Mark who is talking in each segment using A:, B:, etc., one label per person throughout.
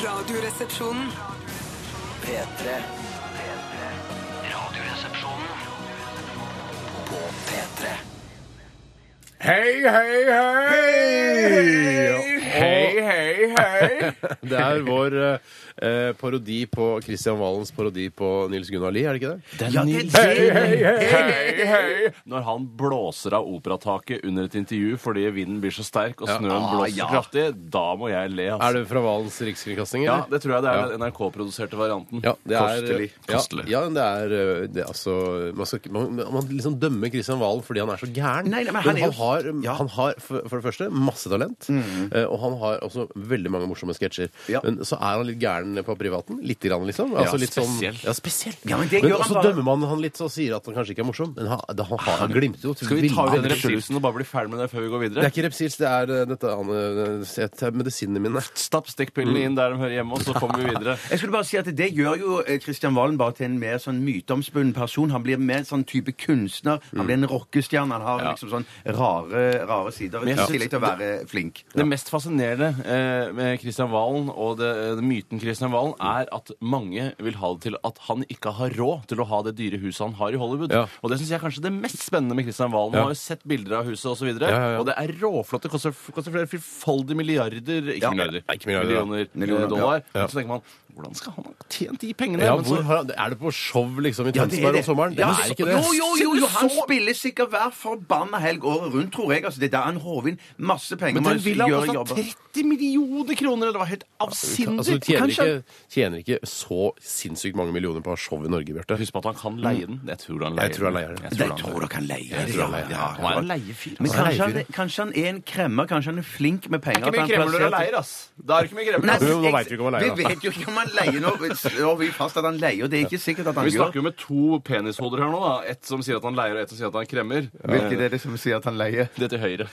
A: Radioresepsjonen.
B: P3. Radioresepsjonen. På P3.
C: Hei, hei, hei! Hei, hei, hei! Det er vår eh, parodi på Kristian Valens parodi på Nils Gunnar Lie, er det ikke det?
D: Ja, det er
C: Hei, hei, hei!
D: Hei, hei! Når han blåser av operataket under et intervju fordi vinden blir så sterk og snøen blåser så kraftig, da må jeg le.
C: Ah, Er
D: Altså.
C: det fra Valens rikskringkasting?
D: Ja,
C: eller?
D: det tror jeg det er
C: Ja.
D: den NRK-produserte varianten.
C: Ja, det er,
D: Kostelig.
C: ja, ja, men det er, eh, det er altså Man skal ikke man, man liksom dømme Kristian Valen fordi han er så gæren.
E: Nei, nei,
C: men
E: men han
C: han,
E: er jo-
C: har,
E: ja. Mm.
C: han har for, for det første masse talent, eh, og han har også veldig mange morsomme sketsjer.
E: Ja.
C: Men så er han litt gæren på privaten. Lite grann, liksom.
D: Ja,
C: Altså, litt
D: spesiell.
C: Sånn, ja, spesiell.
E: Ja, men
C: men
E: det gjør han
C: også
E: bare-
C: dømmer man han litt og sier at han kanskje ikke er morsom, men han, han, har- han glimter jo til
D: Skal vi ta ut
C: vilden-
D: den reptilsen og bare bli ferdig med det før vi går
C: Det
D: videre?
C: er ikke Repsils, det er eh, dette annet Det er medisinene mine.
D: Stapp
C: Mm.
D: stikkpillene inn der de hører hjemme, og så kommer vi videre.
E: Jeg skulle bare si at Det gjør jo eh, Kristian Valen bare til en mer sånn myteomspunnen person. Han blir mer en sånn type kunstner.
D: Mm.
E: Han blir en rockestjerne. Han har liksom sånn rare, rare sider,
D: Men
E: i
D: jeg synes-
E: tillegg til å være flink.
D: Det mest fascinerende eh, med Kristian Valen og det, det myten Kristian Valen er at mange vil ha det til at han ikke har råd til å ha det dyre huset han har i Hollywood.
C: Ja.
D: Og det syns jeg er kanskje det mest spennende med Kristian Valen. Man har jo sett bilder av huset osv. Og, så videre,
C: Ja, ja, ja.
D: og det er råflott. Det koster, koster flere firfoldige milliarder Ikke milliarder.
C: Nei, ikke milliarder, da.
D: millioner,
E: Millioner,
D: dollar.
C: ja.
D: Så tenker man hvordan skal han ha tjent de pengene?
C: Ja,
D: Men
C: hvor
D: så-
C: har han, er det på show liksom i Tønsberg om sommeren? Det
E: Ja,
C: er ikke det.
E: Jo, jo, jo, jo, han spiller sikkert hver forbanna helg året rundt, tror jeg. Altså, det er der han håver inn masse penger.
D: men den
E: med å
D: villaen
E: gjøre
D: kosta
E: jobber.
D: 30 millioner kroner! eller Det var helt avsindig!
C: Altså, du tjener
E: Kanskje
C: ikke,
E: han-
C: tjener ikke så sinnssykt mange millioner på å ha show i Norge, Bjarte.
D: Husk på at han kan leie den. Jeg tror han leier
C: Jeg tror han leier den.
D: Jeg tror
E: Det
D: han-
E: tror dere han leier.
D: Jeg tror han leier den. Han er en leiefyr.
E: Men
D: altså.
C: Han er
E: kanskje han,
C: leiefyr,
E: kanskje han er en kremmer? Kanskje han er flink med penger?
D: Det er ikke
E: at han
D: mye kremler
E: plasserer-
D: og leier, ass. Da er det ikke mye kremler.
E: Nei,
D: ass.
C: Jo, nå
E: jeg-
C: vet vi ikke om han leier,
E: Vi
C: da.
E: vet jo ikke om han leier nå. Vi slår vi fast at han leier, og det er ikke sikkert at han
D: Vi snakker
E: gjør
D: jo med to penishoder her nå. da. Ett som sier at han leier, og ett som sier at han kremmer.
E: Hvilket er det som sier at han leier?
D: Det til høyre.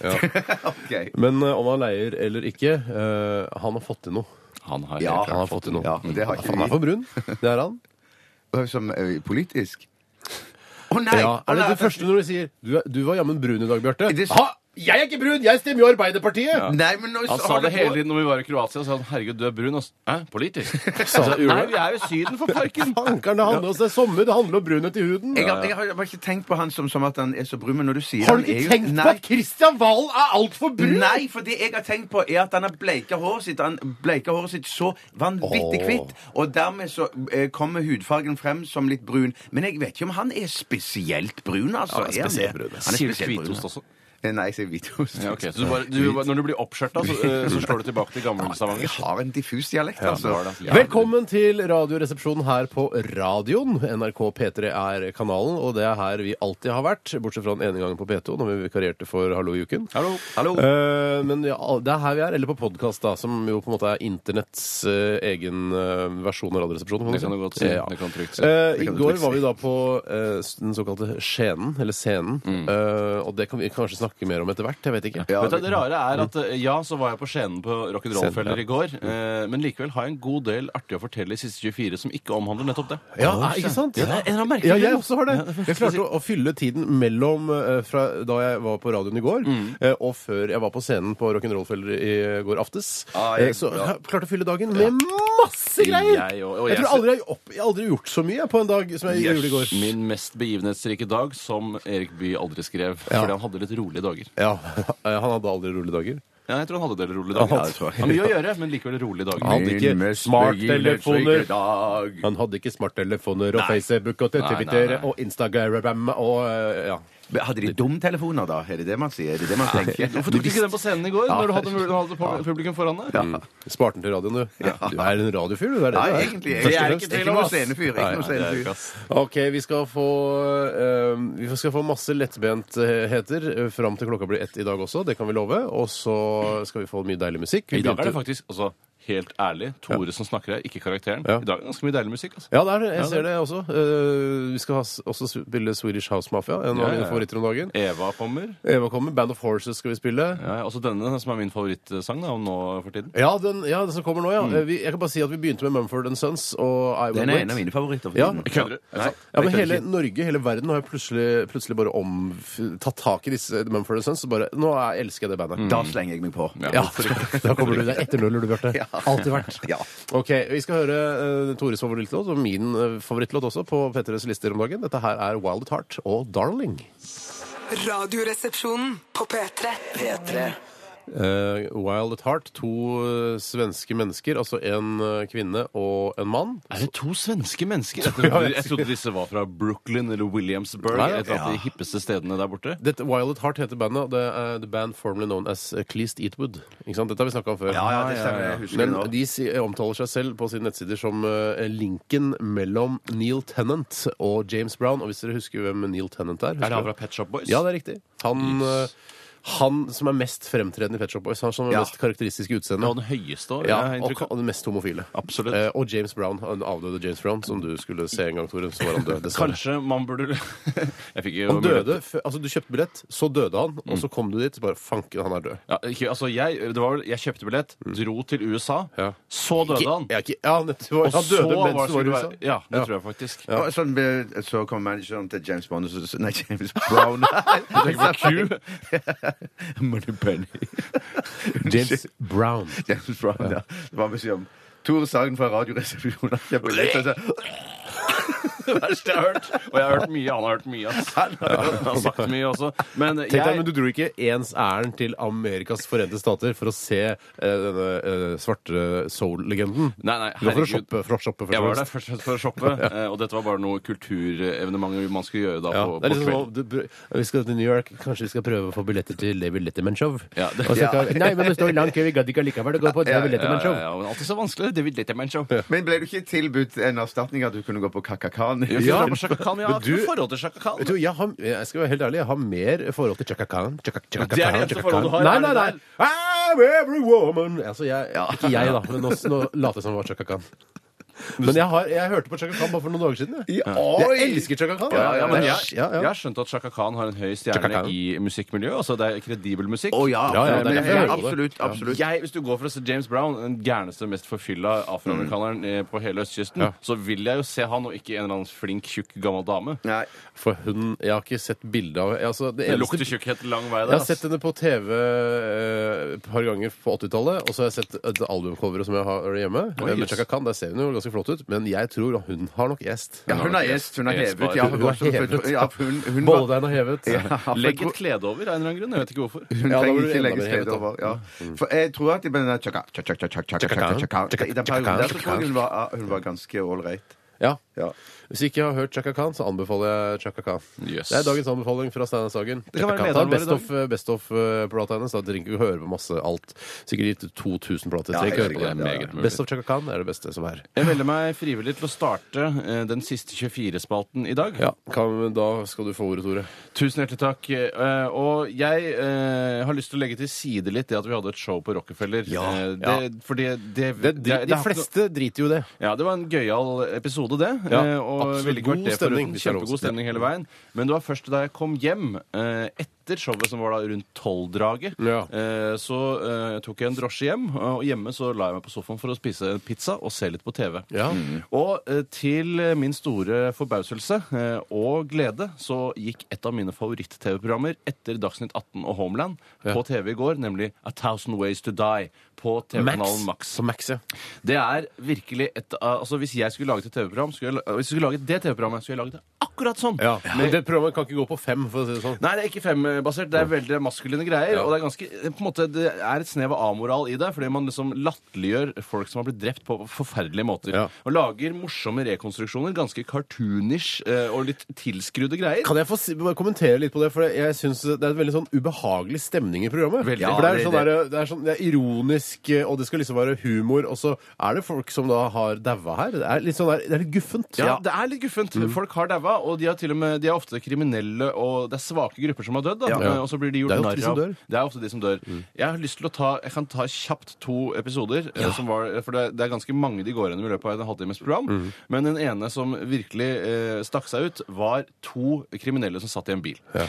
E: Ok.
C: Men eh, om han leier eller ikke, eh, han har fått til noe.
D: Han har
E: Ja,
D: helt klart
C: Han har fått til noe.
E: Ja, men det har ikke
C: han er
E: vi.
C: for brun. Det er han.
E: Som eh, politisk? Å nei!
C: Ja. Er det
E: Å, nei,
C: det første når du sier Du, er, du var jammen brun i dag, Bjarte?
E: Det-
C: Ha! Jeg er ikke brun! Jeg stemmer jo Arbeiderpartiet!
E: Nei, men nå
D: Han
E: så
D: sa
E: har
D: det
E: du
D: hele
E: på-
D: tiden når vi var i Kroatia. Så sa han, herregud, du er brun. ass. Hæ? Politisk? Så, Nei, vi er i Syden, for parken!
C: Fankeren, det handler om det er sommer, det handler om brunhet i huden.
E: Jeg har, jeg har bare ikke tenkt på han som, som at han er så brun, men når du sier
C: Har du
E: han er
C: ikke
E: jo-
C: tenkt på
E: Nei.
C: at Kristian Valen er altfor brun?
E: Nei, for det jeg har tenkt på er at han har bleika håret sitt Han bleika håret sitt så vanvittig
C: Åh.
E: hvitt. Og dermed så eh, kommer hudfargen frem som litt brun. Men jeg vet ikke om han er spesielt brun, altså.
C: Han er spesielt
E: det?
C: brun.
E: Han er
D: Sier du
E: spesielt brun.
D: hvitost også?
E: Eh, Nei, jeg sier hvitost.
D: Ja, ok. Så du bare, du, når du blir oppskjørta, så, eh, så slår du tilbake til gamle Stavanger?
E: Jeg har en diffus dialekt,
D: det var
E: altså.
D: det. Ja.
C: Velkommen til Radioresepsjonen her på radioen. NRK P3 er kanalen, og det er her vi alltid har vært, bortsett fra den ene gangen på P2, når vi vikarierte for Hallo i uken.
D: Hallo.
C: Eh, men ja, det er her vi er, eller på podkast, da, som jo på en måte er internetts eh, egen eh, versjon av Radioresepsjonen.
D: Det kan du godt si.
C: Ja.
D: Det kan du trygt si.
C: Eh,
E: Det
C: I
E: kan du
C: går
E: trygt
C: var vi
E: si.
C: da på eh, den såkalte Skjenen, eller Scenen,
D: Mm.
C: Eh, og det kan vi kanskje snakke mer om etter hvert, jeg vet ikke.
E: Ja,
D: Vet du, det rare er at eh, ja, så var jeg på scenen på
C: Mm. Scenen,
D: Rock'n'Roll-feller
C: ja. Mm.
D: i går, eh, men likevel har jeg en god del artig å fortelle i siste 24 som ikke omhandler nettopp det.
C: Ja, ikke sant?
D: Ja, det er en eller annen merkelig Altså,
C: Ja, jeg
D: ting.
C: også har det. Jeg klarte å, å fylle tiden mellom eh, fra da jeg var på radioen i går,
D: Mm.
C: eh, og før jeg var på scenen på Rock'n'Roll-feller i går aftes.
E: Ah, jeg-
C: Eh, så
E: bra.
C: jeg klarte å fylle dagen med masse greier!
D: Jeg og- og
C: jeg
D: jeg
C: tror aldri jeg, har opp, jeg har aldri gjort så mye på en dag som jeg gjorde i går.
D: Min mest begivenhetsrike dag, som Erik Bye aldri skrev.
C: Ja.
D: Fordi han hadde litt rolige dager.
C: Ja, eh, Han hadde aldri rolige dager.
D: Ja, jeg tror han hadde en del rolige
C: Han
D: dager.
C: hadde-
D: Ja, det tror jeg. Han har mye å gjøre, men likevel rolige dager.
C: Han hadde ikke
E: Min mest
C: smarttelefoner.
E: begivenhetsrike dag.
C: Han hadde ikke smarttelefoner
D: Nei.
C: og Facebook og
D: Nei, nei,
C: Twitter
D: nei.
C: og Instagram og eh, ja.
E: Men Hadde de dumtelefoner, da? Er det det man sier? Er det det man tenker?
D: Hvorfor tok du ikke Mm. den på scenen i går, når du hadde, mul- hadde pub- publikum foran deg?
C: Sparten til radioen, du. Du er en radiofyr, du. Det er det
E: Nei,
C: du er.
E: egentlig.
C: Først og
E: Jeg er
C: fremst.
E: ikke, ikke noe scenefyr. Ikke noe
D: Det er
E: scenefyr.
D: ikke, ass.
C: Ok, vi skal få, eh, vi skal få masse lettbentheter eh, fram til klokka blir ett i dag også. Det kan vi love. Og så skal vi få mye deilig musikk. Vi
D: I dag er det
C: begynte-
D: faktisk altså, helt ærlig Tore som snakker her, ikke karakteren.
C: Ja.
D: I dag er det ganske mye deilig musikk. Altså.
C: Ja, det er det. Jeg ser det også. Eh, vi skal ha, s- også spille Swedish House Mafia. En av
D: Ja, ja,
C: mine
D: ja.
C: favoritter om dagen.
D: Eva kommer.
C: Eva kommer. Band of Horses skal vi spille.
D: Ja, også denne, som er min favorittsang da, om nå for tiden.
C: Ja, den, ja, den som kommer nå, ja. Eh, Vi, jeg kan bare si at vi begynte med Mumford and Sons og I Will
E: Den er
C: Wait.
E: en av mine favoritter. for
C: Ja.
E: tiden.
D: Kødder du?
E: Nei,
C: Ja, men
E: det kan
C: hele
E: jeg ikke.
C: Norge, hele verden, har jo plutselig, plutselig bare om, tatt tak i disse
D: Mm.
C: Mumford and Sons. Og bare Nå er- elsker jeg det bandet.
E: Da slenger jeg meg på.
C: Ja, da kommer du deg etter null, du, Bjarte.
E: Ja.
C: Alltid vært.
B: Ja.
C: Ok, Vi skal høre eh, Tores favorittlåt, og min eh, favorittlåt også, på P3s lister om dagen. Dette her er Wild at Heart og Darling.
A: Radioresepsjonen på P3.
B: P3.
C: Eh, Wild at Heart, to eh, svenske mennesker, altså en eh, kvinne og en mann.
D: Er det to svenske mennesker? Jeg trodde, jeg trodde disse var fra Brooklyn eller Williamsburg.
C: Nei, ja.
D: Et av de hippeste stedene der borte.
C: Dette, Wild at Heart heter bandet, og det er the band formerly known as eh, Cleast Eatwood. Ikke sant? Dette har vi snakka om før.
E: Ja, ja, det stemmer. Jeg husker det
C: Men
E: nå.
C: de si, omtaler seg selv på sine nettsider som eh, linken mellom Neil Tennant og James Brown. Og hvis dere husker hvem Neil Tennant er
D: Er
C: husker
D: det han
C: dere?
D: fra Pet Shop Boys?
C: Ja, det er riktig. Han, eh, han som er mest fremtredende i Pet Shop Boys. Han som har
E: Ja.
C: mest karakteristisk utseende.
D: Og den høyeste òg.
C: Ja, og, og den mest homofile.
D: Absolutt.
C: Eh, og James Brown, den avdøde James Brown, som du skulle se en gang, Tore. Så var han død, dessverre.
D: Kanskje man burde Jeg fikk jo
C: Han døde, fø- altså Du kjøpte billett, så døde han, og så kom du dit, så bare fanken, han er død.
D: Ja, ikke, altså jeg, det var, vel- jeg kjøpte billett, dro til USA,
C: Mm. Ja.
D: så døde han.
C: Ja, ikke, ja, nettopp.
D: Og
C: Han døde
D: så
C: mens
D: var
C: du var i USA.
D: Ja, det tror jeg faktisk.
E: Og så, ble- sånn så kom manageren til James Bond og så sa Nei, James Brown. Money Penny.
C: James Brown.
E: James Brown, ja. Det var beskjed om Tore Sagen fra Radioresepsjonen. har kjøpt billett, og så-
D: Det verste jeg har hørt. Og jeg har hørt mye, han har hørt mye. Ass. Han har sagt mye også. Men
C: Tenk deg,
D: jeg
C: men Du dro ikke ens ærend til Amerikas forente stater for å se eh, denne eh, svarte soul-legenden.
D: Nei, nei,
C: Du var for å
D: herregud.
C: shoppe, for å shoppe først
D: jeg
C: og
D: var der
C: fremst.
D: først og fremst for å shoppe, eh, og dette var bare noe kulturevenement man skulle gjøre da
C: Ja,
D: på,
C: det
D: på
C: er liksom
D: kvelden.
C: sånn, du, br- Vi skal til New York, kanskje vi skal prøve å få billetter til David Letterman-show?
D: Ja, det-
C: Og så
D: Ja.
C: kan- Nei, men det står lang kø, vi gadd ikke allikevel å gå på David
D: Ja, ja,
C: Letterman-show.
D: ja, men alltid så vanskelig. David Letterman Show.
E: Men ble du ikke tilbudt en erstatning at du kunne gå på Kakakan?
D: Jeg
C: Ja.
D: drar på Chaka Khan, men jeg har
C: Men
D: ikke
C: du-
D: noe forhold til Chaka Khan.
C: Vet du, jeg, har, jeg skal være helt ærlig, jeg har mer forhold til Chaka Khan. Chaka, Chaka
D: Det er det
C: Khan,
D: eneste
C: Chaka
D: forholdet du
C: Khan.
D: har,
C: Nei,
D: er
C: nei,
D: det
C: nei. I'm every woman. Altså, jeg, Ikke jeg, da, men nå, nå later jeg som det var Chaka Khan. Men jeg, har, jeg hørte på Chaka Khan bare for noen dager siden. Jeg, jeg elsker Chaka Khan.
D: Ja, ja, men
C: Det er-
D: jeg, jeg har skjønt at Chaka Khan har en høy
C: Chaka
D: stjerne
C: Khan.
D: i musikkmiljøet. Altså det er kredibel musikk.
E: Å
C: Ja,
E: ja.
C: ja, det er
E: men,
C: derfor jeg hører på det.
E: absolutt. absolutt.
D: Jeg, hvis du går for å se James Brown, den gærneste, mest forfylla afroamerikaneren eh, på hele østkysten,
C: Ja.
D: så vil jeg jo se han, og ikke en eller annen flink, tjukk, gammel dame.
E: Nei.
C: For hun Jeg har ikke sett bilde av altså, det
D: Det
C: eneste-
D: lukter tjukkhet lang vei
C: Jeg
D: der.
C: har sett henne på TV eh, et par ganger på 80-tallet. Og så har jeg sett et albumcover som jeg har hjemme.
D: Oi,
C: med
D: jøss.
C: Chaka Khan, Der ser hun jo ganske flott ut, men jeg tror hun har nok gjest.
E: Ja, hun er gjest. Hun er
D: Gjest
E: hevet.
D: var-
E: Ja,
C: Hun er
E: også-
C: hevet.
E: Ja, hun, hun, var-
C: Bolledeigen er hevet.
E: Ja,
D: ass. Legg et klede over av en eller annen grunn. Jeg vet ikke hvorfor.
E: Hun
C: Ja, da
E: trenger
C: blir det
E: ikke
C: enda
E: legge
C: mer hevet,
E: stedet
C: da.
E: over. Ja. For jeg tror at i den der tjaka, tjaka, tjaka, tjaka, tjaka, tjaka, tjaka, tjaka, I den perioden der så tror jeg hun var, hun var ganske ålreit.
C: Ja.
E: Ja.
C: Hvis ikke jeg har hørt Chaka Khan, så anbefaler jeg Chaka Khan.
D: Yes.
C: Det er dagens anbefaling fra Steinar Sagen.
D: Det kan være
C: Chaka Khan.
D: lederen vår
C: Ta
D: i
C: Best
D: dag.
C: of, best of eh, plata hennes. Da trenger ikke vi høre på masse alt. Sikkert gitt ut 2000 plater.
E: Ja,
C: Trenger ikke høre på
E: helt
C: det.
E: sikkert, ja,
D: ja.
C: Best of Chaka Khan er det beste som er.
D: Jeg melder meg frivillig til å starte eh, den siste 24-spalten i dag.
C: Ja, kan, Da skal du få ordet, Tore.
D: Tusen hjertelig takk. Eh, og jeg eh, har lyst til å legge til side litt det at vi hadde et show på Rockefeller.
C: Ja.
D: Eh, det,
C: Ja.
D: Fordi det,
C: Det,
D: det- det har
C: de
D: ikke noe-
C: fleste driter jo i det.
D: Ja, det var en gøyal episode, det.
C: Ja,
D: Eh, og
C: absolutt.
D: ville ikke vært
C: God
D: det foruten.
C: stemning, hvis det er lov å
D: Kjempegod
C: si.
D: stemning hele veien. Men det var først da jeg kom hjem, eh, etter showet som var da rundt tolvdraget,
C: Ja.
D: eh, så eh, tok jeg en drosje hjem. Og hjemme så la jeg meg på sofaen for å spise en pizza og se litt på TV.
C: Ja.
D: Og eh, til min store forbauselse eh, og glede så gikk et av mine favoritt-TV-programmer etter Dagsnytt 18 og Homeland på TV i går, nemlig A Thousand Ways To Die på TV-kanalen Max.
C: På Max, ja.
D: Det er virkelig et av- Altså Hvis jeg skulle laget et TV-program, skulle jeg, la- Hvis jeg skulle laget det TV-programmet, skulle jeg laget det akkurat sånn.
C: Ja, Men det programmet kan ikke gå på fem, for å si det sånn.
D: Nei, det er ikke fembasert. Det er veldig maskuline greier.
C: Ja.
D: Og det er ganske, på en måte, det er et snev av amoral i det, fordi man liksom latterliggjør folk som har blitt drept på forferdelige måter.
C: Ja.
D: Og lager morsomme rekonstruksjoner, ganske cartoonish eh, og litt tilskrudde greier.
C: Kan jeg få si, bare kommentere litt på det? For jeg synes det er en veldig sånn ubehagelig stemning i programmet.
D: Veldig.
C: for det er,
E: Ja,
C: sånn
E: det-
C: der, det, er sånn, det er ironisk, og det skal liksom være humor, og så er det folk som da har daua her. Det er litt sånn der, det er litt guffent.
D: Ja, det er litt guffent.
C: Mm.
D: Folk har daua, og de er, til og med, de er ofte kriminelle, og det er svake grupper som har dødd. da. Eh,
C: Ja.
D: Og så blir de
C: Det
D: gjort
C: er ofte
D: narr
C: de som
D: av.
C: dør. Mm.
D: Det er ofte de som dør. Jeg har lyst til å ta, jeg kan ta kjapt to episoder, eh, som var, for det, det er ganske mange de går gjennom i løpet av en halvtimes program.
C: Mm.
D: Men den ene som virkelig eh, stakk seg ut, var to kriminelle som satt i en bil. Eh,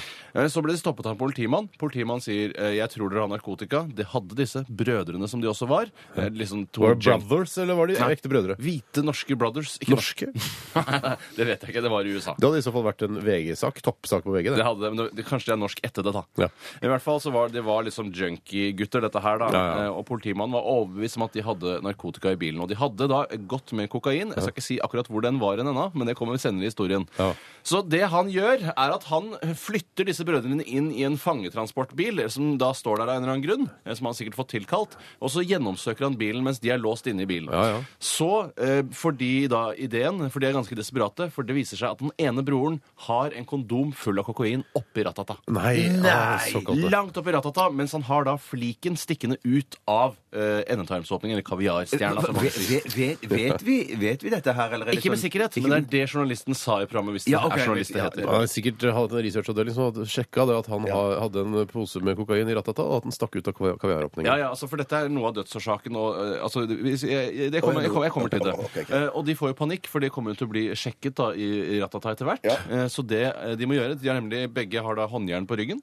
D: Så ble de stoppet av en politimann. Politimannen sier eh, 'jeg tror dere har narkotika'. Det hadde disse brødrene som de også var. Eh, Liksom to
C: Var det
D: gen-
C: brothers, eller var de
D: Nei.
C: ekte brødre?
D: Hvite norske brothers. Ikke
C: Norske?
D: det vet jeg ikke. Det var i USA.
C: Det hadde i så fall vært en VG-sak. Toppsak på VG.
D: Det
C: det.
D: hadde, men det, det, kanskje det er norsk etter det, da.
C: Ja.
D: I hvert fall så var det var liksom junkie-gutter, dette her, da.
C: Ja, ja.
D: Eh, Og politimannen var overbevist om at de hadde narkotika i bilen. Og de hadde da godt med kokain. Jeg skal ikke si akkurat hvor den var hen ennå, men det kommer senere i historien.
C: Ja.
D: Så det han gjør, er at han flytter disse brødrene inn i en fangetransportbil, som da står der av en eller annen grunn, eh, som han sikkert fått tilkalt, og så gjennomsøker han bilen mens de er låst inne i bilen.
C: Ja, ja.
D: Så eh, får de da ideen, for de er ganske desperate, for det viser seg at den ene broren har en kondom full av kokain oppi rattata.
C: Nei! ah, såkalt, ja.
D: Langt oppi rattata, mens han har da fliken stikkende ut av eh, endetarmsåpningen, eller kaviarstjerna. som han sier.
E: Vet, vet, vet, vi, vet vi dette her, eller er det
D: Ikke Eh, med
E: sånn-
D: sikkerhet,
E: Ikke
D: men det
E: med-
D: er det journalisten sa i programmet, hvis det
E: Ja, ok,
D: er journalist det
E: ja,
D: heter.
C: Han har sikkert hatt en researchavdeling som hadde sjekka det at han ha- hadde en pose med kokain i rattata, og at den stakk ut av kavi- kaviaråpningen.
D: Ja, ja, altså, for dette er noe av dødsårsaken. Og, eh, altså, det- hvis- jeg, jeg, det kommer, jeg, kommer, jeg kommer til det. Eh, og de får jo panikk, for de kommer jo til å bli sjekket da, i, i Ratata etter hvert. Eh, så det eh, de må gjøre, de har nemlig begge har da håndjern på ryggen.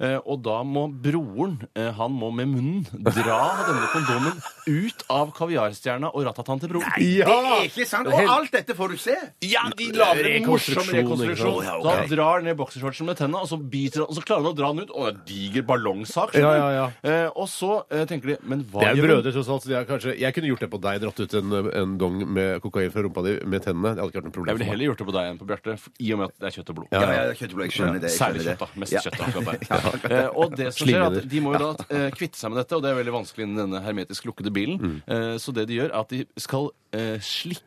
D: Eh, og da må broren, eh, han må med munnen dra denne kondomen ut av kaviarstjerna og Ratataen til broren.
E: Det er ikke sant! Og alt dette får du se!
D: Ja, de lager en morsom
C: Rekonstruksjon,
D: rekonstruksjon.
C: ikke sant? Ja,
D: Da drar han ned boksershortsen med tenna, og så biter han, og så klarer han å dra den ut. Og det er en diger ballongsak. skjønner
C: Ja, ja, ja.
D: du. Eh, og så eh, tenker de Men hva
C: Det er jo
D: gjør vi?
C: brødre, tross alt. Så de er kanskje, jeg kunne gjort det på deg. Dratt ut en, en dong med kokain fra rumpa di med tennene. Det hadde ikke vært noe
D: Jeg
C: problem.
D: ville
C: for meg.
D: heller gjort det på deg enn på Bjarte, f- i og med at det er kjøtt og blod.
E: Ja, ja, kjøttboller. Jeg skjønner det. Jeg
D: Særlig
E: skjønner
D: kjøtt, da.
E: det.
D: Mest
E: Ja.
D: kjøtt. akkurat der. Eh, og det som skjer er at
C: Slimhinner.
D: De må jo da eh, kvitte seg med dette, og det er veldig vanskelig innen denne hermetisk lukkede bilen. Eh, så det de gjør, er at de skal eh, slikke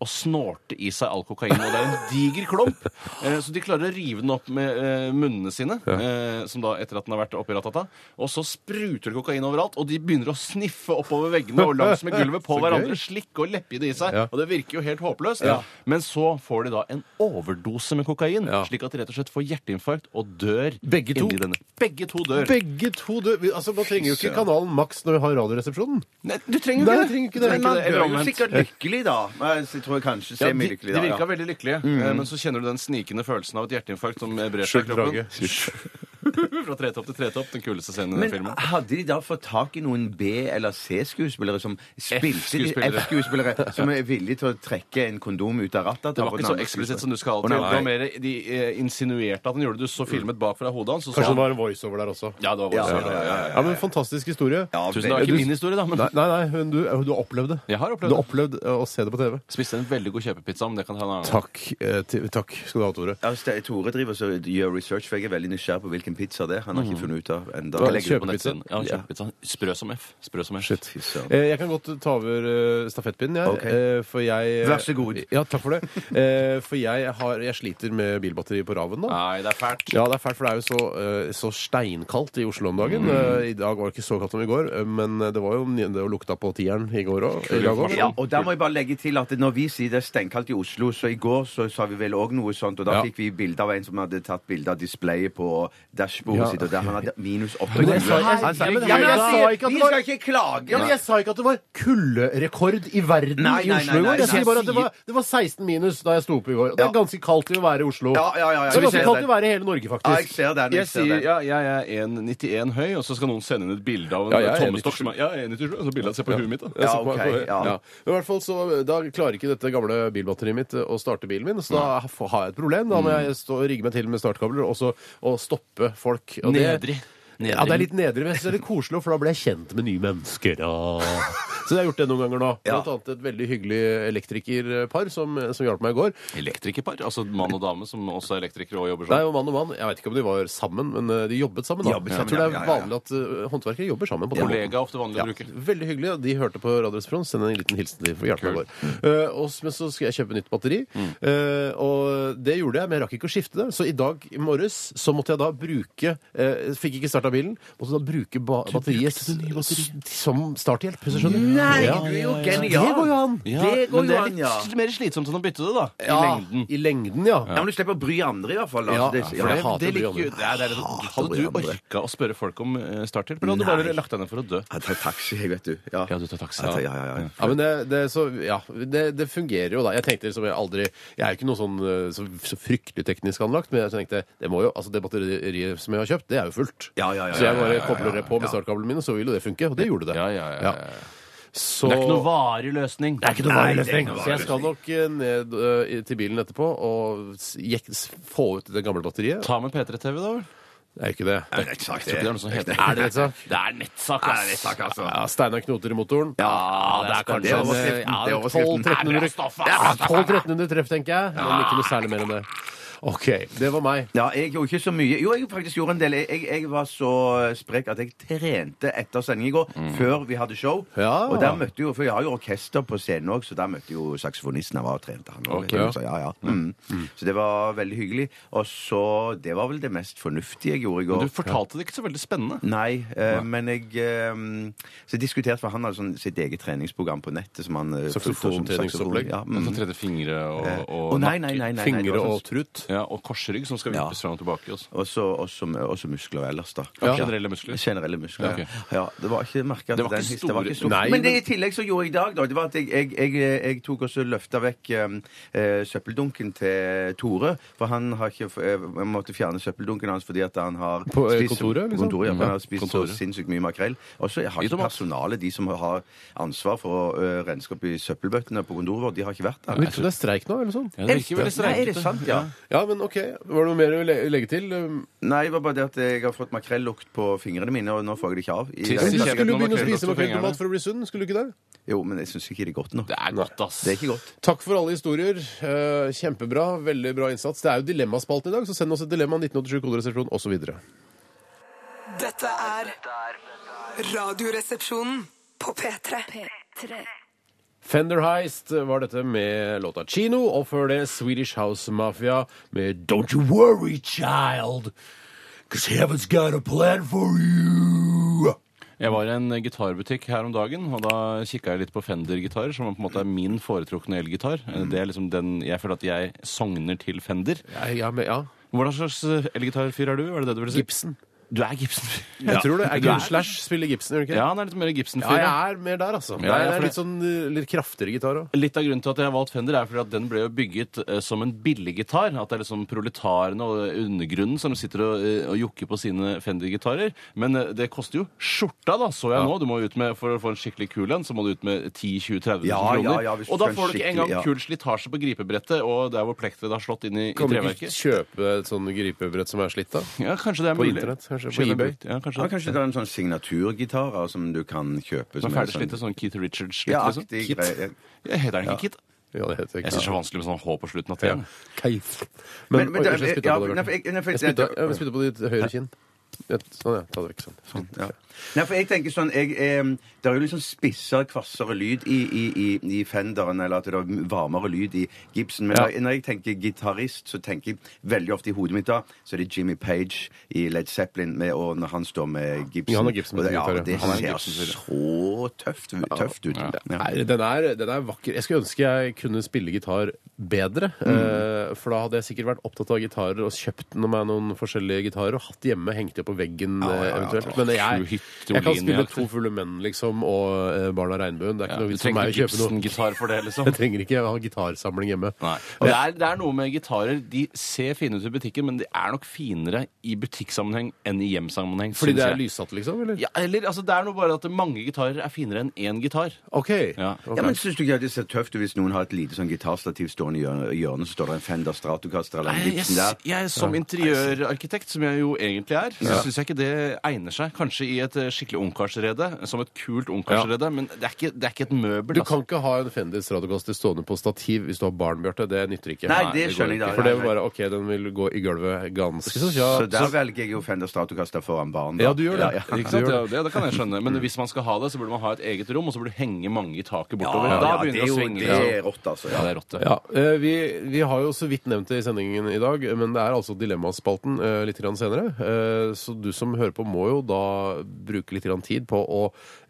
D: og snorte i seg all kokain. Og det er en diger klump. Eh, så de klarer å rive den opp med eh, munnene sine, eh, som da etter at den har vært oppi ratata. Og så spruter det kokain overalt, og de begynner å sniffe oppover veggene og langs med gulvet på
C: Så gøy.
D: hverandre. Slikke og leppe i det i seg.
C: Ja.
D: Og det virker jo helt håpløst. Men så får de da en overdose med kokain,
C: Ja.
D: slik at de rett og slett får hjerteinfarkt og dør.
C: Begge to?
D: inni Denne. Begge to dør.
C: Begge to død. Altså, Man trenger jo ikke kanalen Max når vi har Radioresepsjonen.
D: Nei, du trenger
C: Nei,
D: jo
C: jeg trenger ikke det.
D: Du
E: Men man
D: trenger
E: blir
D: Eller
E: jo
D: omvendt.
E: sikkert lykkelig, da. Men Jeg tror jeg kanskje
D: Ja,
E: ser
D: de,
E: mye
D: de
E: lykkelig, da.
D: virka
E: ja.
D: veldig lykkelige, eh, men så kjenner du den snikende følelsen av et hjerteinfarkt som eh, brer seg i
C: Skjønt
D: kroppen.
C: drage.
D: Fra tretopp til tretopp, den kuleste scenen i den
E: Men
D: filmen.
E: hadde de da fått tak i noen B- eller C-skuespillere som spilte
D: F-skuespillere.
E: F-skuespillere som er villige til å trekke en kondom ut av rattet?
D: Det var ikke så eksplisitt som du skal til.
E: Å,
D: Det
E: nei.
D: var mer de eh, insinuerte at han gjorde det. Du så filmet bak fra hodet hans. og så
C: Kanskje
D: han-
C: det var en voiceover der også.
D: Ja, det var vår
E: Ja,
D: scene,
E: ja, ja,
D: ja, ja, ja.
C: Ja, men Fantastisk historie.
D: Tusen, det var ikke min historie, da. Men
C: Nei, nei, nei, men du, du har opplevd det.
D: Jeg har opplevd
C: du har opplevd eh, å se det på TV.
D: spiste en veldig god kjøpepizza, men det kan ta en annen gang.
C: Takk, eh, til- takk skal du ha, Tore.
E: Ja, Ste- Tore driver så gjør research, for jeg er veldig nysgjerrig på hvilken pizza det er. Han har
D: Mhm.
E: ikke funnet ut av enda.
C: Hva-
D: Jeg legger det på
C: Kjøpepizza?
D: nettsiden. Ja, kjøpepizza. Sprø som F. Sprø som F.
C: Shit.
E: Fy søren.
C: Eh, Jeg kan godt ta over eh, stafettpinnen, jeg.
E: Ok.
C: eh, For jeg
E: Vær så god.
C: Ja, takk for det. Eh, For jeg, har, jeg sliter med bilbatteri på Raven nå.
D: Nei, det er fælt.
C: Ja, det er fælt, for det er jo så, eh, så steinkaldt i Oslo om dagen.
E: Mm.
C: Eh, I dag var det ikke så kaldt som i går, eh, men det var jo det lukta på tieren i går òg.
E: Ja, og der må jeg bare legge til at når vi sier det er steinkaldt i Oslo, så i går så sa vi vel òg noe sånt, og da
C: Ja.
E: fikk vi bilde av en som hadde tatt bilde av displayet på dashbordet
C: Ja.
E: sitt, og der han hadde minus
C: Men jeg
E: 28.
C: sa-
E: Han sa-
C: Ja, men
E: Ja, men
C: jeg
E: jeg
C: sa
E: sier,
C: ikke at
E: Vi
C: det var-
E: skal ikke klage!
C: men jeg sa ikke at det var kulderekord i verden
E: Nei,
C: i
E: nei,
C: Oslo i
E: nei,
C: går.
E: nei,
C: Jeg
E: nei.
C: sier bare at det var, det var 16 minus da jeg sto opp i går. Og det er
E: Ja.
C: ganske kaldt til å være i Oslo.
E: Ja, ja, ja,
C: Så det
E: ja,
C: er
E: vi
C: ganske
E: ser
C: kaldt
E: det.
C: til å være i hele Norge,
E: Ja, jeg
C: faktisk.
E: ser den. Jeg,
D: Jeg
E: ser
D: sier
E: den.
D: ja, jeg er 1,91 høy, og så skal noen sende inn et bilde av en
C: Ja, jeg er
D: tommestokk som er Ja, jeg er 1,97, og så bildet se på huet mitt, da.
E: Ja,
C: Så på-
E: ok,
C: på-
E: ja.
C: Men i hvert fall så, Da klarer ikke dette gamle bilbatteriet mitt eh, å starte bilen min, så da f- har jeg et problem. Da må
D: Mm.
C: jeg stå og rigge meg til med startkabler og, så, og stoppe folk. Og det-
D: Nedrig. Nedrig.
C: Ja, det er litt nedre, men jeg synes det er litt koselig, for da blir jeg kjent med nye mennesker. og- Så jeg har gjort det noen ganger nå.
E: Ja.
C: Blant annet et veldig hyggelig elektrikerpar som, som hjalp meg i går.
D: Elektrikerpar? Altså mann og dame som også er elektrikere og jobber
C: Det er
D: sånn?
C: jo mann og mann. Jeg vet ikke om de var sammen, men eh, de jobbet sammen. da.
E: Jobbet
C: jeg tror
E: sammen,
C: det
E: ja,
C: er
E: ja, ja.
C: vanlig at eh, håndverkere jobber sammen. på den måten.
D: Kollega ofte vanlig
C: Ja,
D: å bruke.
C: veldig hyggelig. og De hørte på Radioresepsjonen. Send en liten hilsen til for hjertet
D: Kult.
C: vår. Eh, og s- men så skal jeg kjøpe nytt batteri, Eh, og det gjorde jeg, men jeg rakk ikke å skifte det. Så i dag i morges så måtte jeg da bruke eh, Fikk ikke starta bilen, måtte da bruke ba batteriet s- s- som starthjelp. Hvis du skjønner?
E: Nei,
C: Ja.
E: du er jo
C: Ja, Det går jo
E: genial!
C: an!
D: Ja,
E: Det går
D: men det
E: jo
D: er
E: an,
D: litt
E: ja.
D: sl- mer slitsomt enn å bytte det, da. I
C: Ja,
D: lengden.
C: I lengden, ja.
E: Ja, men du slipper å bry andre, i hvert fall.
C: Ja,
E: Altså, det,
C: for
E: ja.
C: jeg hater
D: det
C: å
D: ligger
C: bry
D: jo-
C: andre.
D: Nei, det er litt-
E: Hater å
D: Hadde
E: bry
D: du
E: andre.
D: orka å spørre folk om eh, starthjelp, eller hadde du bare
E: Nei.
D: lagt deg ned for å dø?
E: Jeg tar taxi, jeg, vet du. Ja,
D: Ja, du tar taxi,
E: Jeg tar-
D: ja.
E: Ja, ja, ja.
C: Ja, men det, det, så, ja, det, det fungerer jo, da. Jeg tenkte liksom jeg aldri Jeg er jo ikke noe sånn eh, så, så fryktelig teknisk anlagt, men jeg tenkte det må jo, altså det batteriet som jeg har kjøpt, det er jo fullt.
E: Ja, ja, ja,
C: så jeg
E: ja, ja,
C: bare
E: ja,
C: kobler det på med
E: ja.
C: startkablene mine, så vil jo det funke. Og det gjorde det.
D: Ja, ja, ja, ja, ja.
C: Så
D: Det er ikke noe varig løsning. Det er ikke
E: varig løsning.
C: Så jeg skal nok eh, ned eh, til bilen etterpå og s- jek- s- få ut det gamle batteriet.
D: Ta med P3-TV, da vel.
C: Det er jo ikke det.
E: Det er ikke
D: Jeg tror ikke det er noe som heter
C: Er det nettsak?
D: Det er nettsak,
E: Det er nettsak, altså.
C: Ja, Steinar knoter i motoren.
D: Ja, det er
E: Det
D: kanskje
C: eh,
E: er
D: en,
E: overskriften.
D: ja,
E: Det er overskriften.
D: 1200
C: 1200-1300 treff, tenker jeg. Men ikke noe særlig mer enn det. OK. Det var meg.
E: Ja, jeg gjorde ikke så mye. Jo, jeg faktisk gjorde en del. Jeg, jeg, jeg var så eh, sprek at jeg trente etter sending i går, før vi hadde show.
C: Ja.
E: Og der møtte jo, For jeg har jo orkester på scenen òg, så der møtte jo saksofonisten jeg var og trente. han også.
C: Ok, ja.
E: Så, ja, ja. Mm. så det var veldig hyggelig. Og så Det var vel det mest fornuftige jeg gjorde i går.
D: Du fortalte det ikke så veldig spennende.
E: Nei, eh, men jeg eh, Så jeg diskuterte for han hadde sånn sitt eget treningsprogram på nettet. som han... eh,
C: Saksofontreningsopplegg.
E: Ja,
D: Mm.
E: mm.
D: Tredje fingre og, og
E: Å, nei, nei, nei, nei, nei, det var
C: Fingre og
E: sånn-
C: trut.
D: Ja, og korsrygg som skal vippes
E: Ja.
D: fram og tilbake. Også.
E: Og så også, også muskler ellers, da.
D: Ja, generelle muskler.
E: Generelle muskler, ja.
D: Ja,
E: ja det var ikke merket at
D: Det var
E: den
D: ikke
E: histen var ikke
D: store-
E: stor.
C: Nei,
E: men det
C: men-
E: i tillegg så gjorde jeg i dag, da, det var at jeg, jeg, jeg, jeg tok også løfta vekk eh, eh, søppeldunken til Tore. For han har ikke f- eh, jeg måtte fjerne søppeldunken hans fordi at han har
C: På, eh,
E: spist-
C: kontoret, liksom?
E: På kontoret, ja, for han har
C: Ja,
E: spist
C: kontoret.
E: så sinnssykt mye makrell. Og så har
D: I
E: ikke
D: tomat.
E: personalet, de som har ansvar for å eh, renske opp i søppelbøttene på kontoret vårt, de har ikke vært der.
C: Virker som det er streik nå, eller sånn?
D: Ja, det virker veldig
E: Nei, er det
D: streikete.
E: sant, ja?
C: Ja, men OK. Var det noe mer å le- legge til? Um,
E: Nei, det var bare det at jeg har fått makrellukt på fingrene mine, og nå får jeg det ikke av. I
D: Tiss
C: Du
D: i
E: det hele tatt.
D: kjeften
C: skulle jo
D: og
C: begynne å
D: makrell
C: spise
D: på
C: makrell
D: fingrene.
C: i mat for å bli sunn, skulle du ikke det?
E: Jo, men jeg syns ikke det er godt nok.
D: Det er godt, ass.
E: Det er ikke godt.
C: Takk for alle historier. Eh, Kjempebra. Veldig bra innsats. Det er jo dilemmaspalten i dag, så send oss et dilemma 1987 koderesepsjon osv.
A: Dette er Radioresepsjonen på P3.
C: Fender Heist var dette med låta Chino, og før det Swedish House Mafia med Don't You Worry Child, cause heaven's got a plan for you.
D: Jeg var i en gitarbutikk her om dagen, og da kikka jeg litt på Fender-gitarer, som på en måte er min foretrukne elgitar.
E: Mm.
D: Det er liksom den jeg føler at jeg sogner til Fender.
C: Ja, ja, men, ja.
D: Hvordan slags eh, elgitarfyr er du? Er det det du vil si?
C: Gibson.
D: Du er Gibson.
C: Jeg tror det. Er
D: Du
C: ikke Slash spiller Gibson, gjør det ikke?
D: Ja, han er litt mer Gibson-fyr.
C: Ja, jeg er mer der, altså.
D: Ja, ja,
C: det
D: for
C: er litt
D: det-
C: sånn eh, litt kraftigere gitar òg.
D: Litt av grunnen til at jeg har valgt Fender, er fordi at den ble jo bygget eh, som en billiggitar. At det er liksom proletarene og undergrunnen som sitter og, eh, og jokker på sine Fender-gitarer. Men eh, det koster jo skjorta, da, så jeg nå. Du må jo ut med, For å få en skikkelig kul en, så må du ut med 10 20 30 000
E: Ja, ja,
D: kroner.
E: ja, hvis du
D: og da
E: skal
D: får du ikke
E: skikkelig-
D: engang
E: ja.
D: kul slitasje på gripebrettet og der hvor plekteret har slått inn i, i
C: Kan du ikke
D: treverket.
C: kjøpe et sånn gripebrett som er slitt, da?
D: Ja, kanskje det er
C: På
D: mulig.
C: internett, kanskje, på
D: Kjøpe
C: eBay.
D: brukt. Ja,
E: Ja,
D: kanskje.
E: kanskje ta en sånn signaturgitarer som du kan
D: Men
E: kjøpe. som er
D: ferdig
E: sånn-
D: slitt, sånn Keith Richards-slitt,
E: Ja,
D: liksom.
E: aktig
D: Kit.
E: greie.
D: Ja, Heter den ikke Kit?
C: Ja, det heter
D: Jeg
C: ikke
D: syns det er så vanskelig med sånn H på slutten av
C: Ja.
D: T-en.
C: Keif. Men,
E: Men, men,
C: oi,
E: ja,
C: unnskyld, jeg spytta på deg,
E: nei, for
C: Bjarte.
E: jeg- nei, for
C: Jeg
E: jeg-
C: spytta jeg spytta på ditt høyre kinn. Et- Sånn, ja. Ta det vekk. Sånn.
E: ja. Nei, for jeg tenker sånn jeg, eh, Det er jo litt sånn spissere, kvassere lyd i, i, i, i fenderen, eller at det er varmere lyd i Gibson. Men når, jeg- når jeg tenker gitarist, så tenker jeg veldig ofte i hodet mitt da Så er det Jimmy Page i Led Zeppelin, med, og når han står med Gibson.
C: Ja, han har Gibson
E: og det, ja,
C: gitar, ja.
E: og det
C: Han er en
E: ser så tøft, tøft ut. Ja.
C: Nei, den, er, den er vakker. Jeg skulle ønske jeg kunne spille gitar bedre.
D: Mm.
C: eh, For da hadde jeg sikkert vært opptatt av gitarer og kjøpt meg noen forskjellige gitarer og hatt hjemme, hengt det på veggen eh, eventuelt. Men jeg,
D: Sju
C: jeg kan spille
D: hit-Jolin-aktig.
C: To fulle menn, liksom, og eh, Barn av regnbuen. Det er
D: Ja,
C: ikke noe
D: du
C: vits for meg
D: trenger
C: å kjøpe noe.
D: Gibson-gitar for det, liksom.
C: Jeg trenger ikke ha gitarsamling hjemme.
D: Nei. Og det er, det er noe med gitarer. De ser fine ut i butikken, men de er nok finere i butikksammenheng enn i hjemsammenheng.
C: Fordi
D: synes
C: det er
D: jeg.
C: lyssatt, liksom? Eller?
D: Ja, eller, altså, det er noe bare at mange gitarer er finere enn én gitar.
C: OK.
D: Ja.
C: Ok.
E: Ja, men Syns du ikke at det ser tøft ut hvis noen har et lite sånn gitarstativ stående i hjørnet, i hjørnet, så står det en Fender Stratocaster eller en
D: Jeg, jeg,
E: Gibson der?
D: jeg, som interiørarkitekt, som jeg jo egentlig er, så syns jeg ikke det egner seg. Kanskje i et eh, skikkelig ungkarsrede, som et kult ungkarsrede, men det er, ikke, det er ikke et møbel.
C: Du
D: altså.
C: kan ikke ha en Fender Stratocaster stående på stativ hvis du har barn, Bjarte. Det nytter ikke.
E: Nei,
D: Nei,
E: det
D: det går
E: skjønner jeg da.
C: For det var bare OK, den vil gå i gulvet ganske så
E: Så
C: kjapt.
E: der velger jeg jo Fender Stratocaster foran barn. da.
C: Ja, du gjør det.
E: Ja, ja.
D: Ikke sant? Ja, Mm. det, det kan jeg skjønne. Men hvis man skal ha det, så burde man ha et eget rom, og så burde det henge mange i taket bortover.
E: Ja,
D: Ah, da
E: ja, det
D: begynner
E: er
D: det å
E: jo
D: svinge.
E: det er rått, altså.
D: Ja,
E: Ja.
D: det er rått. det.
C: Ja, eh, vi, vi har jo så vidt nevnt det i sendingen i dag, men det er altså Dilemmaspalten eh, litt grann senere. Eh, Så du som hører på, må jo da bruke litt grann tid på å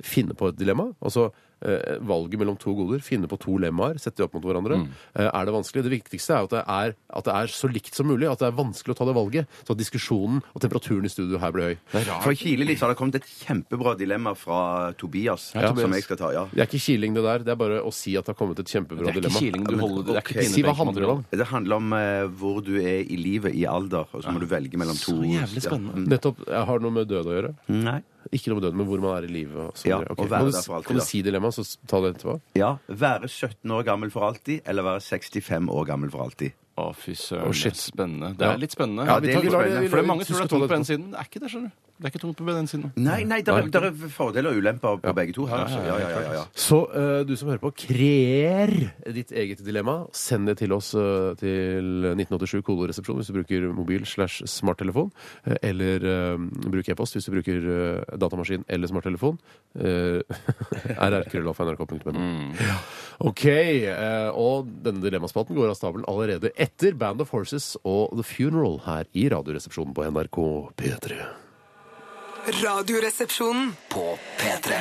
C: finne på et dilemma. Altså eh, valget mellom to goder. Finne på to lemmaer, sette de opp mot
D: Mm.
C: hverandre. Eh, Er det vanskelig? Det viktigste er jo at det er, at det er så likt som mulig. At det er vanskelig å ta det valget. Så at diskusjonen og temperaturen i studio her blir høy.
E: For å kile litt så har det kommet et kjempebra dilemma fra Tobias,
C: Tobias.
E: som jeg skal ta. ja.
C: Det er ikke kiling, det der. Det er bare å si at det har kommet et kjempebra
D: Det er ikke
C: dilemma.
D: kiling du holder det er
E: ok.
D: ikke
C: Si hva handler det om?
E: Det handler om eh, hvor du er i livet, i alder, og så må du velge mellom to.
D: Så jævlig spennende.
C: Nettopp. Jeg har noe med død å gjøre.
E: Ja. Nei.
C: Ikke noe med døden, men hvor man er i livet. og så
E: Ja,
C: videre. Ok,
E: og være
C: kan du,
E: der for alltid,
C: kan du
E: da.
C: si dilemmaet, så s- ta det etterpå?
E: Ja, Være 17 år gammel for alltid, eller være 65 år gammel for alltid?
D: Å, fy søren.
C: Å, shit.
D: Spennende. Det
C: Ja.
D: er litt spennende.
C: Ja,
E: vi
D: det
E: tar-
D: er litt
E: vi lar det-
D: spennende.
E: vi
D: For det
C: lar-
D: er mange
C: vi
D: som tror det er
C: skal ta
D: tungt på
C: det.
D: den siden. Det er ikke det, skjønner du. Det er ikke tungt på den siden.
E: Nei, nei, der, er- der er fordeler og ulemper på begge to her. Altså. Ja, ja, ja, ja.
C: Så eh, du som hører på, kreer ditt eget dilemma. Send det til oss eh, til 1987 koderesepsjon hvis du bruker mobil slash smarttelefon. eh, eller eh, bruk e-post hvis du bruker eh, datamaskin eller smarttelefon. Uh, rrkrølloff.nrk.no.
E: Mm.
C: Ja. OK. eh, og denne dilemmaspalten går av stabelen allerede etter Band of Horses og The Funeral her i Radioresepsjonen på NRK P3.
A: Radioresepsjonen.
B: På P3.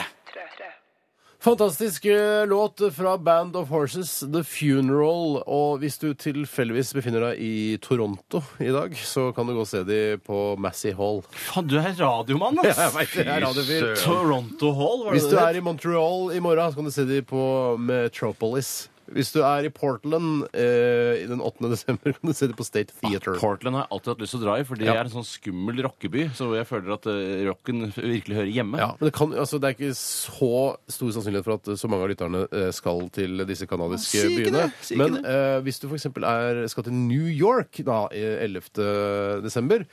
C: Fantastisk eh, låt fra Band of Horses, The Funeral. Og hvis du tilfeldigvis befinner deg i Toronto i dag, så kan du gå og se de på Massey Hall.
D: Faen, du er radiomann, ass!
C: Jeg vet, jeg er radiofyr.
D: Toronto Hall, var det
C: Hvis du
D: det?
C: er i Montreal i morgen, så kan du se de på Metropolis. Hvis du er i Portland eh, i den 8. desember, kan du se de på State Theatre.
D: Portland har jeg alltid hatt lyst til å dra i, for det
C: Ja.
D: er en sånn skummel rockeby. Så jeg føler at eh, rocken virkelig hører hjemme.
C: Ja, men det, kan, altså, det er ikke så stor sannsynlighet for at eh, så mange av lytterne eh, skal til disse canadiske
D: Si ikke
C: byene.
D: det, si ikke
C: men eh, hvis du f.eks. skal til New York da, i 11. desember,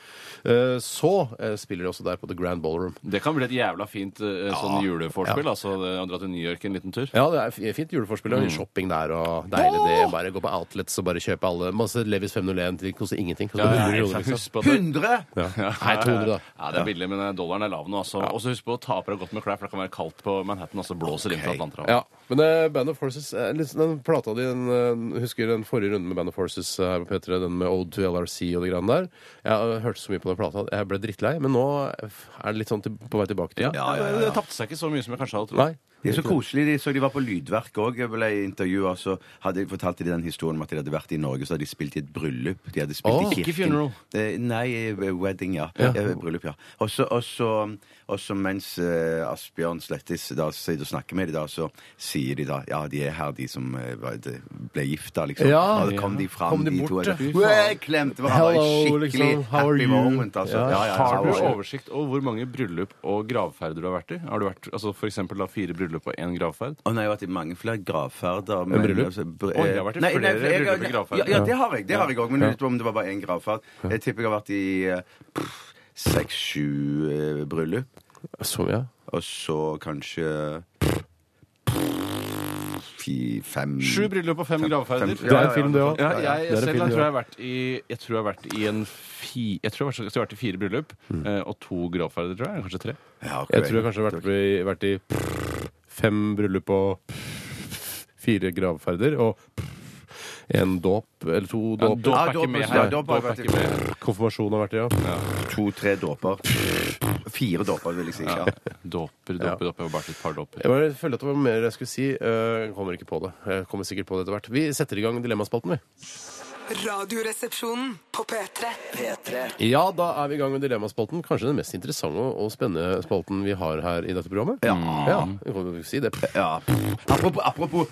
C: eh, så eh, spiller de også der på The Grand Ballroom.
D: Det kan bli et jævla fint eh, sånn juleforspill. altså det- Å dra til New York en liten tur.
C: Ja, det er fi- fint juleforspill.
D: Mm.
C: og Shopping der og deilig det. Bare gå på outlets og bare kjøpe alle masse Levis 501. Det koster ingenting. Koster 100 kroner, liksom.
D: Husk på at det-
E: 100!
C: Nei, 200, da.
D: Ja, det er billig, men eh, dollaren er lav nå. Altså. Og så husk på å ta på deg godt med klær, for det kan være kaldt på Manhattan. Altså blåser inn fra Atlanterhavet.
C: Ja, men eh, Band of Forces eh, litt, Den plata di, den, eh, husker den forrige runden med Band of Forces eh, her på P3, den med Ode to LRC og de greiene der. Jeg eh, hørte så mye på den plata, at jeg ble drittlei, men nå eh, er det litt sånn til, på vei tilbake til det.
D: Ja, ja, ja. Det tapte seg ikke så mye som jeg kanskje hadde trodd.
C: Nei.
E: De er så koselige, de. Så de var på Lydverk òg. Jeg ble intervjua, så hadde jeg fortalt de den historien om at de hadde vært i Norge, så hadde de spilt i et bryllup. De hadde spilt
C: Åh,
E: i kirken.
D: ikke funeral.
E: Eh, Nei, eh, wedding, ja. Eh, Bryllup, ja. Og så- Og så og så mens eh, Asbjørn Slettis da sitter og snakker med de da, så sier de da Ja, de er her, de som eh, var- de ble gifta, liksom.
C: Ja.
E: Og da kom de fram,
C: Kom de
E: de,
C: bort,
E: to.
C: ja. Fy
E: Og
C: faen.
E: jeg klemte hverandre.
C: Hello,
E: Skikkelig
C: liksom. How are
E: happy
C: you?
E: moment, altså.
C: Ja.
D: Har du
E: How are you?
D: oversikt over hvor mange bryllup og gravferder du har vært i? Har du vært, altså for eksempel da, fire bryllup og én gravferd?
E: Å nei, jeg har vært i mange flere gravferder. Men,
C: bryllup?
E: altså, br-
D: Oi, det har vært i flere
E: for jeg-
D: bryllup i gravferder.
E: Ja, ja, det har jeg. det har jeg også, Men jeg vet ikke om det var bare én gravferd. Jeg tipper jeg har vært i eh, seks-sju eh, bryllup.
C: Så, ja.
E: Og så kanskje fi- fem
D: Sju bryllup og fem gravferder.
E: fem-
C: Det er
E: ja,
C: en film, det òg.
D: Ja,
E: ja,
D: jeg,
C: det er en
D: selv
C: film,
D: jeg tror
C: ja.
D: jeg har vært i Jeg tror jeg har vært i en fi, Jeg tror jeg har vært- jeg har vært i fire bryllup
C: Mm.
D: eh, og to gravferder, tror jeg. Kanskje tre.
E: Ja, ok.
C: Jeg tror jeg kanskje har vært, i- vært i fem bryllup og fire gravferder og en dåp, eller to dåp.
D: Dåp
E: Ja,
D: er ikke
E: dåp-
D: med
E: ja,
D: her.
E: dåp har
D: Dåp er
E: vært i-
D: ikke med.
C: Konfirmasjon har vært i, ja.
E: To-tre dåper. Fire dåper, vil jeg si. Ja.
D: Dåper,
C: Ja.
D: dåper, dåper. Jeg har vært i et par dåper.
C: Jeg bare følte at det var mer jeg skulle si. eh, kommer ikke på det. Jeg kommer sikkert på det etter hvert. Vi setter i gang Dilemmaspalten, vi.
A: Radioresepsjonen på P3.
B: P3.
C: Ja, da er vi i gang med Dilemmaspalten. Kanskje den mest interessante og og spennende spalten vi har her i dette programmet. Ja. vi kan jo si det.
E: Ja. Apropos, apropos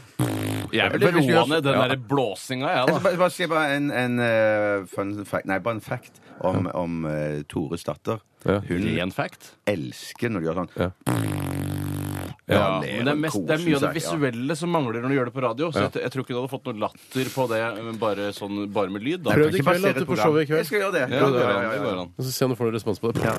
D: Jeg
E: Men
D: vil
E: hvis du
D: roe
E: gjør-
D: ned den
E: Ja.
D: der blåsinga, jeg,
E: Jeg skal
D: da.
E: bare, bare si bare en, en eh, fun fact Nei, bare en fact om, om eh, Tores datter.
C: Ja.
E: Hun
D: Ren fact.
E: elsker når de gjør sånn.
C: Ja.
E: Ja,
D: men
E: ler
D: det, er
E: og
D: mest,
E: koser
D: det er mye av det
E: seg, ja.
D: visuelle som mangler når du gjør det på radio. Så jeg, jeg tror ikke du hadde fått noe latter på det men bare, sånn, bare med lyd. Da.
C: Prøv det
E: Ikke
C: i kveld,
E: basere
C: at du
E: et
C: får
E: program.
C: showet i
E: Jeg skal
C: kveld.
E: gjøre det.
D: Ja, det går an, det går an.
C: Og så se om du får noen respons på det.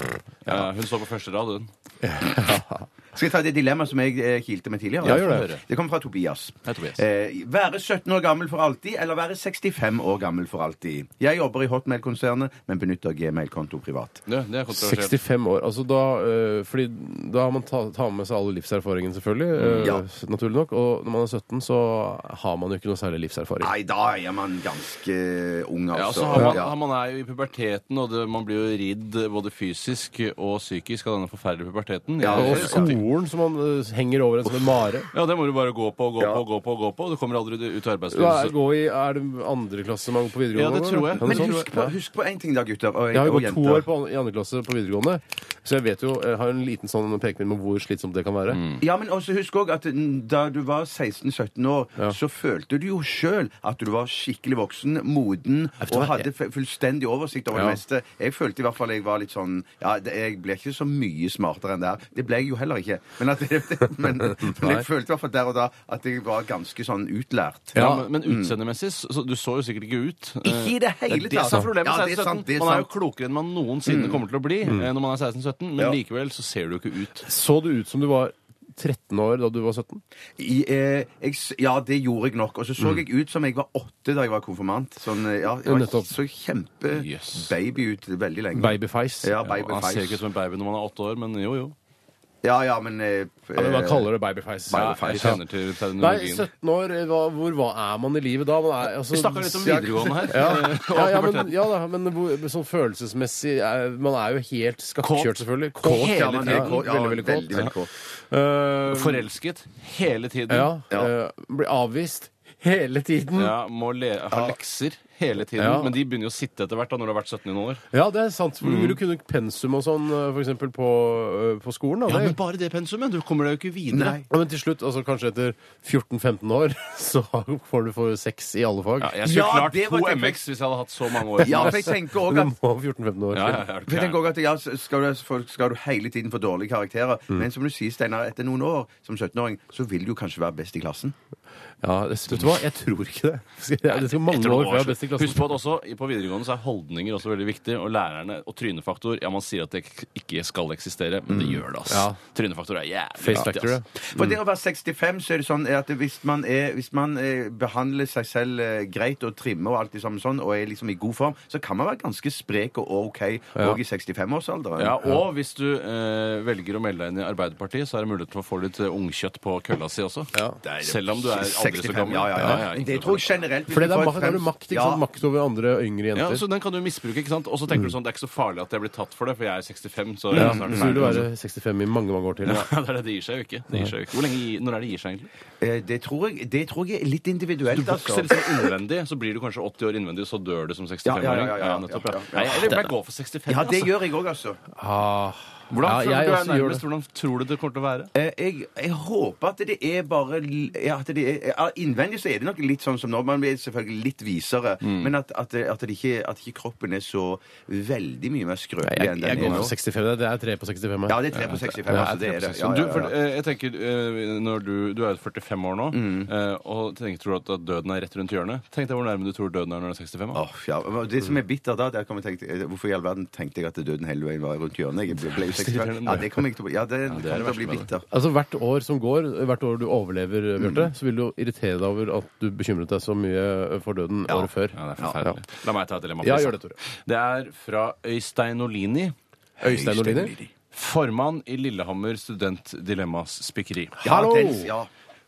D: Ja, hun står på første rad, hun.
E: Skal jeg ta det dilemmaet som jeg eh, kilte med tidligere?
C: Ja, gjør det.
E: Det kommer fra Tobias.
D: Hei, Tobias.
E: Eh, være 17 år gammel for alltid, eller være 65 år gammel for alltid. Jeg jobber i Hotmail-konsernet, men benytter Gmail-konto privat.
D: Det, det er kontroversielt.
C: 65 år. altså da, øh, fordi da har man ta, tar med seg alle livserfaringen, selvfølgelig. øh,
E: Ja.
C: s- Naturlig nok. Og når man er 17, så har man jo ikke noe særlig livserfaring.
E: Nei, da er man ganske ung,
D: Ja,
E: altså.
D: så har man,
E: Ja.
D: har man er jo i puberteten, og det, man blir jo ridd både fysisk og psykisk av denne forferdelige puberteten.
E: Ja,
C: Og
D: Jeg-
C: skolen som man øh, henger over en som en mare.
D: ja, det må du bare gå på og gå
E: Ja.
D: på og gå på. og gå på, og Du kommer aldri ut i
C: Hva er,
D: arbeidslivet. så-
C: gå i, er det andre klasse man går på videregående?
D: Ja, det tror jeg.
C: eller?
E: Men
C: Ja, noe
E: husk
C: sånt.
E: på,
C: Ja.
E: husk på en ting da, gutter og,
C: Jeg har jo
E: og
C: gått to
E: jenter.
C: år på, an- i andre klasse på videregående, så jeg vet jo, jeg har en liten sånn pekepinn med hvor slitsomt det kan være.
E: Ja, men også husk også at n- da du var 16-17 år, så følte du jo sjøl at du var skikkelig voksen, moden
C: du
E: og
C: hva,
E: hadde fu- fullstendig oversikt over
C: Ja.
E: det meste. Jeg følte i hvert fall jeg var litt sånn Ja, det, jeg ble ikke så mye smartere enn det her. Det ble jeg jo heller ikke. ikke. Men, at, men, men jeg følte i hvert fall der og da at jeg var ganske sånn utlært.
D: Ja, men, men utseendemessig så, så Du så jo sikkert ikke ut. Eh,
E: mm. Ikke i det hele
D: Det
E: tatt.
D: som er problemet.
E: Ja, det
D: 16-17.
E: er sant, det er
D: man er jo
E: sant. Mm.
D: klokere enn man noensinne kommer til å bli eh, når man er 16-17, men
E: Ja.
D: likevel så ser du jo ikke ut.
C: Så du ut som du var 13 år da du var 17?
E: I, eh, jeg, s- ja, det gjorde jeg nok. Og så så jeg ut som jeg var åtte da jeg var konfirmant. Sånn, eh, ja, jeg var,
C: Nettopp.
E: så
D: Yes.
E: kjempebaby ut veldig lenge.
C: Babyface.
E: Ja,
D: Ja, man ser ikke ut
E: babyface.
D: som en baby når man er åtte år, men jo, jo.
E: Ja, ja, men eh,
C: Ja, men man
E: eh,
C: kaller det babyface.
D: Jeg kjenner til
C: Nei,
D: terminologien.
C: 17 år, hva, hvor hva er man i livet da? Man er, altså,
D: Vi snakker litt om
C: ja,
D: videregående her.
C: Ja,
D: eh, og
C: ja, ja, men,
D: puberteten.
C: ja da, men hvor- sånn følelsesmessig er, Man er jo helt skakkjørt, selvfølgelig. Kåt
E: eh, ja, man er
C: hele tiden.
E: kåt. Ja,
C: Veldig, veldig kåt.
E: veldig kåt.
C: Eh,
D: Forelsket hele tiden.
C: ja,
E: Ja.
C: eh, blir avvist hele tiden. Ja.
D: Ja, må le ha lekser hele tiden.
C: Ja.
D: Men de begynner jo å sitte etter hvert da når du har vært 17 i noen år.
C: det er sant. For Du vil jo kunne pensum og sånn, eh, for eksempel, på, eh, på skolen. Da.
D: Ja, men
C: Det-
D: bare det pensumet. Du kommer deg jo ikke videre.
E: Nei.
C: Ja, men til slutt, altså kanskje etter 14-15 år, så får du for seks i alle fag.
D: Ja, jeg skulle
E: Ja,
D: klart
E: det var
D: to
E: tenkt-
D: MX hvis jeg hadde hatt så mange år.
E: Ja, for jeg tenker
C: Men
E: også at
C: du må ha 14-15 år.
D: Ja, ja, ja, er du
E: For jeg
D: gæren?
E: tenker også at ja, s- skal, du, for- skal du hele tiden få dårlige karakterer.
C: Mm.
E: Men som du sier, Steinar, etter noen år som 17-åring, så vil du jo kanskje være best i klassen.
C: Ja, det- vet du hva? Jeg tror ikke det. Det skal, det skal mange
D: Etter noen
C: år før
D: år
C: jeg er best i
D: så-
C: klassen.
D: Husk på at også i- på videregående så er holdninger også veldig viktig. Og lærerne og trynefaktor Ja, man sier at det ek- ikke skal eksistere, men det gjør det, ass.
C: Mm. Ja.
D: Trynefaktor er jævlig
C: Face
D: viktig,
C: factor, ja.
D: ass.
E: For det å være 65, så er det sånn at hvis man, er, hvis man eh, behandler seg selv eh, greit og trimmer og alt det samme sånn, og er liksom i god form, så kan man være ganske sprek og OK òg i 65-årsalderen.
D: Ja, og hvis du eh, velger å melde deg inn i Arbeiderpartiet, så er det mulighet for å få litt eh, ungkjøtt på kølla si også.
E: Det er-
D: Selv om du er aldri så
E: 65,
D: gammel.
E: Ja, ja,
D: ikke
E: ja. Det
D: noe
E: tror
D: problem.
E: jeg generelt.
C: Fordi det er makt, da
E: Hvis du får et
C: har du
E: fremst-
C: makt, ikke sant? Makt over andre yngre jenter.
D: Ja, så Den kan du misbruke, ikke sant? og så tenker du sånn, det er ikke så farlig at jeg blir tatt for det, for jeg er 65. så
C: Mm. Ja,
D: jeg er snart
C: så vil du
D: ferdig. liksom.
C: være 65 i mange, mange år til.
D: Ja, det er det. Det gir seg jo ikke. Det gir seg jo ikke. Hvor lenge, gi- Når er det gir seg, egentlig?
E: Eh, Det tror jeg, det tror jeg er litt
D: Du
E: individuelt,
D: vokser
E: altså.
D: liksom innvendig, så blir du kanskje 80 år innvendig, og så dør du som 65-åring.
E: Ja, ja, ja, ja, ja.
D: nettopp, ja.
E: Ja, ja.
D: Nei, jeg vil bare gå for 65.
E: Ja,
D: altså.
E: det gjør jeg òg, altså.
C: Ah.
D: Hvordan,
C: Ja, jeg
D: tror du
C: også
D: er
C: gjør
D: nærmest,
C: det.
D: hvordan tror du det kommer til å være?
E: Eh, Jeg, jeg håper at det er bare l- ja, at det er, ja, Innvendig så er det nok litt sånn som nå. Man blir selvfølgelig litt visere. Men at, at, at, det ikke, at ikke kroppen er så veldig mye mer
C: Jeg,
E: skrøpelig
C: jeg,
E: enn
C: jeg
E: den
C: går
E: er nå.
C: for 65. Det er tre på 65 her.
E: Ja, det er 3 på 65.
C: Ja,
E: altså, det er det. Ja,
D: Du,
E: ja,
D: for,
E: ja.
D: eh, jeg tenker, eh, når du, du er jo 45 år nå, eh, og tenker, tror du at, at døden er rett rundt hjørnet? Tenk deg hvor nærme du tror døden er når du er 65. da.
E: Åh, ja. men Det som er bitter da, det er at jeg tenkte, eh, hvorfor i all verden tenkte jeg at døden hele veien var rundt hjørnet? Jeg ble, ble jo 65. Ja, det kommer jeg til å bli. Ja, det,
D: det er det
E: kommer til å bli
D: verste med
E: bitter.
C: Altså Hvert år som går, hvert år du overlever,
D: Mm.
C: Bjarte, så vil du irritere deg over at du bekymret deg så mye for døden året før.
D: Ja, det er forferdelig. La meg ta et dilemma.
C: Ja,
D: please.
C: gjør det, Tore.
D: Det er fra Øystein Olini.
C: Øystein Olini.
D: Formann i Lillehammer Studentdilemmas spikkeri.
E: Ja,
C: Hallo!
E: den, ja.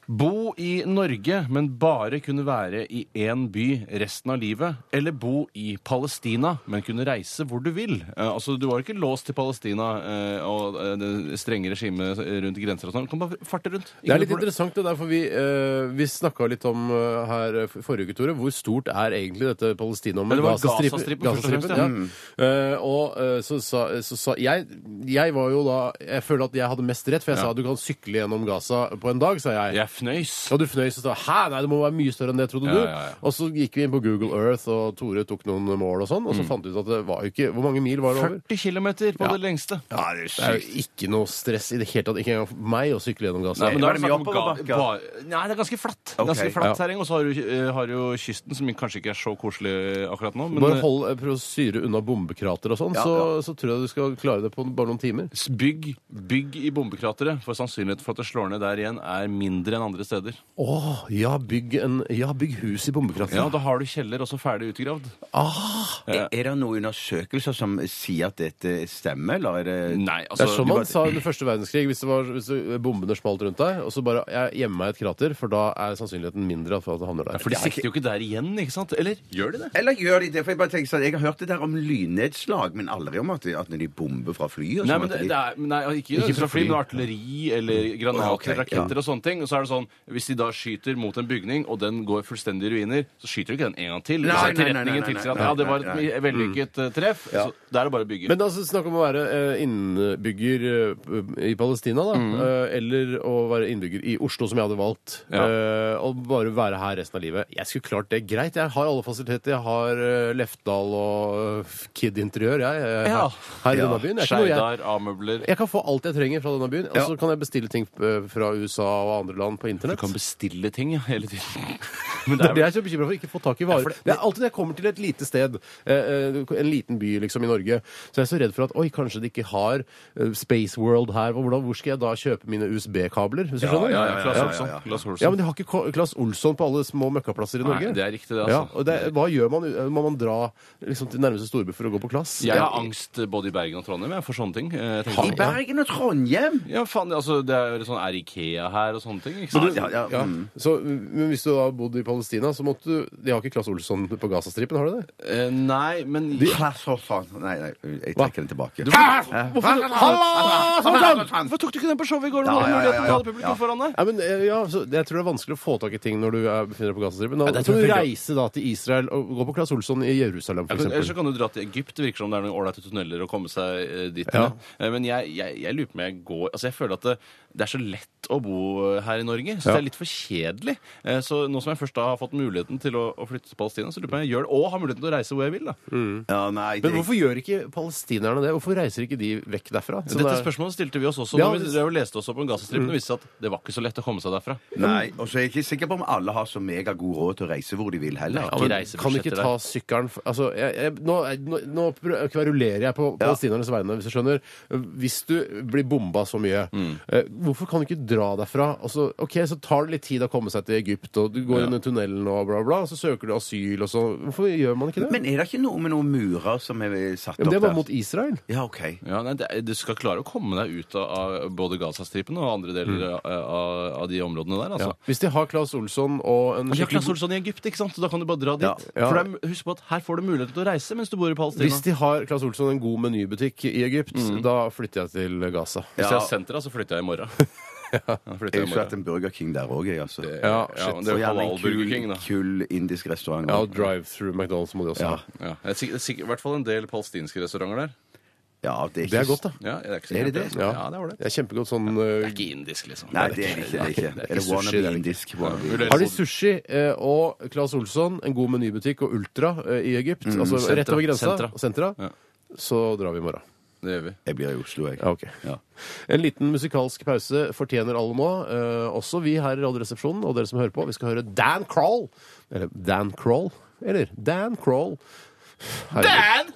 D: Bo i Norge, men bare kunne være i én by resten av livet. Eller bo i Palestina, men kunne reise hvor du vil. Eh, altså, Du var ikke låst til Palestina eh, og eh, det strenge regimet rundt grenser og sånn. Du kan bare farte rundt.
C: Det er
D: Ingen
C: litt
D: problem.
C: interessant, det der, for vi, eh, vi snakka litt om eh, her eh, forrige uke, Tore, hvor stort er egentlig dette
D: Ja,
C: Palestina-området?
D: det var Gazastripen, først og fremst,
C: Gazastripen, ja. Eh, og eh, så sa, så sa jeg, jeg var jo da Jeg føler at jeg hadde mest rett, for jeg
D: Ja.
C: sa du kan sykle gjennom Gaza på en dag, sa jeg.
D: Jeg fnøys.
C: Og du fnøys og sa hæ, nei, det må være mye større enn det, trodde
D: Ja,
C: du.
D: ja, ja.
C: Og så gikk vi inn på Google Earth, og Tore tok noen mål og sånn, og så
D: Mm.
C: fant vi ut at det var jo ikke Hvor mange mil var det over?
D: 40 km på
C: Ja.
D: det lengste.
C: Ja, det er jo ikke noe stress i det hele tatt. Ikke engang for meg å sykle gjennom Gaza.
D: Nei, men da
E: Var
D: er det
E: det
D: snakk
E: mye
D: om
E: oppover
D: ga- ba- Nei, det er ganske flatt.
E: Ok.
D: Ganske flatt
C: Ja.
D: terreng, Og så har du, eh, har du kysten, som kanskje ikke er så koselig akkurat nå. Men eh,
C: Bare hold, prøv å syre unna bombekrater og sånn,
E: Ja,
C: så, så tror jeg du skal klare det på bare noen timer.
D: eh, bygg, bygg i bombekrateret, for sannsynligheten for at det slår ned der igjen, er mindre enn andre steder.
C: Å, ja, bygg, en, ja, bygg hus i bombekrater.
D: Ja, Da har du kjeller også ferdig utgravd.
E: Er, er det noen undersøkelser som sier at dette stemmer, eller er det
D: Nei,
C: det
D: altså
C: er som man sa under første verdenskrig, hvis, det var, hvis det- bombene smalt rundt deg, og så bare jeg gjemmer meg i et krater, for da er sannsynligheten mindre for at det havner der.
D: For de sikter jo ikke der igjen, ikke sant? Eller gjør de det?
E: Eller gjør de det? For Jeg bare tenker sånn, jeg har hørt det der om lynnedslag, men aldri om at, at når de bomber fra fly og
D: Nei,
E: sånn
D: men
E: at
D: det,
E: de-
D: det er, nei, ikke,
C: Ikke
D: fra fly,
C: fly.
D: men artilleri eller granater,
E: ok, ja.
D: raketter og sånne ting. Og så er det sånn Hvis de da skyter mot en bygning, og den går fullstendig i ruiner, så skyter du ikke den en gang til. Hvis
E: Nei, nei, nei, nei,
D: etterretningen
E: nei,
D: tilsier at
E: nei,
D: ja, det var
E: nei,
D: et vellykket eh, treff, så da er det bare å bygge.
C: Men altså, snakk om å være eh, innbygger eh, i Palestina, da.
D: Mm.
C: eh, eller å være innbygger i Oslo, som jeg hadde valgt.
D: Ja.
C: eh, og bare være her resten av livet. Jeg skulle klart det. Greit, jeg har alle fasiliteter. Jeg har eh, Lefdal og eh, Kid Interiør, jeg. eh,
D: Ja.
C: Her, her i denne byen. Det er ikke noe jeg,
D: Skeidar, A-møbler
C: jeg kan få alt jeg trenger fra denne byen, og
E: Ja.
C: så kan jeg bestille ting eh, fra USA og andre land på internett.
D: Du kan bestille ting ja, hele tiden.
C: Men det er det jeg er så bekymra for. Ikke få tak i varer.
D: for
C: det,
D: det-
C: er alltid når jeg kommer til et lite sted, eh, eh, en liten by liksom i Norge, så er jeg så redd for at oi, kanskje de ikke har eh, Space World her. og Hvordan, hvor skal jeg da kjøpe mine USB-kabler? Hvis du skjønner?
D: Ja, ja, Claes
E: ja, ja,
D: Olsson.
E: ja.
D: Claes Olsson.
C: Ja, men de har ikke Ko- Claes Olsson på alle små møkkaplasser i
D: Nei,
C: Norge.
D: det er riktig det, altså.
C: Ja, og det, hva gjør man? eh, Må man dra liksom, til nærmeste storby for å gå på Class?
D: Jeg har angst både i Bergen og Trondheim jeg, for sånne ting. Jeg tenker
E: I
D: sånn,
E: Bergen og Trondheim!
D: ja, faen, altså, det er sånn Er Ikea her og sånne ting? Ikke
E: Ja,
D: sant?
E: ja, ja.
C: Ja,
E: mm.
C: så, men hvis du da har bodd i Palestina, så måtte du De har ikke Claes Olsson på Gazastripen, har de det?
D: Eh, Nei, men
E: Hva så faen? Nei, nei, jeg
C: Hva?
E: trekker den tilbake.
C: Hvorfor? Halla! Sånn!
D: Hvorfor tok du ikke den på showet i går?
E: Ja,
D: når du hadde
E: ja, ja,
D: muligheten til å ha
E: ja.
D: det publikum foran deg?
C: Ja, men, eh, ja, så jeg tror det er vanskelig å få tak i ting når du er- befinner deg på Gazastripen. Da
D: det
C: kan
D: tror
C: du
D: jeg
C: reise da til Israel og gå på Claes Olsson i Jerusalem,
D: Ja,
C: for
D: men Ellers så
C: eksempel.
D: kan du dra til Egypt. Det virker som det er noen ålreite tunneler å komme seg eh, dit.
C: Ja.
D: med. Eh, Men jeg, jeg, jeg lurer på om jeg går Altså, jeg føler at det, det er så lett å bo eh, her i Norge. Så det er litt for kjedelig. Eh, Så nå som jeg først da har fått muligheten til å, å flytte til Palestina, så lurer jeg på om jeg gjør det og har muligheten til å reise hvor jeg vil, da.
E: Ja, nei,
C: Men
E: det-
C: hvorfor gjør ikke palestinerne det? Hvorfor reiser ikke de vekk derfra? Så
D: Dette
C: det er-
D: spørsmålet stilte vi oss også
C: Ja,
D: når vi
C: det-
D: drev og leste oss opp om Gazastripen. Det viste seg at det var ikke så lett å komme seg derfra.
E: Nei, og så er jeg ikke sikker på om alle har så megagod råd til å reise hvor de vil heller.
D: Nei,
C: Ja, men
D: reisebudsjettet
C: kan ikke
D: der.
C: ta sykkelen for- altså, jeg, jeg, nå, nå, nå prø- kverulerer jeg på palestinernes vegne, hvis du skjønner. Hvis du blir bomba så mye,
D: Mm.
C: eh, hvorfor kan du ikke dra derfra? Altså, ok, Så tar det litt tid å komme seg til Egypt, og du går under tunnelen og bla, bla, og så søker du asyl og så Hvorfor gjør man ikke det?
E: Men er det ikke noe med noen murer som er satt
C: Ja,
E: opp
C: men det var
E: der?
C: mot Israel.
E: Ja, OK.
D: Ja, nei, det, er- Du skal klare å komme deg ut av, av både Gazastripen og andre deler av, av, av de områdene der. altså.
C: Hvis de har Claes Olsson og en
D: Men Jack
C: skikkelig
D: Lasse Olsson i Egypt, ikke sant? Så da kan du bare dra dit.
E: Ja.
C: Ja.
D: For det er, husk på at her får du muligheten til å reise mens du bor i
C: god-
D: Palestina.
C: Hvis de har Claes Olsson en god menybutikk i Egypt,
D: Mm.
C: da flytter jeg til Gaza.
D: Hvis jeg
E: Ja.
D: har sentra, så flytter jeg i morgen. ja. flytter jeg i
E: Jeg skulle hatt
D: morgen.
E: en Burger King der òg, jeg, altså.
D: Ja,
C: Ja, shit.
D: men det er
E: og
D: jo
E: gjerne
D: halal
E: en
D: Burger
E: kul,
D: King, da.
E: kul indisk restaurant.
C: Ja,
E: også.
C: og drive-through McDonald's må de også
E: Ja.
C: ha.
D: Ja. Det er sikkert, sikkert, I hvert fall en del palestinske restauranter der.
E: ja, det, er ikke...
C: Det er godt, da.
D: Ja, det er, ikke så
E: Er det
D: jævlig,
E: det?
D: altså.
C: Ja.
D: Ja, det er ålreit.
C: Det er kjempegodt sånn
D: Det
C: eh,
D: er ikke indisk, liksom.
E: Nei, det er det ikke. Det er, ikke.
C: det er
E: er det
C: ikke sushi, det er
E: wannabe
C: det
E: indisk? Wannabe.
D: Mulig-
C: har de sushi eh, og Claes Olsson, en god menybutikk og Ultra eh, i Egypt, altså
D: Sentra.
C: rett over grensa,
D: Sentra.
C: sentra,
D: Mm, Ja.
C: så drar vi i morgen.
D: Det gjør vi.
E: Jeg blir i Oslo, jeg.
C: Ja, ok.
E: Ja.
C: En liten musikalsk pause fortjener alle nå. Eh, også vi her i Radioresepsjonen og dere som hører på. Vi skal høre Dan Crawl. Eller Dan Crawl. Eller Dan Crawl. Herregud.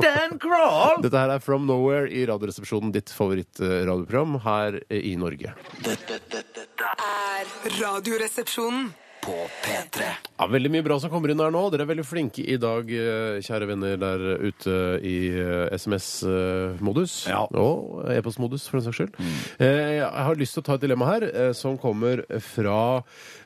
E: Dan Crawl!
C: Dette her er From Nowhere i Radioresepsjonen, ditt favorittradioprogram her eh, i Norge.
B: Dette, dette, dette
A: er Radioresepsjonen.
B: på P3.
C: Ja, Veldig mye bra som kommer inn her nå. Dere er veldig flinke i dag, eh, kjære venner der ute i eh, SMS-modus.
E: Ja.
C: eh, Og e-postmodus, for den saks skyld. Eh, Jeg har lyst til å ta et dilemma her, eh, som kommer fra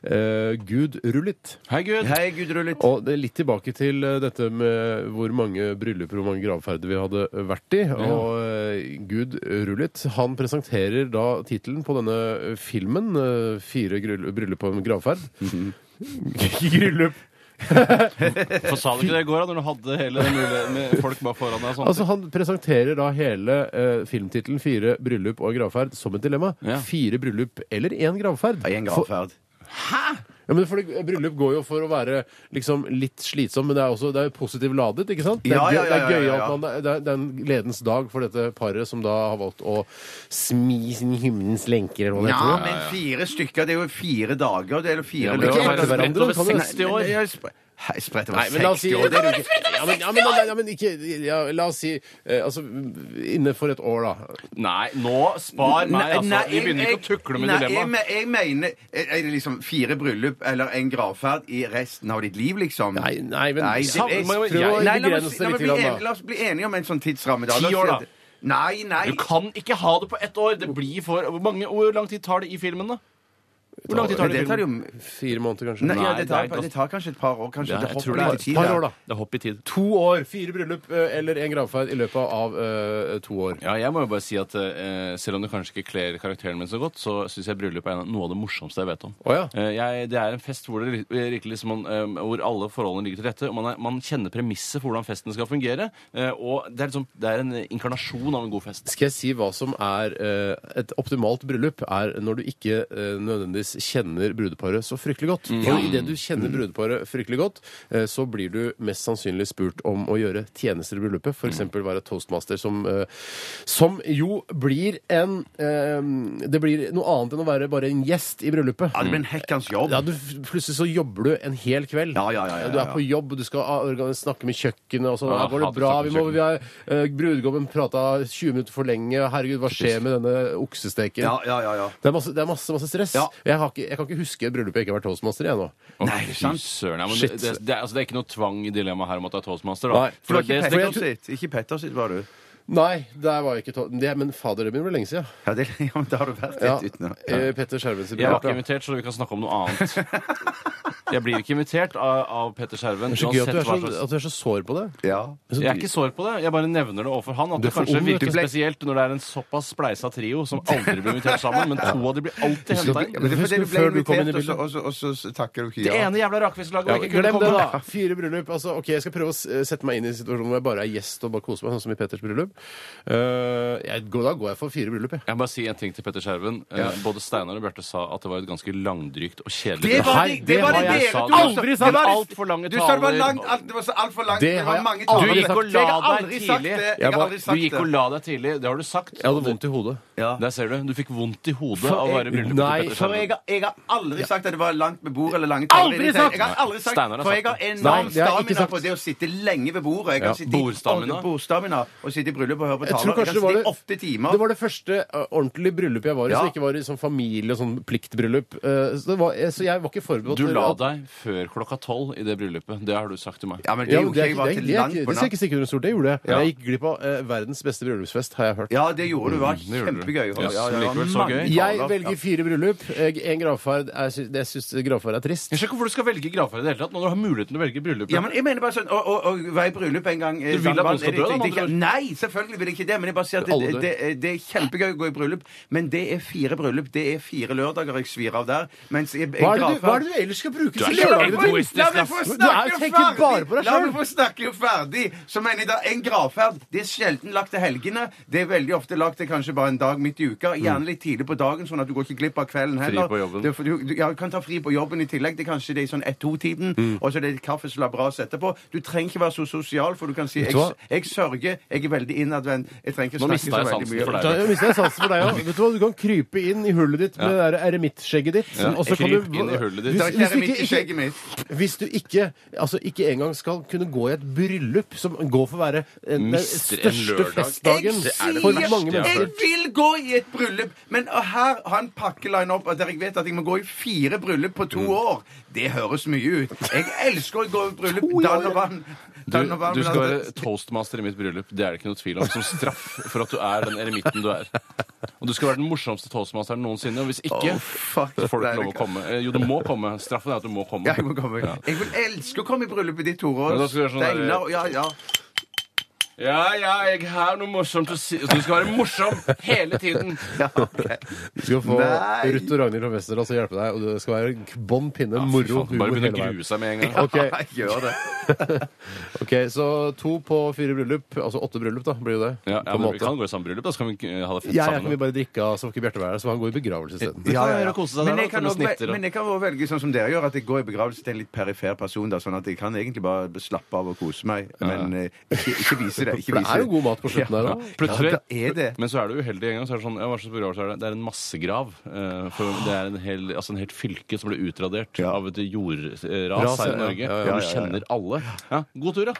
C: eh, Gud Rullit.
D: Hei, Gud.
E: Hei, Gudrullet.
C: Og det er litt tilbake til eh, dette med hvor mange brylluper og hvor mange gravferder vi hadde vært i. Og eh, Gud Rullit han presenterer da tittelen på denne filmen, eh, 'Fire gryll- bryllup og en gravferd'. Bryllup!
D: Hvorfor sa du ikke det i går, da, når du hadde hele den muligheten med folk bak foran deg? og sånn? sånt?
C: Altså Han presenterer da hele eh, filmtittelen 'Fire bryllup og gravferd' som et dilemma.
D: Ja.
C: Fire bryllup eller én gravferd?
E: I en gravferd.
C: Ja, men fordi Bryllup går jo for å være liksom litt slitsom, men det er også det er jo positivt ladet. ikke sant? Det er,
E: Ja, ja,
C: gøy-
E: ja, ja,
C: det er gøy
E: ja, ja.
C: at man, det er, det er en gledens dag for dette paret som da har valgt å smi sin himmelens lenker. eller hva det
E: Ja,
C: heter.
E: men fire stykker, det er jo fire dager, det er jo fire
D: Ja, men
C: det er
E: lørdager.
C: ikke etter hverandre,
E: Spredt over
C: kan du-
E: 60 år. Nei, men jeg er spre- Hei, Spredt over
C: Nei, men la oss si
E: 60 år, det er jo ikke
C: ja, men, ja, men, nei, nei, men ikke ja, La oss si eh, altså, innenfor et år, da.
D: Nei, nå spar meg, altså.
E: Nei,
D: vi begynner ikke å
E: jeg-
D: tukle med
E: nei,
D: dilemmaet.
E: Jeg, jeg mener er er det liksom fire bryllup eller en gravferd i resten av ditt liv, liksom?
C: Nei, nei, men-
E: Nei, det,
C: Sam-
E: jeg,
C: må jo-
E: prøv å
C: jeg-
E: nei, la,
C: begrense
E: oss,
C: det
E: la, meg
C: litt
E: bli
C: grann, da.
E: enige, la oss bli enige om en sånn tidsramme. La oss
D: Ti
E: si
D: år,
E: at-
D: da.
E: Nei, nei.
D: Du kan ikke ha det på ett år. Det blir for Hvor, mange, hvor lang tid tar det i filmen, da? Hvor lang tid tar det?
E: Det
D: i
E: tar
D: filmen?
E: jo
C: Fire måneder, kanskje.
E: Nei, ja, det, tar,
D: det er-
E: det tar kanskje et par år. Kanskje.
D: Ja,
E: det
D: jeg
E: hopper
D: tror det er
E: litt i
C: et par
E: tid,
C: år, da.
D: Det er hopp i tid.
C: To år! Fire bryllup eh, eller én gravferd i løpet av eh, to år.
D: Ja, jeg må jo bare si at eh, Selv om det kanskje ikke kler karakteren min så godt, så syns jeg bryllup er en av- noe av det morsomste jeg vet om.
C: Å, ja.
D: Eh, jeg, det er en fest hvor, det, li- virkelig som man, eh, hvor alle forholdene ligger til rette. og Man, er, man kjenner premisset for hvordan festen skal fungere. eh, og det er, liksom, det er en inkarnasjon av en god fest.
C: Skal jeg si hva som er eh, et optimalt bryllup, er når du ikke eh, nødvendigvis kjenner brudeparet så fryktelig godt. Og idet du kjenner brudeparet fryktelig godt, eh, så blir du mest sannsynlig spurt om å gjøre tjenester i bryllupet. F.eks. være toastmaster, som, eh, som jo blir en eh, Det blir noe annet enn å være bare en gjest i bryllupet.
E: Ja, det blir en hekkans jobb.
C: Ja, du, plutselig så jobber du en hel kveld.
E: Ja, ja, ja, ja, ja.
C: Du er på jobb, du skal ah, organ- snakke med kjøkkenet og sånn.
D: Ja,
C: Ja, går det
D: hater
C: bra?
D: å
C: Vi
D: snakke
C: må,
D: med
C: vi har, eh, brudgommen prata 20 minutter for lenge. Herregud, hva skjer med denne oksesteken?
E: Ja, ja, ja, ja.
C: Det er masse, det er masse, masse stress.
E: Ja.
C: Jeg, har ikke, jeg kan ikke huske et bryllup jeg ikke har vært toastmaster i ennå.
E: Nei,
D: Fy
E: sant?
D: søren, ja, men
C: Shit.
D: det, det, det, er- altså, det er ikke noe tvang i dilemmaet her om at det er toastmaster. Da.
C: Nei,
E: For
D: for
E: det
D: det,
E: var
D: det,
E: ikke Petter sitt, ikke Petter sitt, var du?
C: Nei, der var jeg ikke to det, men fader, det begynner å bli lenge siden.
E: Ja, det, ja men da har du vært
C: Ja.
E: litt uten ja.
C: Eh, Petter Skjerven sitt
D: jeg var
C: bryllup.
D: ikke
C: ja.
D: invitert, så vi kan snakke om noe annet. Jeg blir ikke invitert av, av Petter Skjerven.
C: Det er så gøy at du
D: uansett
C: er
D: hva
C: så,
D: slags-
C: at du er så sår på det.
E: ja.
D: Jeg er ikke sår på det. Jeg bare nevner det overfor han. At
C: Du
D: det
C: er for
D: kanskje
C: ung, vet du.
D: virker spesielt når det er en såpass spleisa trio som aldri blir invitert sammen, men to av de blir alltid henta inn.
E: Ja, men det er
C: Husker
E: fordi du ble
C: før du kom inn i
E: invitert, og så, og, så, og, så, takker du ikke
D: Det
E: ja.
D: ene jævla rakfisklaget
C: Ja,
D: og ikke kunne
C: glem det,
D: komme.
C: da! Fire bryllup. altså, ok, Jeg skal prøve å s- sette meg inn i situasjonen hvor jeg bare er gjest og bare koser meg, sånn som i Petters bryllup. Eh, jeg, går- da går jeg for fire bryllup, jeg.
D: Jeg må bare si en ting til Petter Skjerven. Eh, Både Steinar og Bjarte sa at det var et ganske langdrygt og kjedelig
E: Det var
C: Nei,
E: de,
C: det
E: det var
C: har
E: de
C: jeg
E: dere
D: sagt.
E: to også.
D: Aldri
E: Det
D: sagt.
E: var de-
D: Altfor lange
E: Du sa det var
D: taler.
E: langt, alt, det var så altfor langt.
C: Det
E: Det
C: har
E: var
C: jeg
E: mange
C: aldri
E: taler.
D: Du gikk og la
E: Jeg har
D: deg
E: aldri sagt
D: tidlig.
E: det.
C: Jeg
E: Jeg har
C: var-
E: aldri
D: Du
E: sagt
D: gikk og
E: det.
D: la deg tidlig. Det har du sagt.
C: Jeg hadde vondt i hodet.
E: Ja.
D: Der ser du. Du fikk vondt i hodet
C: For
D: av å være
C: jeg-
D: i bryllupet
C: Nei,
D: til Petter
E: For jeg
D: Skjerven.
E: har, jeg har aldri sagt at det var langt med bordet eller lange taler.
D: Aldri
E: i det hele tatt.
D: sagt!
E: Jeg har aldri sagt
D: Steinar har
E: For
D: sagt
E: jeg har
D: det.
C: Nei,
E: enorm
C: det har jeg ikke
E: stamina
C: sagt.
E: på det å sitte lenge ved bordet. Jeg
C: Ja,
E: kan sitte i-
D: bordstamina.
E: Å, bordstamina og sitte i bryllup og høre på
C: Jeg tror
E: taler. Jeg
C: kanskje
E: kan
C: det var
E: sitte i
C: det,
E: åtte
C: det
E: timer.
C: var det første eh, ordentlige bryllupet jeg var i,
E: Ja.
C: som ikke var i sånn familie- og sånn pliktbryllup. Eh, så, det var, eh, så jeg var ikke forberedt
D: Du
C: til
D: la
C: at-
D: deg før klokka tolv i det bryllupet. Det har du sagt til meg.
E: Ja, men det
C: Ja, men
E: gjorde
C: det, er,
E: ikke jeg.
C: ikke-
E: var
C: det, er,
E: til
C: det, er, ikke-
E: langt på
C: det skal jeg
E: natt.
C: ikke stikke under stol. Det gjorde jeg.
D: Ja.
C: Jeg gikk glipp av eh, verdens beste bryllupsfest, har jeg hørt.
E: Ja, det gjorde
C: Mm,
E: du. Det var
D: det gjorde du.
E: kjempegøy.
D: Ja, men likevel så
E: mange
D: gøy.
E: taler.
C: Jeg velger fire bryllup. Én gravferd. Jeg syns, jeg syns gravferd er trist.
D: Jeg skjønner ikke hvorfor du skal velge gravferd i det hele tatt når du har muligheten til å velge bryllup.
E: Ja, men jeg mener bare sånn, og, og, og var i bryllup en gang eh,
D: Du vil at
E: Sandvann,
D: noen skal
E: er det-
D: dø, da,
E: det- det-
D: med andre ord?
E: Nei, selvfølgelig vil jeg ikke det, men jeg bare sier at
C: Alle
E: det,
C: dør.
E: det, det er kjempegøy å gå i bryllup, men det er fire bryllup, det er fire lørdager jeg svir av der, mens jeg, jeg
C: Hva er det du,
E: gravferd-
C: hva er det du ellers skal bruke
D: er
C: disse
D: så
C: lørdagene til?
D: egoistisk,
E: La meg få
D: ass.
C: Du er-
E: snakke
C: tenker
E: ferdig!
C: bare på deg
E: La meg
C: selv.
E: få snakke ferdig! Så mener jeg da, en gravferd det er sjelden lagt til helgene. Det er veldig ofte lagt til kanskje bare en dag midt i uka.
C: Mm.
E: Gjerne litt tidlig på dagen, sånn at du går ikke glipp av kvelden heller.
D: på jobben.
E: Det- for Du, du, ja, du kan ta fri på jobben i tillegg. Det er kanskje det er i sånn ett-to-tiden.
C: Mm.
E: Og så er det litt kaffe som labras etterpå. Du trenger ikke være så sosial, for du kan si
C: Vet
E: jeg,
C: du hva?
E: jeg sørger, jeg er veldig innadvendt, jeg trenger ikke
D: Nå mistet
E: snakke
D: jeg
E: så veldig
D: sansen
E: mye.
D: for deg.
C: Da mister jeg sansen for deg òg. Vet du hva, du kan krype inn i hullet ditt med det der eremittskjegget ditt.
D: Ja,
C: og så kan
D: kryp
C: du-
D: inn i hullet ditt.
C: Hvis,
E: Det er ikke
C: hvis, du
E: eremitt i
C: ikke,
E: skjegget mitt.
C: ikke, hvis du ikke altså ikke engang skal kunne gå i et bryllup som går for å være en, den
D: Mister en
C: største
D: lørdag.
C: festdagen
E: Jeg sier-
C: for mange
D: jeg
C: mennesker.
E: Jeg vil gå i et bryllup, men å her ha en pakkeline opp at jeg vet at jeg må gå i fire bryllup på
D: Mm.
E: to år, det høres mye ut. Jeg elsker å gå i bryllup. Dan og vann.
D: Du, du
E: altså-
D: skal være toastmaster i mitt bryllup. Det er det ikke noe tvil om. Som straff for at du er den eremitten du er. Og du skal være den morsomste toastmasteren noensinne. Og hvis ikke,
E: Åh, fuck.
D: så får du
E: Nei,
D: ikke lov å
E: det kan-
D: komme. Eh, Jo, du må komme. Straffen er at du må komme.
E: ja, jeg, må komme. jeg vil elske å komme i bryllupet ditt, Tore.
D: Men da skal du gjøre sånn der-
E: Steinar, ja, ja.
D: Ja, ja, jeg har noe morsomt å si. Så du skal være morsom hele tiden.
E: ja ok.
C: Du skal få
E: Nei.
C: Ruth og Ragnhild fra Westerdals til å hjelpe deg, og det skal være bånn pinne,
D: Fy
C: moro,
D: faen, Bare
C: humor
D: begynne
C: hele
D: å
C: veien.
D: grue seg med en gang.
C: Ok,
E: Jeg gjør det.
C: ok, så to på fire bryllup, altså åtte bryllup, da, blir jo det.
D: Ja,
C: på
D: ja,
C: en
D: men vi
C: måte.
D: kan gå i samme bryllup, da. Så kan vi eh, ha det fett
C: Ja, ja, kan vi
D: sammen.
C: bare drikke av, så får ikke Bjarte være her, så får han går i begravelse isteden.
D: Ja, ja, ja. Kose seg
E: Men
D: der,
E: jeg
D: da,
E: kan
D: til
E: også
D: du snitter,
E: vel-
D: og-
E: men jeg kan også velge sånn som dere gjør, at jeg går i begravelse til en litt perifer person. Da, sånn at jeg kan egentlig bare slappe av og kose meg, men eh, ikke, ikke vise det. Ikke
C: For det
E: vise
C: er jo god mat på slutten her
D: Ja,
C: òg.
D: plutselig.
E: Ja, det er det.
D: Men så er det uheldig en gang. Så er det sånn, ja, hva slags begravelse er det? Det er en massegrav. eh, For
C: Ah.
D: det er en hel, altså en helt fylke som ble utradert
E: Ja.
D: av et jordras
C: Ras,
D: her
C: ja,
D: i Norge.
C: ja, ja,
D: hvor du
E: ja, ja, ja.
D: kjenner alle. Ja, god tur, da.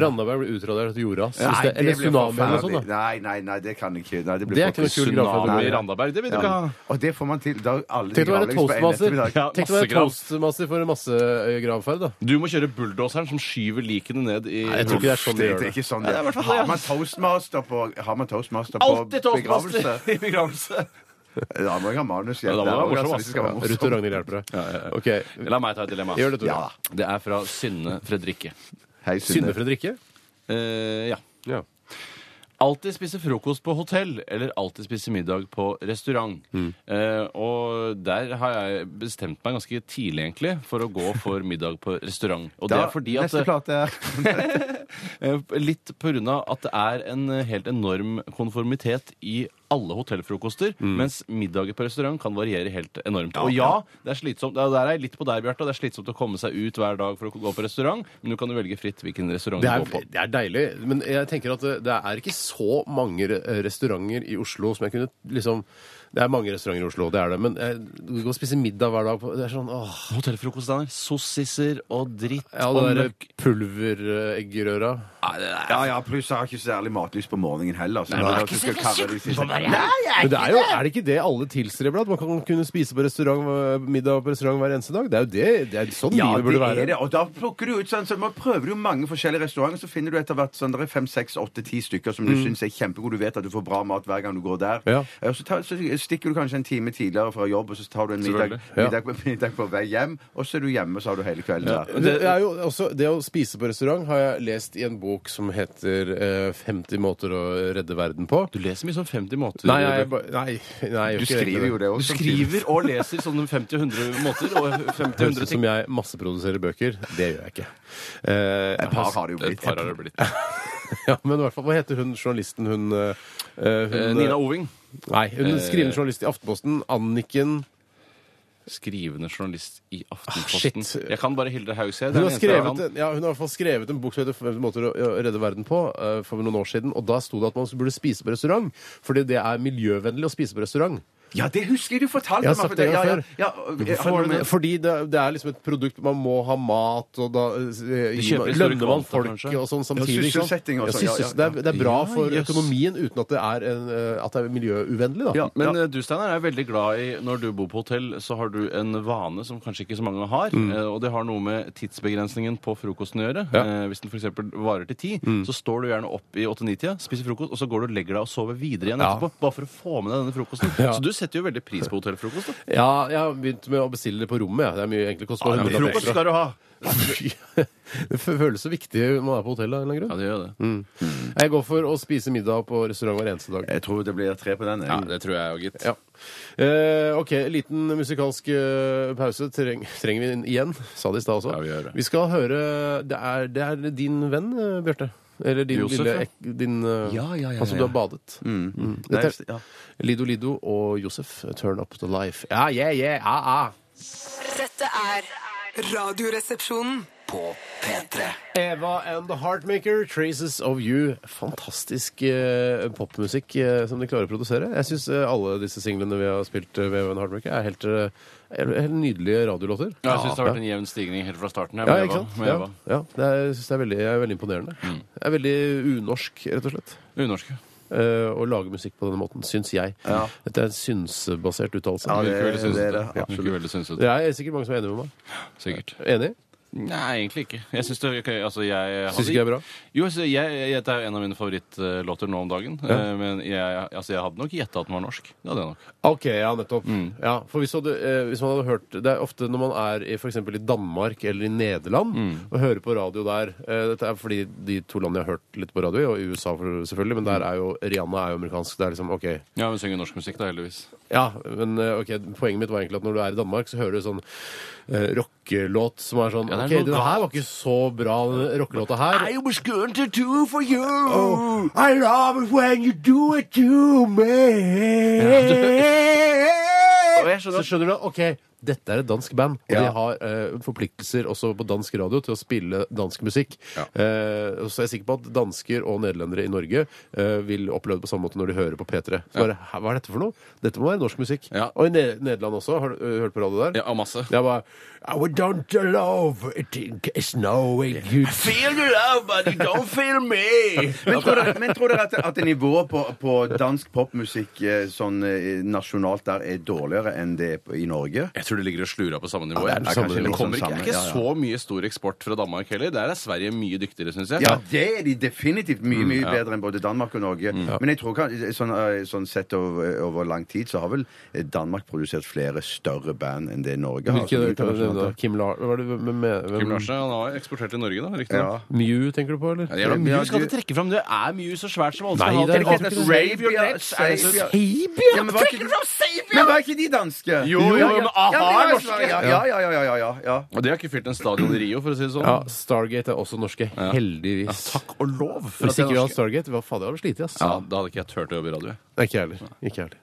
C: Randaberg ble utradert etter jordras. hvis
E: Nei,
C: det- Eller
E: det blir
C: tsunami eller noe
E: forferdelig.
C: sånt. da.
E: Nei, nei, nei, det kan jeg ikke. Nei, det blir
C: Det er ikke noe
E: forferdelig.
C: kul gravferd.
D: Tsunami i
C: Nei, nei.
D: Randaberg, det vil du
E: Ja.
D: ikke ha.
E: Og det får man til. Da er alle
C: Tenk å være
E: gravlegges på en
C: toastmaster
E: ettermiddag.
D: Ja,
C: Tenk å være
D: massegrav.
C: toastmaster for en massegravferd, da.
D: Du må kjøre bulldoseren som skyver likene ned i
C: Nei, jeg tror ikke det er sånn de gjør
E: Det, det er
C: det.
E: ikke sånn
D: Ja,
E: det
D: det er i hvert
E: er.
D: fall det,
E: Har man
D: ass.
E: toastmaster på, har man toastmaster på
D: Alltid toastmaster
E: begravelse?
D: i begravelse!
E: Da må jeg ha manus.
D: Ja, da må det være morsom,
E: hvis det skal være
D: ass.
E: morsomt.
C: Ruth og Ragnhild hjelper deg. Ok.
D: La meg ta et dilemma.
C: Gjør det, Tore.
E: Ja.
D: Det er fra Synne Fredrikke.
E: Hei,
C: Synne Fredrikke?
D: Eh, ja.
C: Ja.
D: Alltid spise frokost på hotell, eller alltid spise middag på restaurant. Eh, og der har jeg bestemt meg ganske tidlig, egentlig, for å gå for middag på restaurant. Og det
E: Da-
D: er fordi at
E: Neste plate er
D: Eh, Litt pga. at det er en eh, helt enorm konformitet i alle hotellfrokoster, mens middager på restaurant kan variere helt enormt. og ja, det er slitsomt. Ja, Der er jeg litt på deg, Bjarte. Det er slitsomt å komme seg ut hver dag for å gå på restaurant, men du kan jo velge fritt hvilken restaurant
C: Det
D: du
C: er,
D: går på.
C: det er deilig, men jeg tenker at eh, det- det er ikke så mange re- eh, restauranter i Oslo som jeg kunne liksom Det er mange restauranter i Oslo, det er det, men eh, du går og spiser middag hver dag på Det er sånn åh.
D: Hotellfrokost, Steinar. Sossiser og dritt
C: Ja,
D: og
C: det derre
D: møkk.
C: pulvereggerøra.
D: Nei, det er-
E: Ja, ja, pluss jeg har ikke særlig matlyst på morgenen heller. Så det er at du skal karre de siste-
C: Men det er jo er det ikke det alle tilstreber? At man kan kunne spise på restaurant, eh, middag på restaurant hver eneste dag? Det er jo det, det er sånn
E: Ja,
C: livet burde
E: det
C: være.
E: er det. Og da plukker du ut sånn, så man prøver jo mange forskjellige restauranter, så finner du etter hvert sånn, det er fem, seks, åtte, ti stykker som du syns er kjempegode. Du vet at du får bra mat hver gang du går der.
C: Mm. Ja.
E: Eh, Så, tar, så stikker du kanskje en time tidligere fra jobb, og så tar du en middag,
D: Selvfølgelig.
C: Ja.
E: middag, på- middag på vei hjem, og så er du hjemme, så har du hele kvelden der.
C: Det, er jo også, det å spise på restaurant har jeg lest i en bok som heter eh, 50 måter å redde verden på.
D: Du leser mye sånn 50 måter.
C: Nei,
D: Bjarte.
C: jeg, ba- nei, nei, jeg gjør
E: Du
C: ikke
E: skriver jo det
D: du
E: òg.
D: skriver og leser sånn 50-100 måter, og
C: Det høres
D: 50-100
C: ut som
D: ting.
C: jeg masseproduserer bøker. Det gjør jeg ikke. Eh,
E: Et par har det jo
D: Et
E: blitt.
D: par har det blitt.
C: ja, men i hvert fall, Hva heter hun journalisten hun, eh, eh, hun
D: Eh, Nina Oving.
C: Nei, hun skrivende journalist i Aftenposten. Anniken
D: Skrivende journalist i
C: Ah,
D: Aftenposten.
C: shit.
D: jeg kan bare Hilde Haugsæd.
C: Hun har, skrevet, en- ja, hun har i hvert fall skrevet en bok som heter 50 måter å å redde verden på, eh, for noen år siden. Og da sto det at man burde spise på restaurant, fordi det er miljøvennlig å spise på restaurant.
E: Ja, det husker jeg du fortalte
C: Jeg har
E: meg, for
C: sagt det
E: ja, ja,
C: før.
E: ja, ja,
C: Hvorfor det? Fordi det, det er liksom et produkt man må ha mat, og da eh,
D: De
C: gir man-
D: kjøper i større
C: lønner man
D: kvanta,
C: folk
D: kanskje?
C: og sånn
E: Ja,
C: samtidig. ikke sant?
E: sysselsetting og
C: Ja,
E: sånn, ja,
C: syssels-
E: ja, ja.
C: Det, er, det er bra
D: Ja,
C: for
D: jøss.
C: økonomien uten at det er, en, eh, at det er miljøuvennlig, da.
E: Ja.
D: Men eh, du, Steinar, er veldig glad i Når du bor på hotell, så har du en vane som kanskje ikke så mange har. eh, Og det har noe med tidsbegrensningen på frokosten å gjøre.
C: Ja.
D: Eh, Hvis den f.eks. varer til ti, så står du gjerne opp i 8-9-tida, spiser frokost, og så går du og legger deg og sover videre igjen
C: Ja.
D: etterpå. Bare for å få med deg denne frokosten.
C: Ja.
D: Så du setter jo veldig pris på hotellfrokost. da.
C: Ja, jeg har begynt med å bestille det på rommet. Ja. Det er mye egentlig koster bare 100
D: Frokost
C: ekstra.
D: skal du ha!
C: Det føles så viktig når man er på hotellet. av en eller annen grunn.
D: Ja, det gjør det.
C: Jeg går for å spise middag på restaurant hver eneste dag.
E: Jeg tror det blir tre på den. jeg.
D: Ja, det tror jeg jo, gitt.
C: Ja. Eh, ok, liten musikalsk eh, pause Treng, trenger vi den igjen. Sa det i stad også.
D: Ja, vi gjør det.
C: skal høre Det er, det er din venn, eh, Bjarte. Eller din
D: Josef,
C: lille
D: ja.
C: ek, din, eh,
D: Ja, ja, ja,
C: Han som
D: ja,
C: du har badet. Mm.
E: Nei,
C: Dette er
E: ja.
C: Lido Lido og Josef, eh, 'Turn Up The Life'. Ja, yeah, yeah, ah, ah.
A: Dette er Radioresepsjonen.
B: På P3.
C: Eva and The Heartmaker, 'Traces of You'. Fantastisk eh, popmusikk eh, som de klarer å produsere. Jeg syns eh, alle disse singlene vi har spilt eh, ved Eva and The Heartmaker, er helt, eh, helt nydelige radiolåter.
D: Ja, Jeg syns det har vært en jevn stigning helt fra starten. her
C: Ja,
D: med
C: ikke
D: Eva-
C: sant?
D: med
C: Ja,
D: Eva. Mm.
C: ja. Det er, jeg synes det er veldig, jeg er veldig imponerende. Det er veldig unorsk, rett og slett,
D: Unorsk.
C: eh, å lage musikk på denne måten, syns jeg. Dette er en synsbasert uttalelse.
E: Ja,
D: Virker veldig
E: det, det er
D: synsete.
E: det.
D: Virker veldig synsete.
C: det er sikkert mange som er enig med meg.
D: Sikkert.
C: Enig?
D: Nei, egentlig ikke. Jeg syns det ok, altså, jeg,
C: Syns ikke jeg er bra?
D: Jo, altså, jeg, jeg, dette er jo en av mine favorittlåter nå om dagen. eh, Men jeg, altså, jeg hadde nok gjetta at den var norsk. Det hadde jeg nok.
C: Ok, ja, nettopp.
D: Mm.
C: Ja, for hvis, hadde, eh, hvis man hadde hørt Det er ofte når man er i f.eks. i Danmark eller i Nederland
D: Mm.
C: og hører på radio der eh, Dette er fordi de to landene jeg har hørt litt på radio i, og i USA for- selvfølgelig, men der
D: Mm.
C: er jo Rihanna er jo amerikansk. Det er liksom OK.
D: Ja, Hun synger norsk musikk, da, heldigvis.
C: Ja, men eh, ok, poenget mitt var egentlig at når du er i Danmark, så hører du sånn eh, rockelåt som er sånn
D: Ja, det er noe
C: Ok, den her var ikke så bra, den rockelåta her.
B: I was going to do for you.
C: Oh, I love it when you do it to me.
D: Og jeg skjønner-
C: Så skjønner du, ok, dette er et dansk band, og
E: Ja.
C: de har eh, forpliktelser også på dansk radio til å spille dansk musikk. Eh, og så er jeg sikker på at dansker og nederlendere i Norge eh, vil oppleve det på samme måte når de hører på P3. Så bare, "Hæ, Hva er dette for noe? Dette må være norsk musikk.
D: Ja.
C: Og i Ne- Nederland også. Har du ø, hørt på radio der?
D: Ja, og masse.
C: Det er bare Our don't love it is knowing you
B: Feel your love, but you don't feel me.
E: Men tror dere, men tror dere at, at nivået på, på dansk popmusikk eh, sånn eh, nasjonalt der er dårligere enn det er på- i Norge?
D: Jeg Jeg tror det ligger og slurer på samme nivå.
C: Ja, det er
D: det,
C: på samme
D: kanskje-
C: nivå.
D: det kommer ikke,
E: Samme,
D: det er ikke
E: ja, ja.
D: så mye stor eksport fra Danmark heller. Der er Sverige mye dyktigere, syns jeg.
E: Ja, det er de definitivt mye mye bedre enn både Danmark og Norge. Men jeg tror kan, sånn, eh, sånn sett over, over lang tid så har vel eh, Danmark produsert flere større band enn det Norge har.
C: Hvilke
E: sånn
C: kan du nevne da?
E: internasjonalt.
C: Kim Lar... Hva er det med, med,
D: Kim
C: hvem?
D: Larsen han har eksportert til Norge, da. Riktig
E: Ja.
D: nok.
C: Mew, tenker du på, eller?
D: Ja, jævla
E: Ja,
D: mye
E: du-
D: skal du trekke fram. Det er mye så svært som alle skal
C: Nei,
D: ha.
C: det
D: Dere
C: er-
D: kan ikke
E: Rave your
D: Sabia-
E: nuts, er-
D: Sabia-
C: Baby!
E: Ja, men, var ikke, men var ikke de danske?
D: Jo, jo, jo, men aha,
E: Ja, men de var
D: norske.
E: svære. ja, ja, ja, ja, ja, ja, ja.
D: Og det har ikke fylt en stadion i Rio, for å si det sånn.
C: Ja, Stargate er også norske, heldigvis.
D: Takk og lov for
C: Hvis
D: at det
C: ikke
D: er
C: vi hadde
D: norsk.
C: Stargate, hva faen, det hadde vi slitt i, ass.
D: Ja, da hadde ikke jeg turt å jobbe i radio. jeg.
C: Nei, Ikke jeg heller. Ikke jeg heller.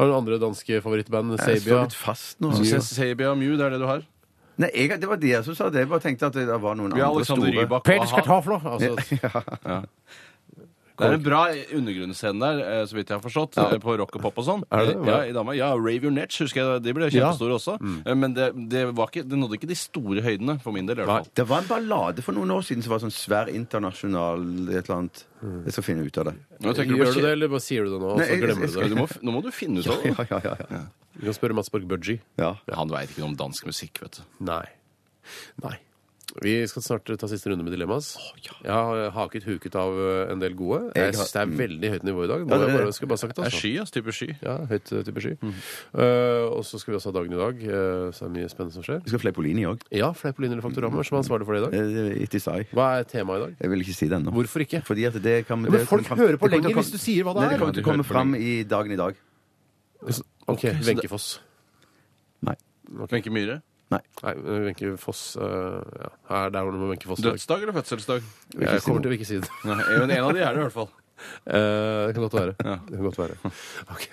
C: Har du noen andre danske favorittband? Sabia?
E: litt fast nå.
D: Så Sabia og Mew, det er det du har?
E: Nei, jeg, det var de som sa det. Jeg bare tenkte at det var noen
D: Vi har
E: andre
D: Alexander
E: store.
D: Rybak.
C: Peter
D: og han-
C: Skartaflo! Altså,
D: Det er en bra undergrunnsscene der, eh, så vidt jeg har forstått, eh, på rock og pop og sånn.
C: Er det det?
D: Ja, i Danmark. Ja, Rave Your Nets, husker jeg. De ble kjempestore også. Eh, Men det, det, var ikke, det nådde ikke de store høydene, for min del i hvert fall.
E: Det var en ballade for noen år siden som var sånn svær internasjonal et eller annet.
C: Mm.
E: Jeg skal finne ut av det.
D: Nå tenker
C: gjør
D: på
C: du det, eller bare sier du det nå, og
E: Nei,
C: så
E: jeg-
C: glemmer
E: jeg
C: du
D: kje-
E: skal-
C: det?
D: Du må, f- nå må du finne ut av det.
E: ja, ja, ja.
C: Vi kan spørre Mats Borg Budgie.
E: ja.
D: Han veit ikke noe om dansk musikk, vet du.
C: Nei. Nei. Vi skal snart ta siste runde med dilemmas. Jeg har haket huket av eh, en del gode.
E: Jeg
C: Jeg
E: har-
C: synes det er veldig høyt nivå i dag.
E: Ja,
C: Må
E: det
C: jeg
E: er
C: bare,
E: det.
C: skulle bare sagt det,
D: Det er
C: altså.
D: sky, ass. Type sky.
C: Ja, høyt eh, type sky.
D: Mhm.
C: Eh, og så skal vi også ha dagen i dag, eh, så er det mye spennende som skjer.
E: Vi skal Eh, ha Fleipolini òg.
C: Ja, Fleipolin eller Faktorhammer, som er ansvarlig for det i
D: Eh.
C: dag.
E: It is I.
C: Hva er temaet i dag?
E: Jeg vil ikke si det ennå.
C: Hvorfor ikke?
E: Fordi at det kan
C: Ja, men folk hører på lenger hvis du sier hva det
E: Nei, det
C: er.
E: kommer til å komme fram i dagen i dag.
C: Ok,
D: så det-
C: Wenche Foss.
E: Nei.
D: Wenche Myhre.
C: Nei, Wenche Foss eh, ja. Her, Der var det med Wenche Foss. i dag.
D: Dødsdag eller fødselsdag?
C: Jeg kommer til å ikke si det.
D: Nei, men en av de er det i hvert fall.
C: Eh, det kan godt være. Det kan godt være. Ok.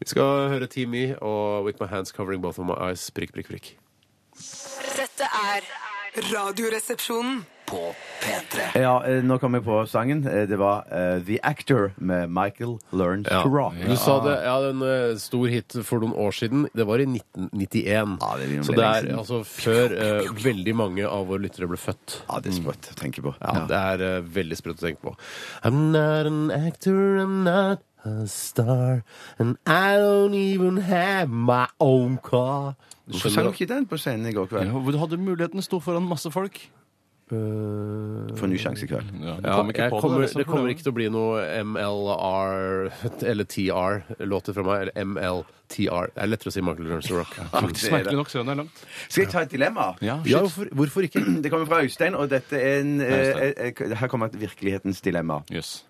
C: Vi skal høre Team E og With My Hands Covering Both of My Eyes. Prikk, prikk, prikk.
A: Dette er Radioresepsjonen.
E: Ja, eh, nå kom jeg på sangen. Eh, Det var eh, The Actor med Michael Learns to Rock.
C: Du sa det, ja, den eh, stor hit for noen år siden. Det var i 1991.
E: Ja, det begynner å
C: Så det
E: bli lenge
C: er
E: siden.
C: altså før eh, veldig mange av våre lyttere ble født.
E: Ja, det er sprøtt å tenke på.
C: Ja, Det er eh, veldig sprøtt å tenke på. I'm not an actor, I'm not a star, and I don't even have my own car. Du
E: Hvorfor sang
C: skjønner
E: du ikke den på scenen i går kveld?
D: Du hadde muligheten, sto foran masse folk.
C: Eh,
E: For ny sjanse i kveld.
D: Ja, du
C: Ja,
D: kom ikke
C: jeg
D: på
C: kommer,
D: det. liksom,
C: det liksom kommer ikke til å bli noe MLR eller TR-låter fra meg. Eller MLTR. Det er lettere å si Michael Learns to Rock.
D: Faktisk merkelig nok, sønnen er langt.
E: Skal jeg ta et dilemma?
D: Ja,
C: Ja, hvorfor, hvorfor ikke?
E: Det kommer fra Øystein, og dette er en, eh,
D: Øystein.
E: eh, her kommer et virkelighetens dilemma.
D: Jøss.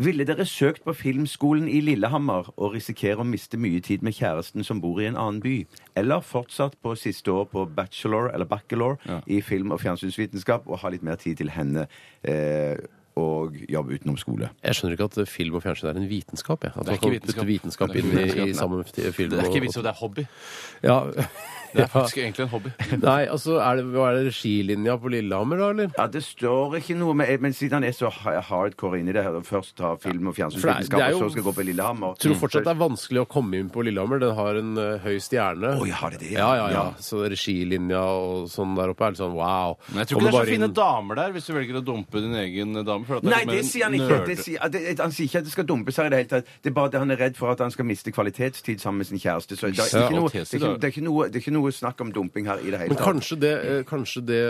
E: Ville dere søkt på filmskolen i Lillehammer og risikere å miste mye tid med kjæresten som bor i en annen by? Eller fortsatt på siste år på bachelor eller bachelor
D: Ja.
E: i film- og fjernsynsvitenskap og ha litt mer tid til henne eh, og jobb utenom skole?
C: Jeg skjønner ikke at film og fjernsyn er en vitenskap. Jeg. At
D: Det er
C: man kan
D: ikke vitenskap.
C: putte vitenskap
D: Det er
C: inn
D: ikke
C: i, i
D: vitenskap,
C: samme f- film.
D: Det er
C: og-
D: ikke vits i, det er hobby.
C: Ja.
D: Det er faktisk egentlig en hobby.
C: Nei, altså, er det, hva er det regilinja på Lillehammer, da, eller?
E: Ja, Det står ikke noe, men, men siden han er så ha- hardcore inni det her, og først tar film- og
C: For det er- det er
E: fjernsynsvitenskap,
C: jo-
E: og så skal gå på Lillehammer
D: Mm.
C: Tror fortsatt det er vanskelig å komme inn på Lillehammer. Den har en eh, høy stjerne.
E: Oi, har det det,
C: ja,
E: ja?
C: ja, ja.
E: Ja.
C: Så regilinja og sånn der oppe er litt sånn wow.
D: Men jeg tror ikke det
C: Kommer
D: er
C: bare
D: så fine
C: inn-
D: damer der, hvis du velger å dumpe din egen dame. For at
E: Nei,
D: er litt mer
E: det sier han ikke.
D: nerd.
E: Det sier, det, han sier ikke at det skal dumpes her i det hele tatt. Det er bare det han er redd for at han skal miste kvalitetstid sammen med sin kjæreste. Så det er
D: Ja.
E: ikke noe, det er ikke, det er ikke noe, det er ikke noe snakk om dumping her i det hele
C: Men
E: tatt.
C: kanskje det, eh, kanskje det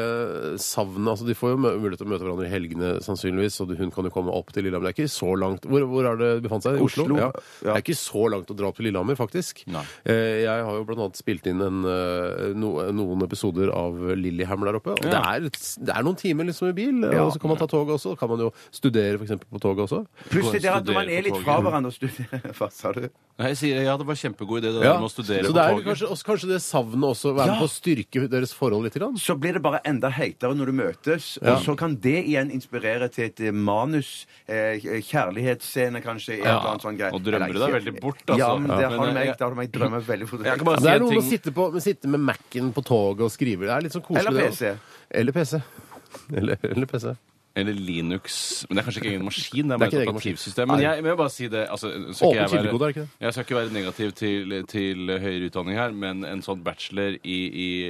C: savnet altså De får jo mø- mulighet til å møte hverandre i helgene, sannsynligvis, og hun kan jo komme opp til Lillehammer. Det er ikke så langt Hvor, hvor er det befant seg? I Oslo?
E: Oslo,
C: Ja.
E: ja.
C: Det er ikke så langt å dra opp til Lillehammer, faktisk.
D: Nei.
C: Eh, Jeg har jo blant annet spilt inn en, eh, no, noen episoder av Lillehammer der oppe, og det,
D: Ja.
C: er, det er noen timer liksom i bil,
E: Ja.
C: og så kan man ta toget også. og Kan man jo studere f.eks. på toget også.
E: Pluss det der at når man
D: Studere på
E: er litt
D: toget.
E: fra hverandre og studerer Hva sa du?
D: Nei, jeg sier, ja, det var kjempegod idé det der
C: Ja.
D: med å
C: Så
D: studere
C: det er
D: på
C: jo
D: toget.
C: kanskje, også, kanskje det savnet også være med på å styrke deres forhold litt? Grann.
E: Så blir det bare enda heitere når du møtes,
C: Ja.
E: og så kan det igjen inspirere til et eh, manus. Eh, kjærlighetsscene, kanskje. en
D: Ja.
E: eller annen sånn greie.
D: Og drømmer du
E: Eller
D: deg
E: ikke.
D: veldig bort, altså.
E: Ja, men
D: Ja.
E: det har
D: Men,
E: du meg.
D: jeg-
E: Det har du meg drømmer veldig fort.
D: Jeg kan bare
C: Det er
D: en
C: noe med å
D: ting.
C: sitte, på, med, sitte med Mac-en på toget og skrive. Det er litt sånn koselig.
E: Eller
C: det også.
E: PC.
C: Eller PC. Eller, eller PC.
D: Eller Linux Men det er kanskje ikke egen maskin, det er
C: Det er
D: bare
C: ikke
D: et
C: eget
D: operativsystem. Men
C: Nei.
D: jeg, men jeg vil bare si det altså, skal
C: Åpen kildekode, er det ikke det?
D: Jeg skal ikke være negativ til, til høyere utdanning her, men en sånn bachelor i,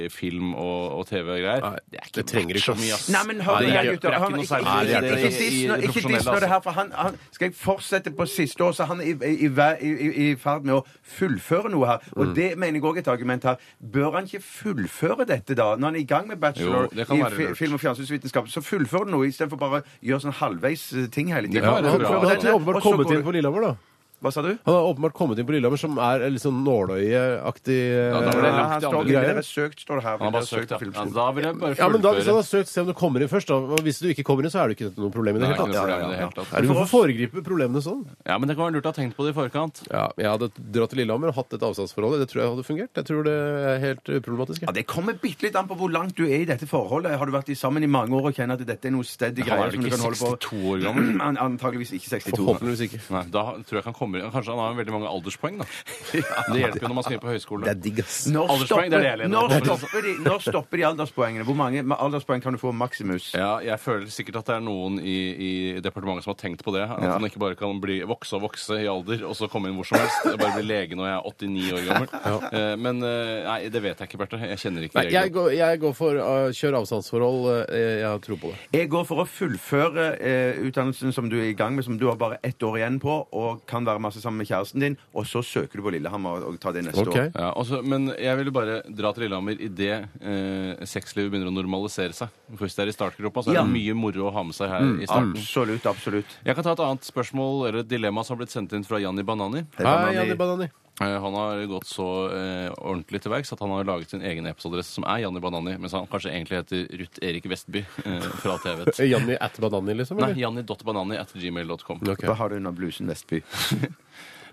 D: i film og, og TV-greier
C: Nei, det trenger ikke,
D: så mye, ass.
E: Nei, men hør
C: Nei,
E: nå,
C: det
E: jeg, gutter.
D: hjelper ikke
E: hør nå,
D: noe
E: Ikke
D: særlig.
C: Nei, det hjelper
E: ikke
D: ikke. sånn
E: diss nå- ikke
D: I det altså.
E: diss nå det her, for han, han skal jeg fortsette på siste år, så han er i, i, i- i, i ferd med å fullføre noe her.
D: Mm.
E: Og det mener jeg òg et argument her. Bør han ikke fullføre dette, da? Når han er i gang med bachelor
D: Jo, det kan
E: i
D: være
E: fi-
D: lurt.
E: film- og fjernsynsvitenskap, så fullfør noe istedenfor bare å gjøre sånn halvveis eh, ting hele
D: Det
E: tiden.
D: kan
C: Han
D: være
C: han
D: bra.
C: har
E: Dette,
C: åpenbart
E: og så
C: kommet
E: går-
C: inn på Lillehammer, da.
E: Hva sa du?
C: Han har åpenbart kommet inn på Lillehammer, som er litt sånn eh, nåløyeaktig
D: Ja, da var
E: Ja,
D: det langt
E: han
D: til
E: står,
D: andre
E: dere
C: greier.
E: har søkt, står det
D: Han
E: her.
D: har
E: Dere
D: bare søkt,
E: til
D: ja. ja.
E: filmskolen.
D: Da vil jeg bare
C: Ja, men da, hvis han
D: fullføre.
C: har søkt, se om du kommer inn først. da. Og Hvis du ikke kommer inn, så er det ikke dette noe problem i det
D: Nei,
C: hele
D: ikke noe
C: tatt.
D: problem i det hele tatt.
C: Er det Hvorfor foregripe problemene sånn?
D: Ja, men det kan være lurt å ha tenkt på det i forkant.
C: Ja, Jeg hadde dratt til Lillehammer og hatt dette avstandsforholdet. Det tror jeg hadde fungert. Jeg tror det er helt uproblematisk.
E: Ja, Det kommer bitte litt an på hvor langt du er i dette forholdet. Har du vært i sammen i mange år og kjenner at dette er noe steady
D: Han
E: greier
D: er vel
E: som du
D: ikke
E: kan holde på
D: 62 år gammel?
E: An- Antageligvis ikke 62.
C: Forhåpentligvis ikke.
D: Nei, da tror jeg han kommer inn. Kanskje han har veldig mange alderspoeng, da. Det hjelper jo når man skal inn på høyskole.
C: digg, ass.
E: Når
D: Alderspoeng, det
E: stopper,
D: er det jeg er enig i.
E: når, stopper de, når stopper de alderspoengene? Hvor mange alderspoeng kan du få maksimus?
D: Ja, jeg føler sikkert at det er noen i, i departementet som har tenkt på det. At
E: Ja.
D: man ikke bare kan bli vokse og vokse i alder, og så komme inn hvor som helst. Jeg bare bli lege når jeg er 89 år gammel. Eh, Men eh, nei, det vet jeg ikke, Bjarte. Jeg kjenner ikke
C: Nei, jeg
D: reglene.
C: går, jeg går for uh, kjør avstandsforhold. Uh, jeg har tro på det.
E: Jeg går for å fullføre eh, utdannelsen som du er i gang med, som du har bare ett år igjen på, og kan være masse sammen med kjæresten din, og så søker du på Lillehammer og tar det neste
C: Ok.
E: år.
D: Ja, altså, men jeg ville bare dra til Lillehammer idet eh, sexlivet begynner å normalisere seg. Først det er i startgropa, så er det
E: Ja.
D: mye moro å ha med seg her i
C: Mm.
D: starten.
E: Absolutt, absolutt.
D: Jeg kan ta et annet spørsmål, eller et dilemma som har blitt sendt inn fra Janni Banani.
E: Det
C: Hei,
E: kan man i-
C: Janni Banani.
D: Eh, Han har gått så eh, ordentlig til verks at han har laget sin egen e-postadresse, som er Janni Banani, mens han kanskje egentlig heter Ruth Erik Vestby eh, fra TV.
C: Eh, Janni at Banani, liksom?
D: Nei,
C: Eller?
D: janni.banani at gmail.com.
C: Ok.
E: Hva har du under blusen, Vestby?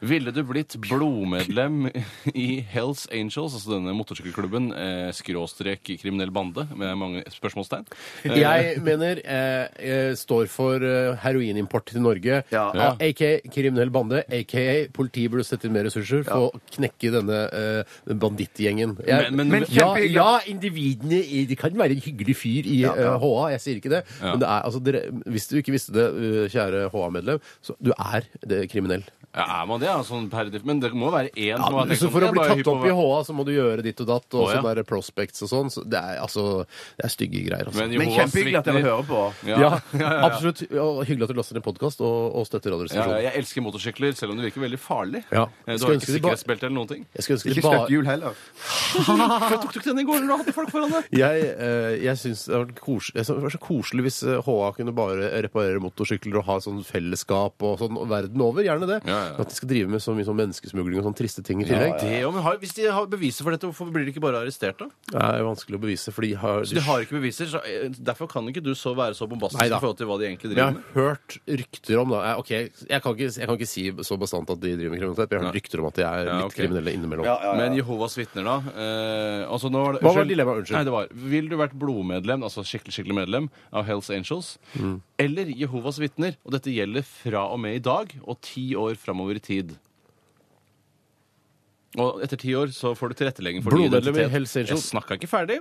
D: Ville du blitt blodmedlem i Hells Angels, altså denne motorsykkelklubben, eh, skråstrek kriminell bande, med mange spørsmålstegn? Eh,
C: Jeg mener eh, eh, står for eh, heroinimport til Norge.
E: Ja.
C: A- Aka kriminell bande. Aka politiet burde sette inn mer ressurser for å knekke denne eh, bandittgjengen. Jeg-
D: Men- men- Men
C: ja,
E: kjempehyggelig.
C: ja, individene i De kan være en hyggelig fyr i
E: Ja, ja.
C: eh, HA, jeg sier ikke det.
D: Ja.
C: Men det er, altså, dere, hvis du ikke visste det, eh, kjære HA-medlem, så du er det kriminell.
D: Ja, er man det? ja, sånn per def- Men det må være én
C: Ja,
D: som har tenkt
C: så
D: sånn,
C: for å
D: jeg
C: bli
D: bare hypp
C: tatt opp
D: over-
C: i HA, så må du gjøre ditt og datt, og
D: Å, ja.
C: sånne der prospects og sånn. Så det er altså Det er stygge greier, altså.
D: Men
E: Men
D: Jehovas
E: kjempehyggelig at dere
D: vitner-
E: hører på.
D: Ja.
C: Ja, absolutt. Og hyggelig at du laster ned podkast og, og støtter
D: Ja,
C: Radioresepsjonen.
D: jeg elsker motorsykler, selv om det virker veldig farlig.
C: Ja.
D: Eh, Du
C: Skulle
D: har
C: ønske
D: ikke
C: de bare-
D: sikkerhetsbelte eller noen ting.
C: Jeg skulle ønske
E: Ikke
C: det bare
E: støtt jul heller.
D: Hvorfor tok du ikke den i går når du hadde folk foran deg?
C: Jeg, eh, jeg syns det hadde vært koselig, jeg synes det var så koselig hvis eh, HA kunne bare reparere motorsykler og ha sånn fellesskap og sånn verden over. Gjerne det.
D: Ja, ja, ja.
C: Men At de skal drive med så mye sånn menneskesmugling og sånn triste ting i
D: Ja,
C: tillegg.
D: det, jo, men har, hvis de har beviser for dette, hvorfor blir de ikke bare arrestert da?
C: Det er vanskelig å bevise, for de har,
D: Så de har ikke beviser, så eh, derfor kan ikke du så være så bombastisk
C: Neida.
D: i forhold til hva de egentlig
C: Men jeg
D: driver
C: har
D: med.
C: hørt rykter om da, jeg, ok, jeg, kan ikke, jeg kan ikke si så bastant at de driver med kriminalitet, men jeg har hørt rykter om at de er litt
D: Ja, ok.
C: kriminelle innimellom.
D: Men Jehovas vitner, da eh, altså nå var det,
C: Hva var dilemmaet? Unnskyld.
D: Nei, det var, Vil du vært blodmedlem, altså skikkelig skikkelig medlem av Hells Angels,
C: Mm.
D: eller Jehovas vitner? Og dette gjelder fra og med i dag og ti år framover i tid. Og etter ti år så får du tilrettelegging for
C: Blodmedlem i
D: ny identitet.
C: Hells Angels.
D: Jeg snakka ikke ferdig.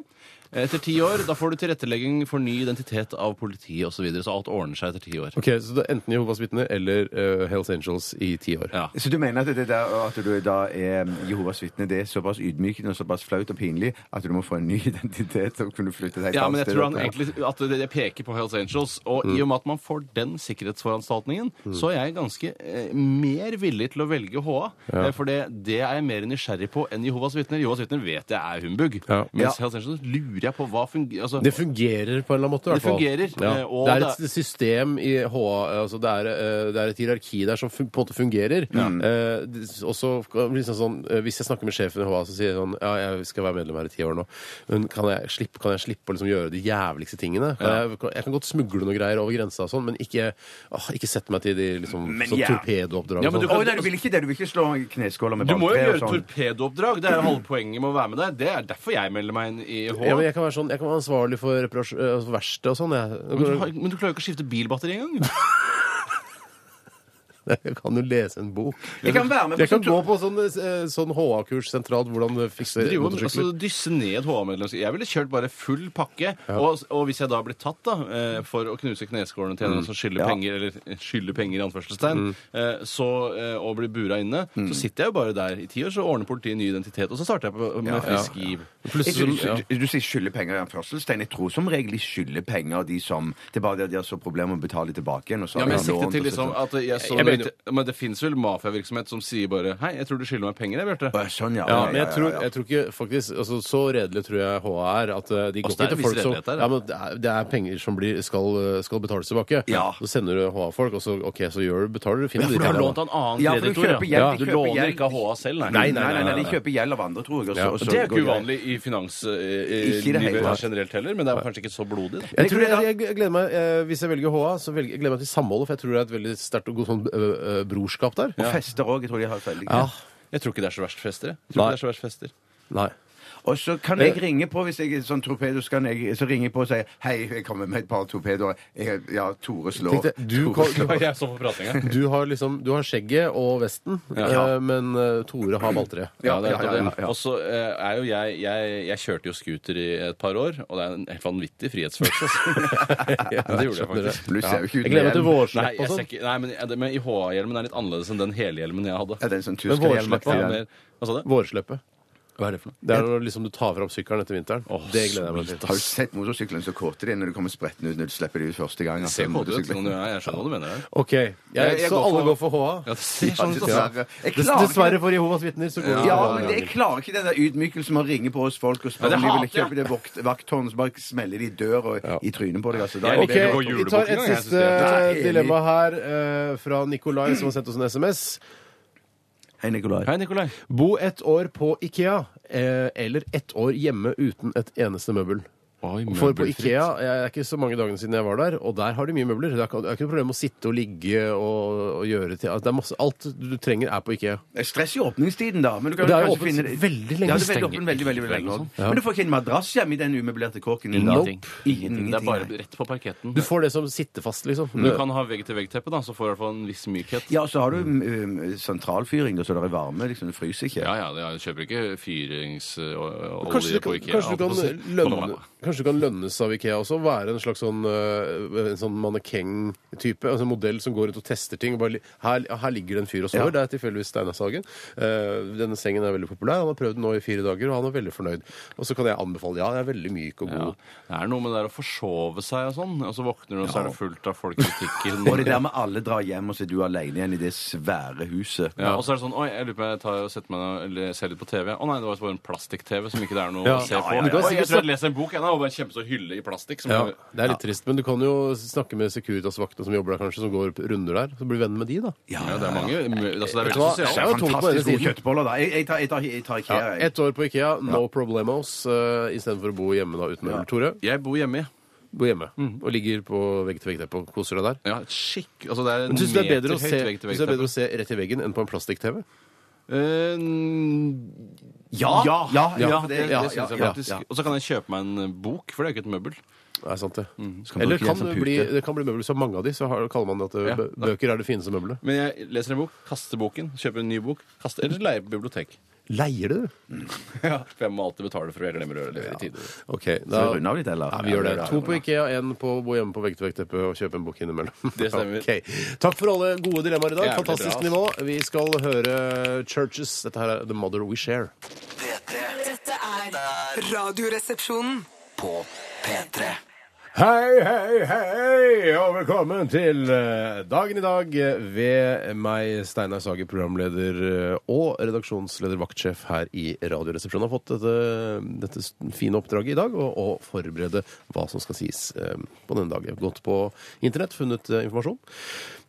D: Etter ti år da får du tilrettelegging for ny identitet av politiet osv. Så, videre, så alt ordner seg etter ti år.
C: Ok, Så det er enten Jehovas vitner eller eh, Hells Angels i ti år.
D: Ja.
E: Så du mener at det der at du da er um, Jehovas vitne, det er såpass ydmykende og såpass flaut og pinlig at du må få en ny identitet og kunne flytte et helt
D: Ja,
E: annet
D: men jeg
E: sted
D: tror han
E: opp?
D: egentlig at det det peker på Hells Angels. Og
C: Mm.
D: i og med at man får den sikkerhetsforanstaltningen, så er jeg ganske eh, mer villig til å velge HA. Eh, For det, det er jeg mer nysgjerrig på enn Jehovas vitner. Jehovas vitner vet jeg er humbug.
C: Ja.
D: Mens Hells Angels lurer jeg på hva fungerer altså,
C: Det fungerer på en eller annen måte. i hvert
D: Det
C: fall.
D: fungerer,
C: Ja.
D: eh, og
C: Det er
D: det-
C: et system i HA altså det, er, eh, det er et hierarki der som fun- på en måte fungerer. Eh, det- og så kan- liksom sånn, eh, Hvis jeg snakker med sjefen i HA, så sier jeg sånn Ja, jeg skal være medlem her i ti år nå, men kan jeg slippe, kan jeg slippe å liksom gjøre de jævligste tingene? Eh, Kan jeg, jeg kan godt smugle noe greier over grensa og sånn, men ikke, åh, ikke sette meg til de liksom,
E: Men
C: sånn
E: ja.
C: torpedooppdrag.
D: Ja,
C: og
D: men
C: sånn.
D: du
E: Å, nei, du vil ikke det. Du vil ikke slå kneskåler med
D: Du må jo
E: balltre og sånn.
D: gjøre torpedooppdrag. Det er jo halve poenget med å være med der. Det er derfor jeg melder meg inn i HA.
C: ja, men jeg kan være sånn, jeg kan være ansvarlig for reparasjon, eh, for verksted og sånn. Jeg.
D: Men du, har- men du klarer jo ikke å skifte bilbatteri engang.
C: Jeg kan jo lese en bok.
E: Jeg kan være med på
C: Jeg kan gå
E: sånn-
C: på sånn, eh, sånn HA-kurs sentralt, hvordan du fikser
D: Drive og altså,
C: motorsykler.
D: dysse ned HA-medlemskap. Jeg ville kjørt bare full pakke. Og, og hvis jeg da blir tatt da, eh, for å knuse kneskålene til en eller annen som skylder penger, eller eh, skylder penger i anførselstegn, eh, så, eh, og blir bura inne, så sitter jeg jo bare der i ti år, så ordner politiet ny identitet, og så starter jeg på, med frisk giv.
E: Jeg
C: Plutselig
E: tror,
C: så- ja.
E: du, du sier skylder penger i anførselstegn. Jeg tror som regel de skylder penger, de som Det er bare det at de har så problemer med å betale tilbake igjen. Og så
D: Ja,
E: har
D: men jeg
E: de lånt,
D: sikter til
E: og så-
D: liksom at jeg så
C: Jeg mener
D: Men det fins vel mafiavirksomhet som sier bare Hei, jeg tror du skylder meg penger, jeg, Bjarte.
E: Å, Sånn, ja.
C: Ja, men jeg tror, jeg tror ikke faktisk, altså, Så redelig tror jeg HA er at eh, de går
D: Altså,
C: ikke
D: det er en
C: til folk
D: viss
C: som
D: redelighet der,
C: ja,
D: ja.
C: men det, er, det er penger som blir, skal, eh, skal betales tilbake.
E: Ja.
C: Så sender du HA-folk, og så OK, så gjør du, betaler du, finner
D: For du har
C: til deg,
D: lånt
C: da.
D: av en annen
E: Ja, for du
D: kreditor,
E: kjøper hjem,
D: Du
E: de kjøper
D: låner
E: hjem.
D: ikke av HA selv, nei.
E: Nei, nei, nei, nei, de kjøper gjeld av andre, tror jeg. og så-
C: Ja,
E: og så
D: Det er jo
E: går
D: ikke uvanlig i
E: Ikke i det
D: finanslivet
E: hele tatt.
D: generelt heller, men det er kanskje ikke så blodig. da.
C: Jeg, tror jeg, jeg gleder meg, eh, Hvis jeg velger HA, så velger, jeg gleder jeg meg til samholdet, for jeg tror det er et veldig sterkt og godt sånn, eh, eh, brorskap der.
E: Og fester òg. Jeg tror de har et veldig
C: Ja.
D: Jeg tror ikke det er så verst fester. jeg. Jeg tror
C: Nei.
D: ikke det er så verst fester.
C: Nei.
E: Og så kan jeg ringe på hvis jeg er sånn torpedo, så, kan jeg, så ringer jeg på og sier Hei, jeg kommer med et par torpedoer. Jeg- Ja, Tore slår.
C: Tenkte, du,
E: Tore
C: kan,
E: slår.
D: Jeg så på pratinga.
C: du, har liksom, du har skjegget og vesten,
D: Ja.
C: eh, men eh, Tore har balltre.
D: Ja, det er
E: Ja, ja, ja,
D: nettopp
E: ja.
D: det. Og så eh, er jo jeg, jeg Jeg kjørte jo scooter i et par år, og det er en helt vanvittig frihetsfølelse. altså. Ja, det gjorde jeg faktisk.
E: Du ser jo ikke ut
C: Jeg gleder meg til
E: hjelm.
D: Nei,
C: vårslepp
D: jeg
C: og
D: ser
C: sånn.
D: ikke, nei men, det- men i HA-hjelmen er litt annerledes enn den hele hjelmen jeg hadde.
E: Ja, det er en sånn
C: Men
E: tyskerhjelm.
C: vårsleppa-
D: Ja, mer- Hva sa du?
C: Vårsleppet.
D: Hva er det for noe?
C: Det er når liksom du tar fram sykkelen etter vinteren. det gleder jeg meg til.
E: Har du sett motorsykkelen så kåte de er når de kommer spretten ut når du slipper de ut første gang?
D: Se kåt
E: altså,
D: ut.
E: motorsykkelen.
D: sånn du er. Jeg skjønner hva du mener. der.
C: Ok, jeg,
E: jeg
C: Så
E: går
C: alle
E: for-
C: går for HA?
D: Ja, det ser
E: Ja,
D: sånn ut, altså.
E: Dessverre. Jeg
C: Dess-
E: klarer ikke
C: Dessverre for Jehovas vitner så går det
E: Ja,
C: ikke for
E: men
C: HA.
E: jeg klarer ikke den der ydmykelsen med å ringe på hos folk og spørre
D: Ja, det
E: om de vil
D: hater jeg.
E: kjøpe det vakt, vakttårnet, så bare smeller de i døra og i trynet på deg. Altså, da,
D: Jeg
C: Ok,
D: liker å gå
C: Vi tar
D: julebukk en gang,
C: et
D: jeg synes
C: siste
D: det er-
E: Nei, jeg er enig.
C: dilemma her eh, fra Nikolai, som har sendt oss en SMS.
E: Hei, Nikolai.
D: altså. Hei, Nikolai.
C: Bo ett år på Ikea, eh, eller ett år hjemme uten et eneste møbel. For på Ikea jeg er ikke så mange dagene siden jeg var der, og der har de mye møbler. Det er ikke, det er ikke noe problem å sitte og ligge og, og gjøre til det er masse, Alt du trenger, er på Ikea.
E: Det er Stress i åpningstiden, da. Men du kan
C: Det er jo
E: jo kanskje
C: åpent
E: finne det
C: veldig lenge.
E: Ja, det er veldig
D: Stenger
E: åpent veldig, veldig, veldig lenge.
D: og sånn.
E: Men du får ikke en madrass hjemme i den umøblerte kåken. din, da.
D: Ingenting.
E: Ingenting.
D: Det er
E: nei.
D: bare rett på parketten.
C: Du får det som sittefast, liksom.
D: Du kan ha vegg-til-vegg-teppe, da, så får du i hvert fall en viss mykhet.
E: Ja, og så har du um, sentralfyring, da, så det er varme. liksom, Det fryser
D: Mm.
E: ikke.
D: Ja, ja, det er, du kjøper ikke
C: Kanskje,
D: fyringsolje
C: det
D: på
C: kan,
D: IKEA.
C: kanskje, du
D: altså,
C: kan
D: på-
C: lønne,
D: på-
C: kanskje du kan lønnes av Ikea også? Være en slags sånn, øh, en sånn mannekeng-type? Altså en modell som går rundt og tester ting. Og bare, li- her, ja, her ligger det en fyr og sover. Det er tilfeldigvis Steinar Sagen. Eh, denne sengen er veldig populær. Han har prøvd den nå i fire dager, og han er veldig fornøyd. Og så kan jeg anbefale. Ja, den er veldig myk og
D: Ja.
C: god.
D: Det er noe med det der å forsove seg og sånn, og så våkner du, og så er det fullt av folk i butikken.
E: Og det der med alle drar hjem, og så er du alene igjen i det svære huset.
D: Ja, og så er det sånn Oi, jeg lurer på om jeg tar og setter meg ned og eller ser litt på TV. Å nei, det var bare en plastikk-TV som ikke det er noe
C: Ja.
D: å se
C: Ja,
D: på.
C: ja, ja.
D: Oi, jeg tror jeg leser en bok, jeg, da, og bare en kjempestor hylle i plastikk. Som
C: Ja, det er litt trist, men du kan jo snakke med Securitas-vaktene som jobber der, kanskje, som går runder der. Så blir venn med de, da.
D: Ja, det er mange altså, Det er
C: Vet du
D: veldig
C: hva?
D: sosialt.
C: Det er jo tungt på denne
E: Fantastisk gode
C: siden.
E: kjøttboller, da. Jeg, jeg tar, jeg tar, jeg tar IKEA.
C: Ja,
E: jeg.
C: Ett år på Ikea, no problemos, uh, istedenfor å bo hjemme da uten møbel. Tore,
D: Jeg bor hjemme.
C: bo hjemme og ligger på vegg-til-vegg-teppet og koser deg der.
D: Ja, skikk Altså, det er en
C: Men Syns du det er
D: meter
C: bedre å se,
D: høyt vegg til
C: synes
D: vegg.
C: du det er bedre å se rett i veggen enn på en plastikk-TV?
D: Eh,
E: Ja, ja, ja,
D: Ja,
E: for
D: det,
E: det-
D: det
E: ja,
D: synes jeg
E: ja,
D: faktisk.
E: ja.
D: Og så kan jeg kjøpe meg en eh, bok, for det er jo ikke et møbel.
C: Det er sant, det.
E: Så kan man
C: Eller
E: bruke
C: kan
E: den som
C: det,
E: pute.
C: bli, det kan bli møbler så mange av de, så har, kaller man det at
D: Ja,
C: bø- bøker er det fineste møbelet.
D: Men jeg leser en bok, kaster boken, kjøper en ny bok, kaster, eller leier på bibliotek.
C: Leier det, du?
D: Ja, for jeg må alltid betale for å glemmer å levere i tide.
C: Ok,
E: Skal
C: da
E: vi runde av litt, eller?
C: Ja, vi gjør det.
E: Ja,
C: To på Ikea, én på å bo hjemme på vegg-til-vegg-teppet og kjøpe en bok innimellom.
D: Det stemmer.
C: Ok. Takk for alle gode dilemmaer i dag.
D: Jævlig
C: Fantastisk
D: bra, altså.
C: nivå. Vi skal høre Churches. Dette her er The Mother We Share.
A: Dette er Radioresepsjonen.
C: Hei, hei, hei, og velkommen til eh, dagen i dag eh, ved meg, Steinar Sage, programleder eh, og redaksjonsleder vaktsjef her i Radioresepsjonen. Har fått dette, dette s- fine oppdraget i dag, å å forberede hva som skal sies eh, på denne dagen. Gått på internett, funnet eh, informasjon.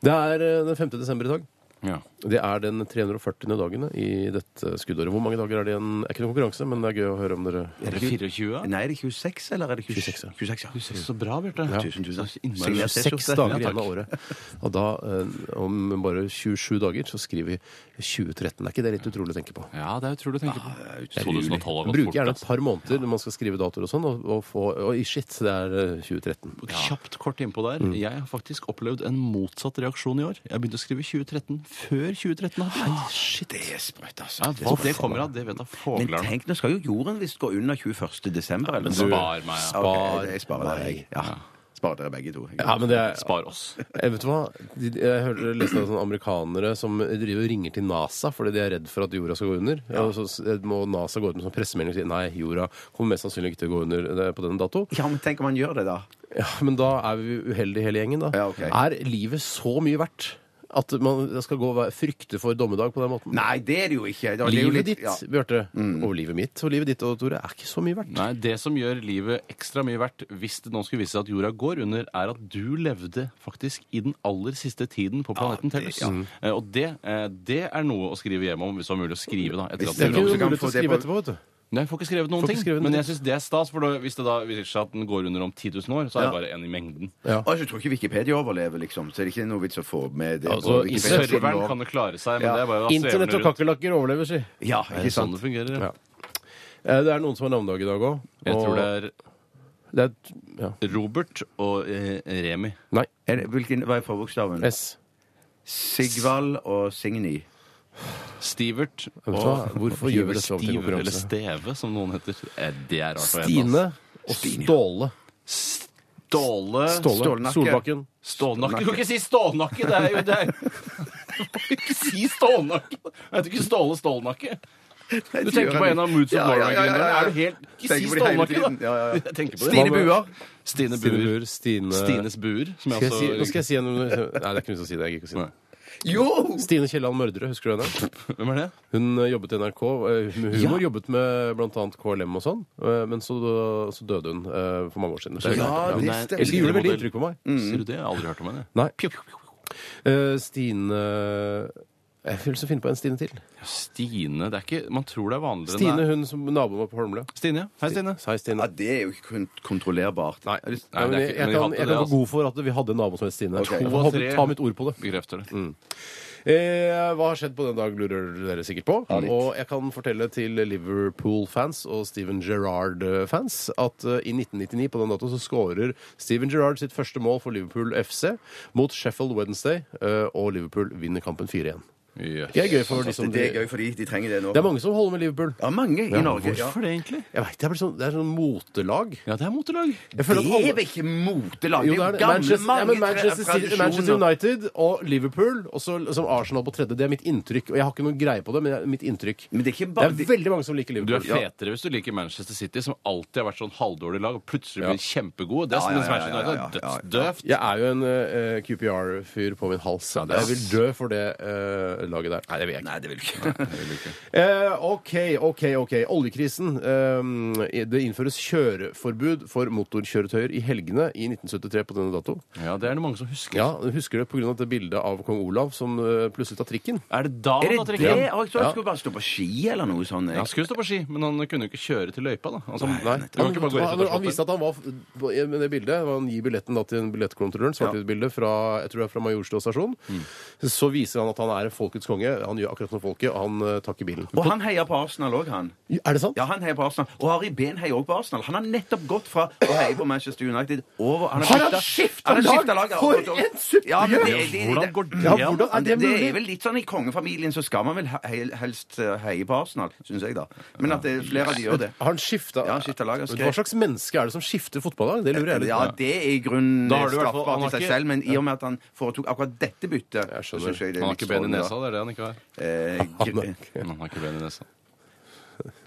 C: Det er eh, den 5. desember i dag.
D: Ja.
C: Det er den 340. dagen i dette skuddåret. Hvor mange dager er det igjen? Er ikke noen konkurranse, men det er gøy å høre om dere
D: Er det 24?
E: Nei, er det 26, eller er det 26? 26, ja.
D: Så bra, Bjarte.
E: Tusen, tusen.
D: Så innmari
E: Signet
D: bra.
C: Seks
E: T-skjorte.
C: dager
E: Ja,
C: igjen
E: takk.
C: av året. Og da, eh, om bare 27 dager, så skriver vi 2013. Er ikke det litt utrolig å tenke på?
D: Ja, Ah, det er utrolig å tenke på.
E: utrolig.
D: 2012 har gått
C: Bruker
D: fort,
C: gjerne
D: altså.
C: et par måneder når man skal skrive datoer og sånn, og, og få Oi, shit, det er eh, 2013.
D: Kjapt kort innpå der. Jeg har faktisk opplevd en motsatt reaksjon i år. Jeg begynte å skrive 2013 før 2013. hadde begynt.
E: Shit, det er sprøtt, altså.
D: Ja, hva det kommer av, det vet da
E: Men
D: foglerne.
E: tenk, nå skal jo jorden visst gå under 21. desember. Eller noe sånt.
D: Spar meg. ja.
E: Ok, jeg sparer dere, jeg. Ja. Sparer dere begge to.
C: Ja, men det er,
D: Spar oss.
C: jeg Eh, vet du hva? De- de- Jeg hørte leste om sånne amerikanere som driver og ringer til NASA fordi de er redd for at jorda skal gå under. Og så s- må NASA gå ut med sånn pressemelding og si nei, jorda kommer mest sannsynlig ikke til å gå under eh, på denne dato.
E: Ja, men tenk om han gjør det, da.
C: Ja, Men da er vi uheldige hele gjengen, da.
E: Ja, ok.
C: Er livet så mye verdt at man skal gå og være- frykte for dommedag på den måten?
E: Nei, det er det jo ikke. Det er jo
C: Livet
E: litt-
C: ditt,
E: ja.
C: Bjarte, og livet mitt og livet ditt og Tore, er ikke så mye verdt.
D: Nei, Det som gjør livet ekstra mye verdt hvis det nå skulle vise seg at jorda går under, er at du levde faktisk i den aller siste tiden på planeten Tellus. Eh, Og det, eh, det er noe å skrive hjem om, hvis det var mulig å skrive, da. etter at
C: Det
D: du
C: er ikke
E: Så
C: noe
E: kan vi
C: mulighet til
E: få
C: å
E: det
C: skrive
E: på-
C: etterpå, vet du.
D: Nei, jeg får ikke skrevet noen
C: Får ikke
D: ting.
C: skrevet noen
D: men
C: ting.
D: jeg synes det er stas, for da, hvis det da viser seg at den går under om 10 000 år, så er det bare en i mengden.
E: Og jeg tror ikke Wikipedia overlever, liksom. Så det er ikke noe vits å få med det.
C: Altså,
E: på Wikipedia.
D: Serveren kan jo klare seg, men
E: Ja.
D: det er bare å
C: Internett og kakerlakker overlever, si.
E: Ja,
D: Det er
E: ikke
D: sånn det
E: sant?
D: fungerer.
C: Ja.
D: Ja.
C: Eh, Det er noen som har navnedag i dag òg.
D: Jeg tror det er
C: det er ja.
D: Robert og eh, Remi.
C: Nei.
E: Er det, hvilken, hva er forbokstaven?
C: S.
E: Sigvald og Signy.
D: Stivert
C: Vet du hva? Hvorfor gjør vi dette om til
D: Stiv,
C: konkurranse?
D: eller Steve, som noen heter. Eh, Det er rart å hete.
C: Stine og Ståle.
D: Ståle
C: Ståle.
E: Stålnakke.
C: Solbakken.
D: Stålnakke. Du kan ikke si stålnakke! Det er jo det er. Du kan ikke si stålnakke! Jeg heter ikke Ståle Stålnakke. Du tenker på en av Moods of Norway-gründerne. Er du helt Ikke si
E: Tenker på det hele
D: stålnakke, da!
E: tiden. Ja, ja, ja.
D: Jeg tenker på det.
E: Stine Buer.
D: Stine
C: Stine
D: Buer.
C: Buer. Stine
D: Stines Buer. Som jeg
C: Skal jeg si, nå skal
D: også
C: jeg si en Nei, det er ikke noe vits å si det. Jeg gidder ikke å si det.
D: Nei.
E: Jo!
C: Stine Kielland Mørdre, husker du henne?
D: Hvem er det?
C: Hun eh, jobbet i NRK eh, med humor, jobbet med bl.a. KLM og sånn, eh, men så, så døde hun eh, for mange år siden.
E: Ja, det
D: Nei,
E: stemmer.
C: Jeg gjorde veldig
D: modell.
C: inntrykk på meg.
D: Ser du det? Jeg har aldri hørt om henne.
C: Nei. Eh, Stine eh, Jeg vil så finne på en Stine til.
D: Stine det er ikke, Man tror det er vanligere
C: Stine,
D: enn det
C: hun som naboen var på Holmlia.
D: er. Stine, ja. Hei, Stine.
C: Hei, Stine.
E: Ja, det er jo ikke kon- kontrollerbart.
C: Nei,
D: Nei,
C: men
D: det er
C: jeg,
D: ikke-
C: jeg
D: men vi
C: kan,
D: hadde det,
C: jeg kan gå
D: altså.
C: god for at vi hadde en nabo som het Stine.
E: Ok.
C: To
D: To av
C: av
D: tre.
C: Ta mitt ord på det.
D: Bekrefter det.
C: Eh, hva har skjedd på den dag, lurer dere sikkert på.
E: litt.
C: og jeg kan fortelle til Liverpool-fans og Steven Gerrard-fans at eh, i 1999 på den dato så skårer Steven Gerrard sitt første mål for Liverpool FC mot Sheffield Wednesday, eh, og Liverpool vinner kampen 4-1.
D: Yes.
C: Det er gøy for de som
E: Det er
C: Altså, Det
E: gøy, fordi de trenger det nå.
C: er mange som holder med Liverpool.
E: Ja, mange i Norge. Ja.
D: Hvorfor det, egentlig?
C: Jeg vet, det, er bare sånn, det er sånn motelag.
D: Ja, det er motelag.
C: Jeg
E: Det
C: føler at alle-
E: er vel ikke motelag?
C: Jo,
E: Ah,
C: det er
E: Det er jo
C: det.
E: gamle,
C: Manchester, ja,
E: mange
C: men Manchester, City, Manchester
E: tradisjoner.
C: United og Liverpool, og så som Arsenal på tredje. Det er mitt inntrykk. Og jeg har ikke noe greie på det, men det er mitt inntrykk.
E: Men det er ikke
C: Det
E: bare
C: er veldig mange som liker
D: Du er
C: Liverpool. Ja.
D: fetere hvis du liker Manchester City, som alltid har vært sånn halvdårlig lag, og plutselig blir kjempegode. Det er
E: Ja,
D: som
E: ja,
D: mens
E: ja,
D: Manchester United
E: ja,
D: er
E: ja, ja.
D: dødsdøvt.
C: Jeg er jo en eh, QPR-fyr på min hals.
D: det er-
C: Jeg vil dø for det eh, laget der. Nei, det vil jeg
E: Nei, det vil du ikke.
C: Eh, OK, OK, OK. Oljekrisen. Eh, det innføres kjøreforbud for motorkjøretøyer i helgene i 1973 på denne dato.
D: Ja, det er det mange som husker.
C: Ja, Husker du pga. det bildet av kong Olav som eh, plutselig tar trikken?
D: Er det da han
E: Er det
D: da
E: det?
D: trekker
E: Ja,
D: han?
E: Jeg trodde jeg skulle bare stå på ski eller noe sånt. jeg.
D: Ja, Han skulle stå på ski, men han kunne jo ikke kjøre til løypa, da. Altså,
C: Nei.
D: det var
C: Han,
D: ikke bare å gå rett ut
C: han,
D: og
C: han
D: slå
C: viste at han var f- med det bildet. Han gir billetten da til en billettkontrolløren. Svart-hvitt-bilde fra jeg tror det er fra Majorstua stasjon.
E: Mm.
C: Så viser han at han er folkets konge. Han gjør akkurat som folket, og han eh, tar ikke bilen.
E: Og han heier på Arsenal òg, han.
C: Er det sant?
E: Ja, han heier på Arsenal. Og Harry Behn heier også på Arsenal. Han har nettopp gått fra å heie på Manchester United over Han
C: Har han
E: byttet-
C: skiftet
E: han har
C: lag?
E: skiftet lag?
C: For
E: Og- og-
C: en supergjøk!
E: Ja, men det- det-
D: Hvordan
E: det-
D: går det
C: Ja,
D: an?
C: hvordan er det
E: Det er
C: mulig?
E: vel litt sånn I kongefamilien så skal man vel he helst eh, heie på Arsenal, syns jeg, da. Men at det, er flere av de gjør det.
C: Har han skifta
E: Ja, han skiftet lag og skrev.
C: Hva slags menneske er det som skifter fotballag? Det lurer jeg litt
E: Ja,
C: på.
E: det er i grunnen
D: Da har du i hvert fall- han
E: straffbart i
D: har
E: seg
D: ikke-
E: selv, men i og med at han foretok akkurat dette byttet
C: Jeg
E: så
C: skjønner.
E: synes jeg det er
D: Han har
E: litt
D: ikke ben i
E: strålende,
D: nesa, det er det han ikke har.
E: da. Eh, gr-
D: Men Han har ikke ben i nesa.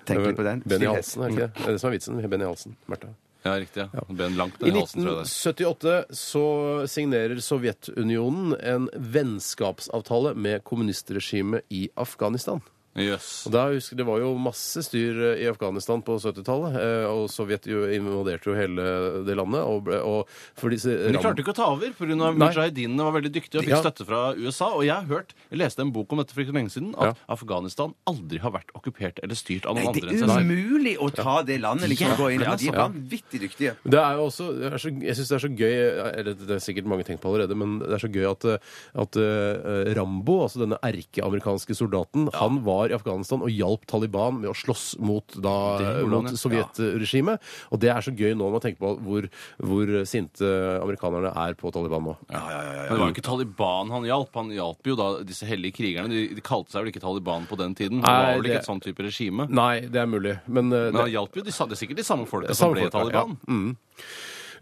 E: Tenk litt på den.
C: Benny
E: Stillhet.
C: Halsen, er det ikke det? Det er det som er vitsen. Benny Halsen. Märtha.
D: Ja, riktig. ja. Ben langt
C: I
D: ned i halsen, tror jeg det er.
C: 1978 så signerer Sovjetunionen en vennskapsavtale med kommunistregimet i Afghanistan.
D: Jøss.
C: Og da husker, jeg- Det var jo masse styr eh, i Afghanistan på 70-tallet, eh, og Sovjet jo invaderte jo hele det landet. Og, ble- og for disse
D: Men de klarte ikke å ta over pga.
C: Nei.
D: mujahedinene var veldig dyktige og fikk
C: Ja.
D: støtte fra USA. Og jeg har hørt, jeg leste en bok om dette for ikke så lenge siden, at
C: Ja.
D: Afghanistan aldri har vært okkupert eller styrt av
E: Nei,
D: noen
E: det
D: andre enn
E: er
D: seg selv.
E: umulig å ta det landet. liksom, gå inn. Ja, De er vanvittig dyktige.
C: Det er jo også, det er så, jeg syns det er så gøy eller Det er sikkert mange tenkt på allerede, men det er så gøy at, eh, at eh, Rambo, altså denne erkeamerikanske soldaten, han var i Afghanistan og hjalp Taliban med å slåss mot, da, eh,
D: Det gjorde
C: mot
D: han, ja.
C: sovjetregimet. Og det er så gøy nå når man tenker på hvor, hvor sinte amerikanerne er på Taliban nå.
D: Men det var jo ikke Taliban han hjalp. Han hjalp jo da disse hellige krigerne. De, de kalte seg vel ikke Taliban på den tiden. det
C: Nei,
D: var vel
C: det-
D: ikke et sånn type regime.
C: Nei, det er mulig, men, eh,
D: Men han hjalp jo de, sa- det er sikkert de samme folka som
C: Samme
D: ble
C: folka, Mm.
D: Taliban.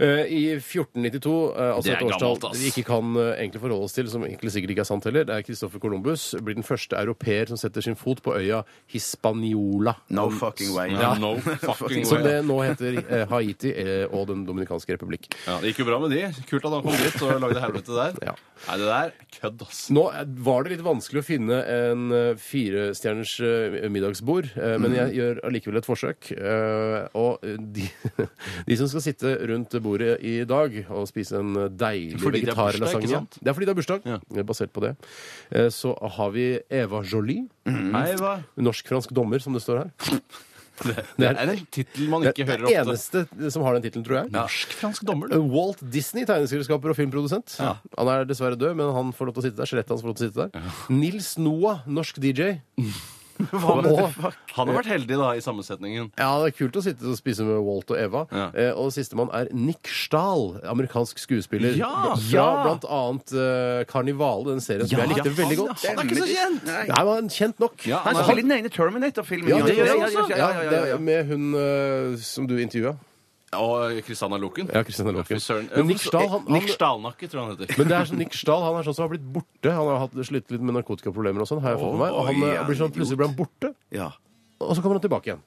C: Eh, I 1492, eh, altså
D: Det er
C: et årstall
D: gammelt, ass.
C: vi ikke kan eh, egentlig forholde oss til, som egentlig sikkert ikke er sant heller, det er Christoffer Columbus blir den første europeer som setter sin fot på øya Hispaniola.
E: No fucking way.
D: Ja, No fucking way.
C: Som det nå heter eh, Haiti eh, og Den dominikanske republikk.
D: Ja, det gikk jo bra med de. Kult at han kom dit og lagde helvete der.
C: Ja.
D: Nei, det der er kødd, ass.
C: Nå eh, var det litt vanskelig å finne en eh, firestjerners eh, middagsbord, eh,
D: Mm.
C: men jeg gjør allikevel et forsøk. Eh, Og eh, de, de som skal sitte rundt bordet i dag og spise en eh, deilig
D: Fordi det er bursdag, ikke
C: vegetarlasagne
D: sant?
C: Det er fordi det er bursdag,
D: Ja.
C: eh, basert på det. Eh, Så har vi Eva Jolie,
D: Nei, hva?
C: norsk-fransk dommer, som det står her.
D: Det er en tittel man
C: Det
D: ikke
C: er
D: hører
C: den
D: ofte.
C: eneste som har den tittelen, tror jeg. Eh,
D: Norsk-fransk dommer, du.
C: Walt Disney, tegneserieskaper og filmprodusent. Han er dessverre død, men han får lov til å sitte der. Skjelettet hans får lov til å sitte der. Nils Noah, norsk DJ.
D: Hva med
C: Og-
D: det? Han har vært heldig, da, i sammensetningen.
C: Ja, det er kult å sitte og spise med Walt og Eva.
D: Ja.
C: Eh, og sistemann er Nick Stahl, amerikansk skuespiller.
D: Ja,
C: Fra
D: ja.
C: blant annet eh, Karnivale, den serien som jeg likte veldig godt.
D: Han er ikke så kjent!
C: Nei, han var kjent nok.
D: Ja,
E: Han
D: han er-
E: spiller den ene Terminator-filmen.
C: Ja, det gjør
E: Ja,
C: jeg
E: ja,
C: også. Ja,
E: ja, ja, ja,
C: det
E: ja, ja.
C: er med hun eh, som du intervjua.
D: Og Kristian Loken.
C: Ja, Christian Loken.
D: Søren.
C: Men Nick Stahl, han- han-
D: Nick Stalnakke, tror jeg han heter.
C: Men det er sånn Nick Stahl han er sånn som har blitt borte. Han har hatt, slitt litt med narkotikaproblemer og sånn. har jeg fått med meg. Og han
E: Oi,
C: eh,
E: ja,
C: blir sånn,
E: idiot.
C: plutselig ble han borte,
E: Ja.
C: og så kommer han tilbake igjen.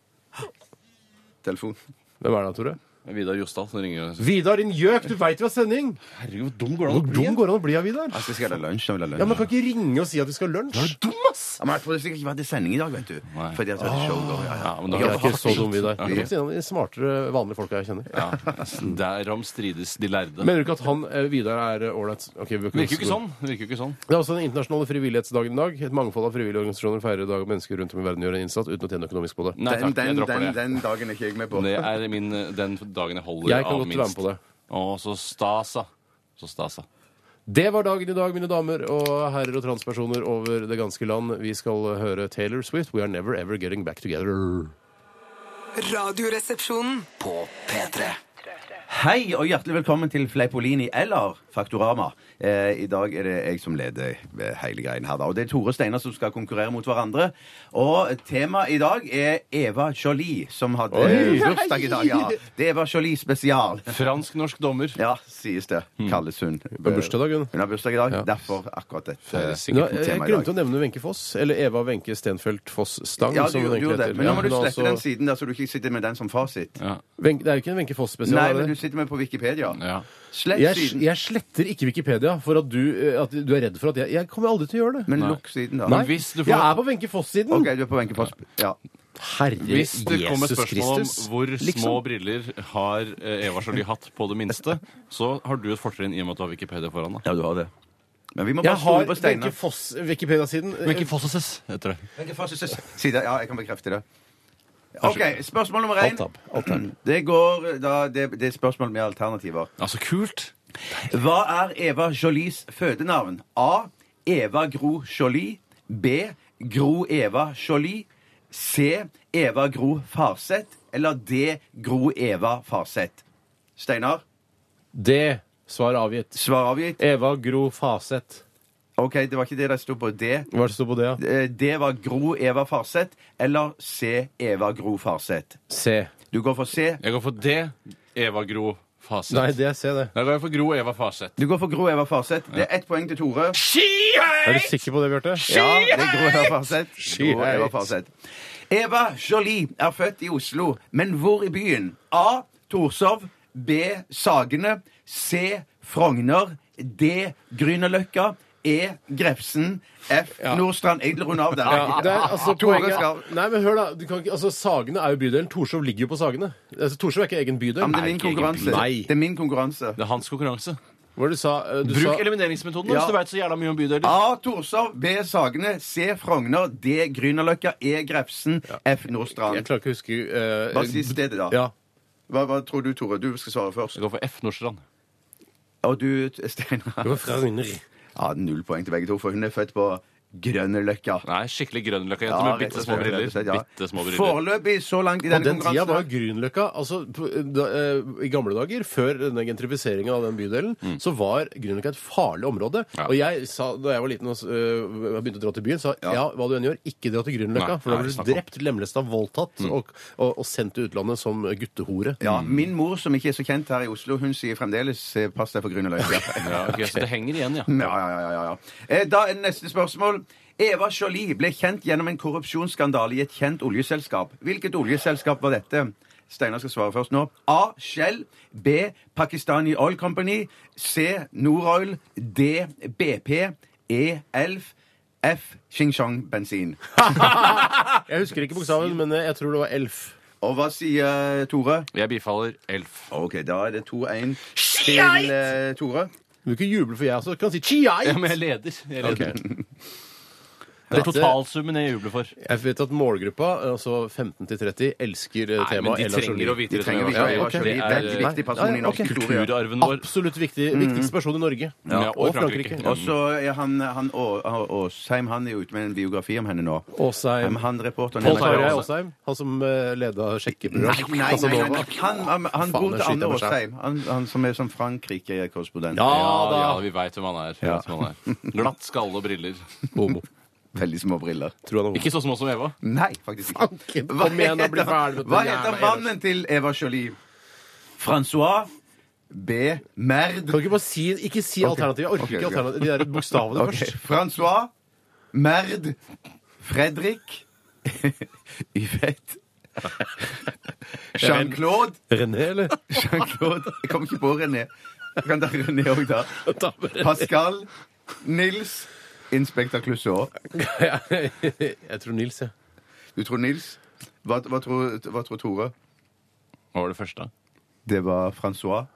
E: Telefon.
C: Hvem er det, Tore?
D: Vidar Jostal som ringer.
C: Vidar, din gjøk! Du veit vi har sending!
D: Herregud, hvor dum går
C: Hvor dum går det an å bli av Vidar?
E: Altså, jeg skal ha lunsj. Jeg vil ha lunsj.
C: Ja, Man kan ikke ringe og si at vi skal ha lunsj.
D: Dum, ass!
E: Ja, men jeg trodde sikkert ikke vi hadde sending i dag, vet du.
D: Nei.
E: Fordi at vi hadde show da. Ja, ja.
D: Ja, men da
C: Jeg er ikke så dum,
D: Vidar.
C: Vidar. Det er faktisk en av de smartere vanlige folka jeg kjenner.
D: Ja, Derom strides de lærde.
C: Mener du ikke at han eh, Vidar er eh, ålreit? Okay, vi kan-
D: det virker jo ikke sånn. Det virker jo ikke sånn.
C: Det er også den internasjonale frivillighetsdagen i dag. Et mangfold av frivillige organisasjoner feirer i dag og mennesker rundt om i verden gjør en innsats uten å tjene økonomisk på det.
D: Nei
E: Den,
D: takk, jeg
E: den,
D: dropper
E: den,
D: det.
E: den dagen er ikke jeg med på.
D: Det er min, eh, den dagen jeg holder
C: Jeg kan
D: av
C: godt
D: minst.
C: være med på det.
D: Å, så stasa. Så stasa.
C: Det var dagen i dag, mine damer og herrer og transpersoner over det ganske land. Vi skal eh, høre Taylor Swift, We Are Never Ever Getting Back Together.
A: Radioresepsjonen.
E: Hei og hjertelig velkommen til Fleipolini eller Faktorama. Eh, I dag er det jeg som leder eh, hele greien her, da. Og det er Tore og Steinar som skal konkurrere mot hverandre. Og temaet i dag er Eva Jolie, som hadde
C: Oi!
E: eh, bursdag i dag. Ja. Det er Eva Jolie spesial.
D: Fransk-norsk dommer.
E: Ja, sies det. Kalles hun.
C: Det er bursdag, Hmm. hun.
E: Hun har bursdag i dag. Derfor akkurat dette.
D: Det er
C: Ja,
D: sikkert-
E: noe
C: eh, jeg
E: tema i
C: glemte
E: dag.
C: å nevne Wenche Foss, eller Eva Wenche Stenfeldt Foss Stang.
E: Ja, du
C: som hun
E: gjorde
C: egentlig
E: jo det.
C: heter.
E: Men nå må
C: Ja,
E: du
C: hun er
E: slette den
C: altså-
E: siden der, så du ikke sitter med den som fasit.
D: Ja.
C: Wenche- Det er jo ikke en Wenche Foss-spesial.
E: Nei,
C: Sånn er
E: men du
C: det?
E: sitter med på Wikipedia.
D: Ja.
E: Slett
C: Jeg,
E: siden.
C: jeg sletter ikke Wikipedia for at du, eh, at du er redd for at jeg Jeg kommer aldri til å gjøre det.
E: Men
D: Nei.
E: lukk siden, da.
C: Nei,
D: Men hvis du får-
C: Jeg er på Wenche Foss-siden!
E: OK, du er på Wenche Foss. Ja.
C: Herre
D: Hvis det kommer
C: Jesus
D: spørsmål om
C: Kristus.
D: hvor små
C: Liksom.
D: briller har eh, Eva Jolie hatt på det minste, så har du et fortrinn i og med at du har Wikipedia foran deg.
E: ja, du har det. Men vi må bare
C: Jeg
E: stole
C: har
E: på Steinar.
C: Wenche Foss Wikipedia-siden.
D: Men ikke Fossoses, heter det.
E: Wenche Foss' side. Ja, jeg kan bekrefte det. OK, spørsmål nummer én.
C: Alt tab, alt tab.
E: Det går da Det, det er spørsmål med alternativer.
D: Altså, kult!
E: Hva er Eva Jolies fødenavn? A. Eva Gro Jolie. B. Gro Eva Jolie. C. Eva Gro Farseth. Eller D. Gro Eva Farseth. Steinar,
C: Det svar avgitt.
E: svar avgitt.
C: Eva Gro Faseth.
E: OK, det var ikke det det sto på D.
C: Hva er det som står på det? da?
E: Eh, D var Gro Eva Farseth. Eller C. Eva Gro Farseth.
C: C.
E: Du går for C.
D: Jeg går for D. Eva Gro Faset.
C: Nei, det er C, det.
D: Da går jeg for Gro Eva Faset.
E: Du går for Gro Eva Farseth. Det er ett poeng til Tore.
C: Er du sikker på det, Bjarte?
E: Ja, det er Gro Eva Farseth. Gro
C: Skyhøyt.
E: Eva Farseth. Eva Jolie er født i Oslo, men hvor i byen? A. Torshov. B. Sagene. C. Frogner. D. Grünerløkka. E. Grefsen. F. Nordstrand. Jeg runder av der.
C: Ja, det er, altså,
E: Tore
C: poenget,
E: skal-
C: nei, men hør da, du kan ikke, altså, Sagene er jo bydelen. Torshov ligger jo på Sagene. Altså, Torshov er ikke egen bydel.
E: Ja, men det er min konkurranse.
C: Nei.
E: Det er min konkurranse.
D: Det er hans konkurranse.
C: Hva var det du sa? Eh, Du
D: Bruk
C: sa
D: elimineringsmetoden
E: Ja.
D: hvis du veit så jævla mye om bydeler.
E: A. Torshov. B. Sagene. C. Frogner. D. Grünerløkka. E. Grefsen. F. Nordstrand.
C: Jeg klarer ikke å huske eh,
E: Bare si stedet, da.
C: Ja.
E: Hva, hva tror du, Tore? Du skal svare først.
D: Jeg går for F. Nordstrand.
E: Og du, Steinar? Ja, null poeng til begge to, for hun er født på Grønneløkka.
D: Nei, skikkelig grønnløkkajente
E: Ja,
D: med
E: rett og
D: bitte små
E: slett,
D: briller.
E: rett og slett, ja.
D: Bitte små briller.
E: Foreløpig så langt i
C: På
E: denne
C: den tida var
E: konkurransen.
C: Grünerløkka altså, på- da, eh, I gamle dager, før denne gentrifiseringen av den bydelen, så var Grünerløkka et farlig område.
D: Ja.
C: Og jeg sa, da jeg var liten og eh, jeg begynte å dra til byen, sa ja, hva du enn gjør, ikke dra til Grünerløkka.
D: Nei,
C: For da
D: nei,
C: blir
D: snakk
C: du
D: om.
C: drept, lemlesta, voldtatt og, og, og sendt til utlandet som guttehore.
E: Ja, min mor, som ikke er så kjent her i Oslo, hun sier fremdeles eh, 'pass deg for Grünerløkka'.
D: Ja, ok, Så det henger igjen, ja.
E: Ja, ja, ja, ja, ja. Eh, Da er neste spørsmål. Eva Jolie ble kjent gjennom en korrupsjonsskandale i et kjent oljeselskap. Hvilket oljeselskap var dette? Steinar skal svare først nå. A. Shell. B. Pakistani Oil Company. C. Noroil. D. BP. E. Elf. F. Xinjiang Bensin.
C: Jeg husker ikke bokstaven, men eh, jeg tror det var Elf.
E: Og hva sier Tore?
D: Jeg bifaller Elf.
E: OK, da er det 2-1 til eh, Tore.
C: Du kan ikke juble for jeg også. Du kan si Chiai!
D: Ja, men jeg leder. Jeg leder. Det
C: Dette-
D: er totalsummen jeg jubler for.
C: Jeg vet at målgruppa, altså 15 til 30, elsker eh, temaet Ella Jolie.
E: De trenger vi ikke.
C: Ja,
E: Eva
C: ok.
E: Jolie,
D: Det er-
E: veldig viktig person
C: Ja,
E: i
C: ja,
E: norsk
C: ok.
E: historie.
D: Kulturarven vår.
C: Absolutt viktig, viktigste person i Norge.
D: Ja, og Frankrike.
E: Og så er han, han Å- Å- Åsheim han er jo ute med en biografi om henne nå.
C: Åsheim.
E: Han, han reporteren
C: Pål
E: han-
C: Tarjei Aasheim, han som uh, leda sjekkeprogram.
E: Nei, nei, nei, nei. Han, han, han
C: Faen,
E: bor til
C: jeg skyter
E: Anne
C: meg selv.
E: Åsheim, han, han som er som Frankrike-korrespondent.
C: Ja
D: Ja,
C: da!
D: ja, vi veit hvem han er. Vi vet hvem han er. Glatt skalle og briller.
C: Homo.
E: Veldig små briller.
C: Tror han er homo.
D: Ikke så små som Eva.
E: Nei, faktisk ikke.
C: Fanken, kom igjen og bli ferdig med
E: hva
C: den
E: heter
C: jævla
E: mannen til Eva Jolie? Francois B. Merd.
C: Kan du ikke bare si, ikke si alternativet? Jeg orker
E: Ok,
C: ikke
E: ok.
C: alternativet. De der bokstavene
E: Ok,
C: først.
E: Francois Merd. Fredrik Yvette. Jean-Claude
C: René, eller?
E: Jean-Claude. Jeg kom ikke på René. Jeg kan ta René òg, da.
C: Ta med René.
E: Pascal. Nils. Inspektør Clouseau.
C: Jeg tror Nils, jeg.
E: Du tror Nils? Hva, hva, tror, hva tror Tore?
D: Hva var det første?
E: Det var Francois.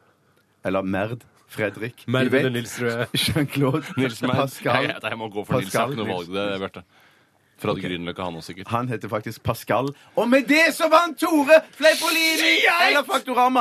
E: Eller Merd. Fredrik.
C: Mervin
E: Yvette,
C: eller Nils, tror jeg.
E: Jean-Claude.
D: Nils Meyer.
E: Pascal.
D: Jeg, jeg må gå for Nils. Jeg har ikke noe valg, det, Bjarte. Fra Grünerløkka, han også, sikkert.
E: Han heter faktisk Pascal. Og med det så vant Tore Fleipolini! Eller Faktorama.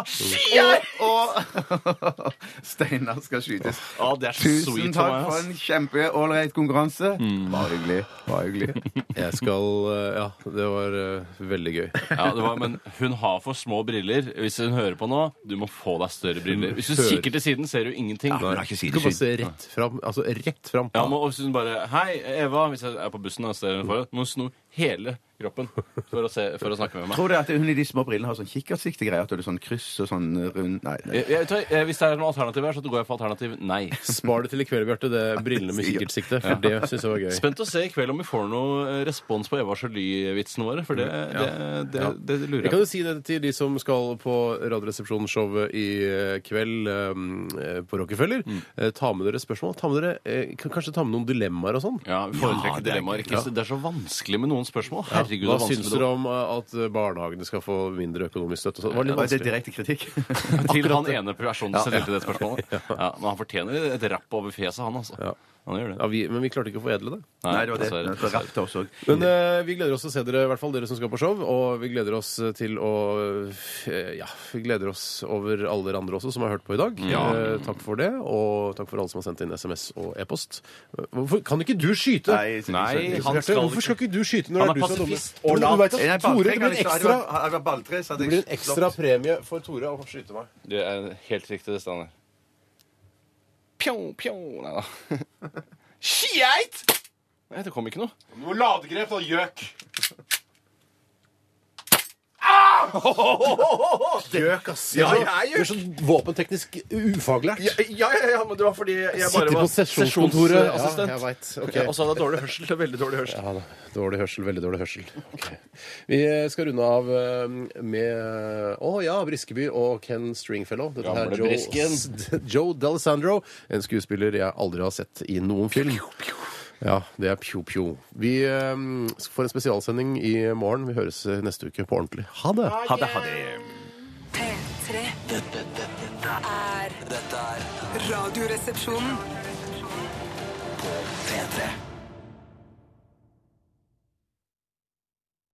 E: Og, og Steinar skal skytes.
D: Å, det er så
E: Tusen
D: sweet
E: takk
D: av meg,
E: for
D: ass. Mm.
E: en kjempeålreit konkurranse. Bare hyggelig. Bare hyggelig.
C: Jeg skal eh, Ja, det var eh, veldig gøy.
D: Ja, det var, men hun har for små briller. Hvis hun hører på nå, du må få deg større briller. Hvis du
C: Hører.
D: kikker til siden, ser du ingenting.
E: men det er ikke
C: Du kan bare se rett fram. Altså rett fram.
D: Ja, men og hvis hun bare Hei, Eva. Hvis jeg er på bussen og ser henne foran, må hun sno hele kroppen for å, se, for å snakke med meg.
E: Tror du at hun i de små brillene har sånn kikkertsiktig greie? At det er sånn kryss og sånn rund Nei. nei.
D: Jeg, jeg, vet du hva, eh, hvis det er noe alternativ her, så går jeg for alternativ nei.
C: Spar det til i kveld, Bjarte. Det er brillene med kikkertsikte. For det syns jeg var gøy.
D: Spent å se i kveld om vi får noe eh, respons på Eva Jolie-vitsene våre, for det, det, det, Eh, det,
C: Jeg
D: lurer
C: kan
D: jeg på.
C: jo si det til de som skal på Radioresepsjonsshowet i eh, kveld eh, på Rockefeller.
D: Mm.
C: Eh, Ta med dere spørsmål. Ta med dere, eh, kan- kanskje ta med noen dilemmaer og sånn.
D: Ja, vi foretrekker dilemmaer. Ikke? Det er så vanskelig med noen spørsmål. Herregud,
C: Hva
D: det er
C: syns
D: vanskelig.
C: dere om eh, at barnehagene skal få mindre økonomisk støtte? og sånn? Det var litt
E: Var det
C: vanskelig.
E: direkte kritikk?
D: Til han ene personen som stilte det spørsmålet. Ja, men han fortjener et rapp over fjeset, han altså. Han gjør det.
C: Ja, vi, men vi klarte ikke å foredle det.
E: Nei, det var
C: altså,
E: det.
D: dessverre.
E: Det Rapt også.
C: Men eh, vi gleder oss til å se dere, i hvert fall dere som skal på show. Og vi gleder oss til å eh, Ja, vi gleder oss over alle dere andre også som har hørt på i dag.
D: Ja.
C: Eh, takk for det, og takk for alle som har sendt inn SMS og e-post. Hvorfor kan ikke du skyte?
E: Nei,
D: Nei,
E: jeg-
D: han
C: Bjarte,
D: skal
C: hvorfor skal ikke du skyte når
D: Han
C: det er
D: er
C: du som er dommer?
D: pasifist
C: Jo, men du vet
E: Nei,
C: at Tore,
E: balltre
C: det blir
E: kan jeg
C: en
E: ikke- hadde
C: ekstra,
E: det vært- Hadde det vært balltre, så hadde
C: det
E: jeg
C: blir en
E: slått.
C: ekstra premie for Tore å skyte meg.
D: Det er helt riktig, det Steinar. Pjong, pjong Nei da. Skeit! Nei, det kom ikke noe.
C: Noe ladegrep, da, gjøk!
D: Au!
C: Gjøk, ass.
D: Ja,
C: Du er så-
D: jeg er jo-
C: Du er så våpenteknisk ufaglært.
D: Ja, ja, ja, ja, men det var fordi jeg
C: Sitter
D: bare
C: på
D: var
C: sesjonskontoret.
D: sesjonsassistent.
C: Ja, jeg vet. Ok.
D: Ja, og så hadde jeg dårlig hørsel. Veldig dårlig hørsel.
C: Ja da. Dårlig hørsel, veldig dårlig hørsel. Ok. Vi skal runde av eh, med Å ja, Briskeby og Ken Stringfellow. Dette
D: Gamle
C: er Joe,
D: Brisken.
C: S- Joe D'Alessandro, en skuespiller jeg aldri har sett i noen film. Ja, det er pjo-pjo. Vi eh, får en spesialsending i morgen. Vi høres eh, neste uke på ordentlig. Ha det!
E: Ha det, ha det.
A: P3
B: Dette, dette,
A: er
B: dette er
A: Radioresepsjonen.
B: P3.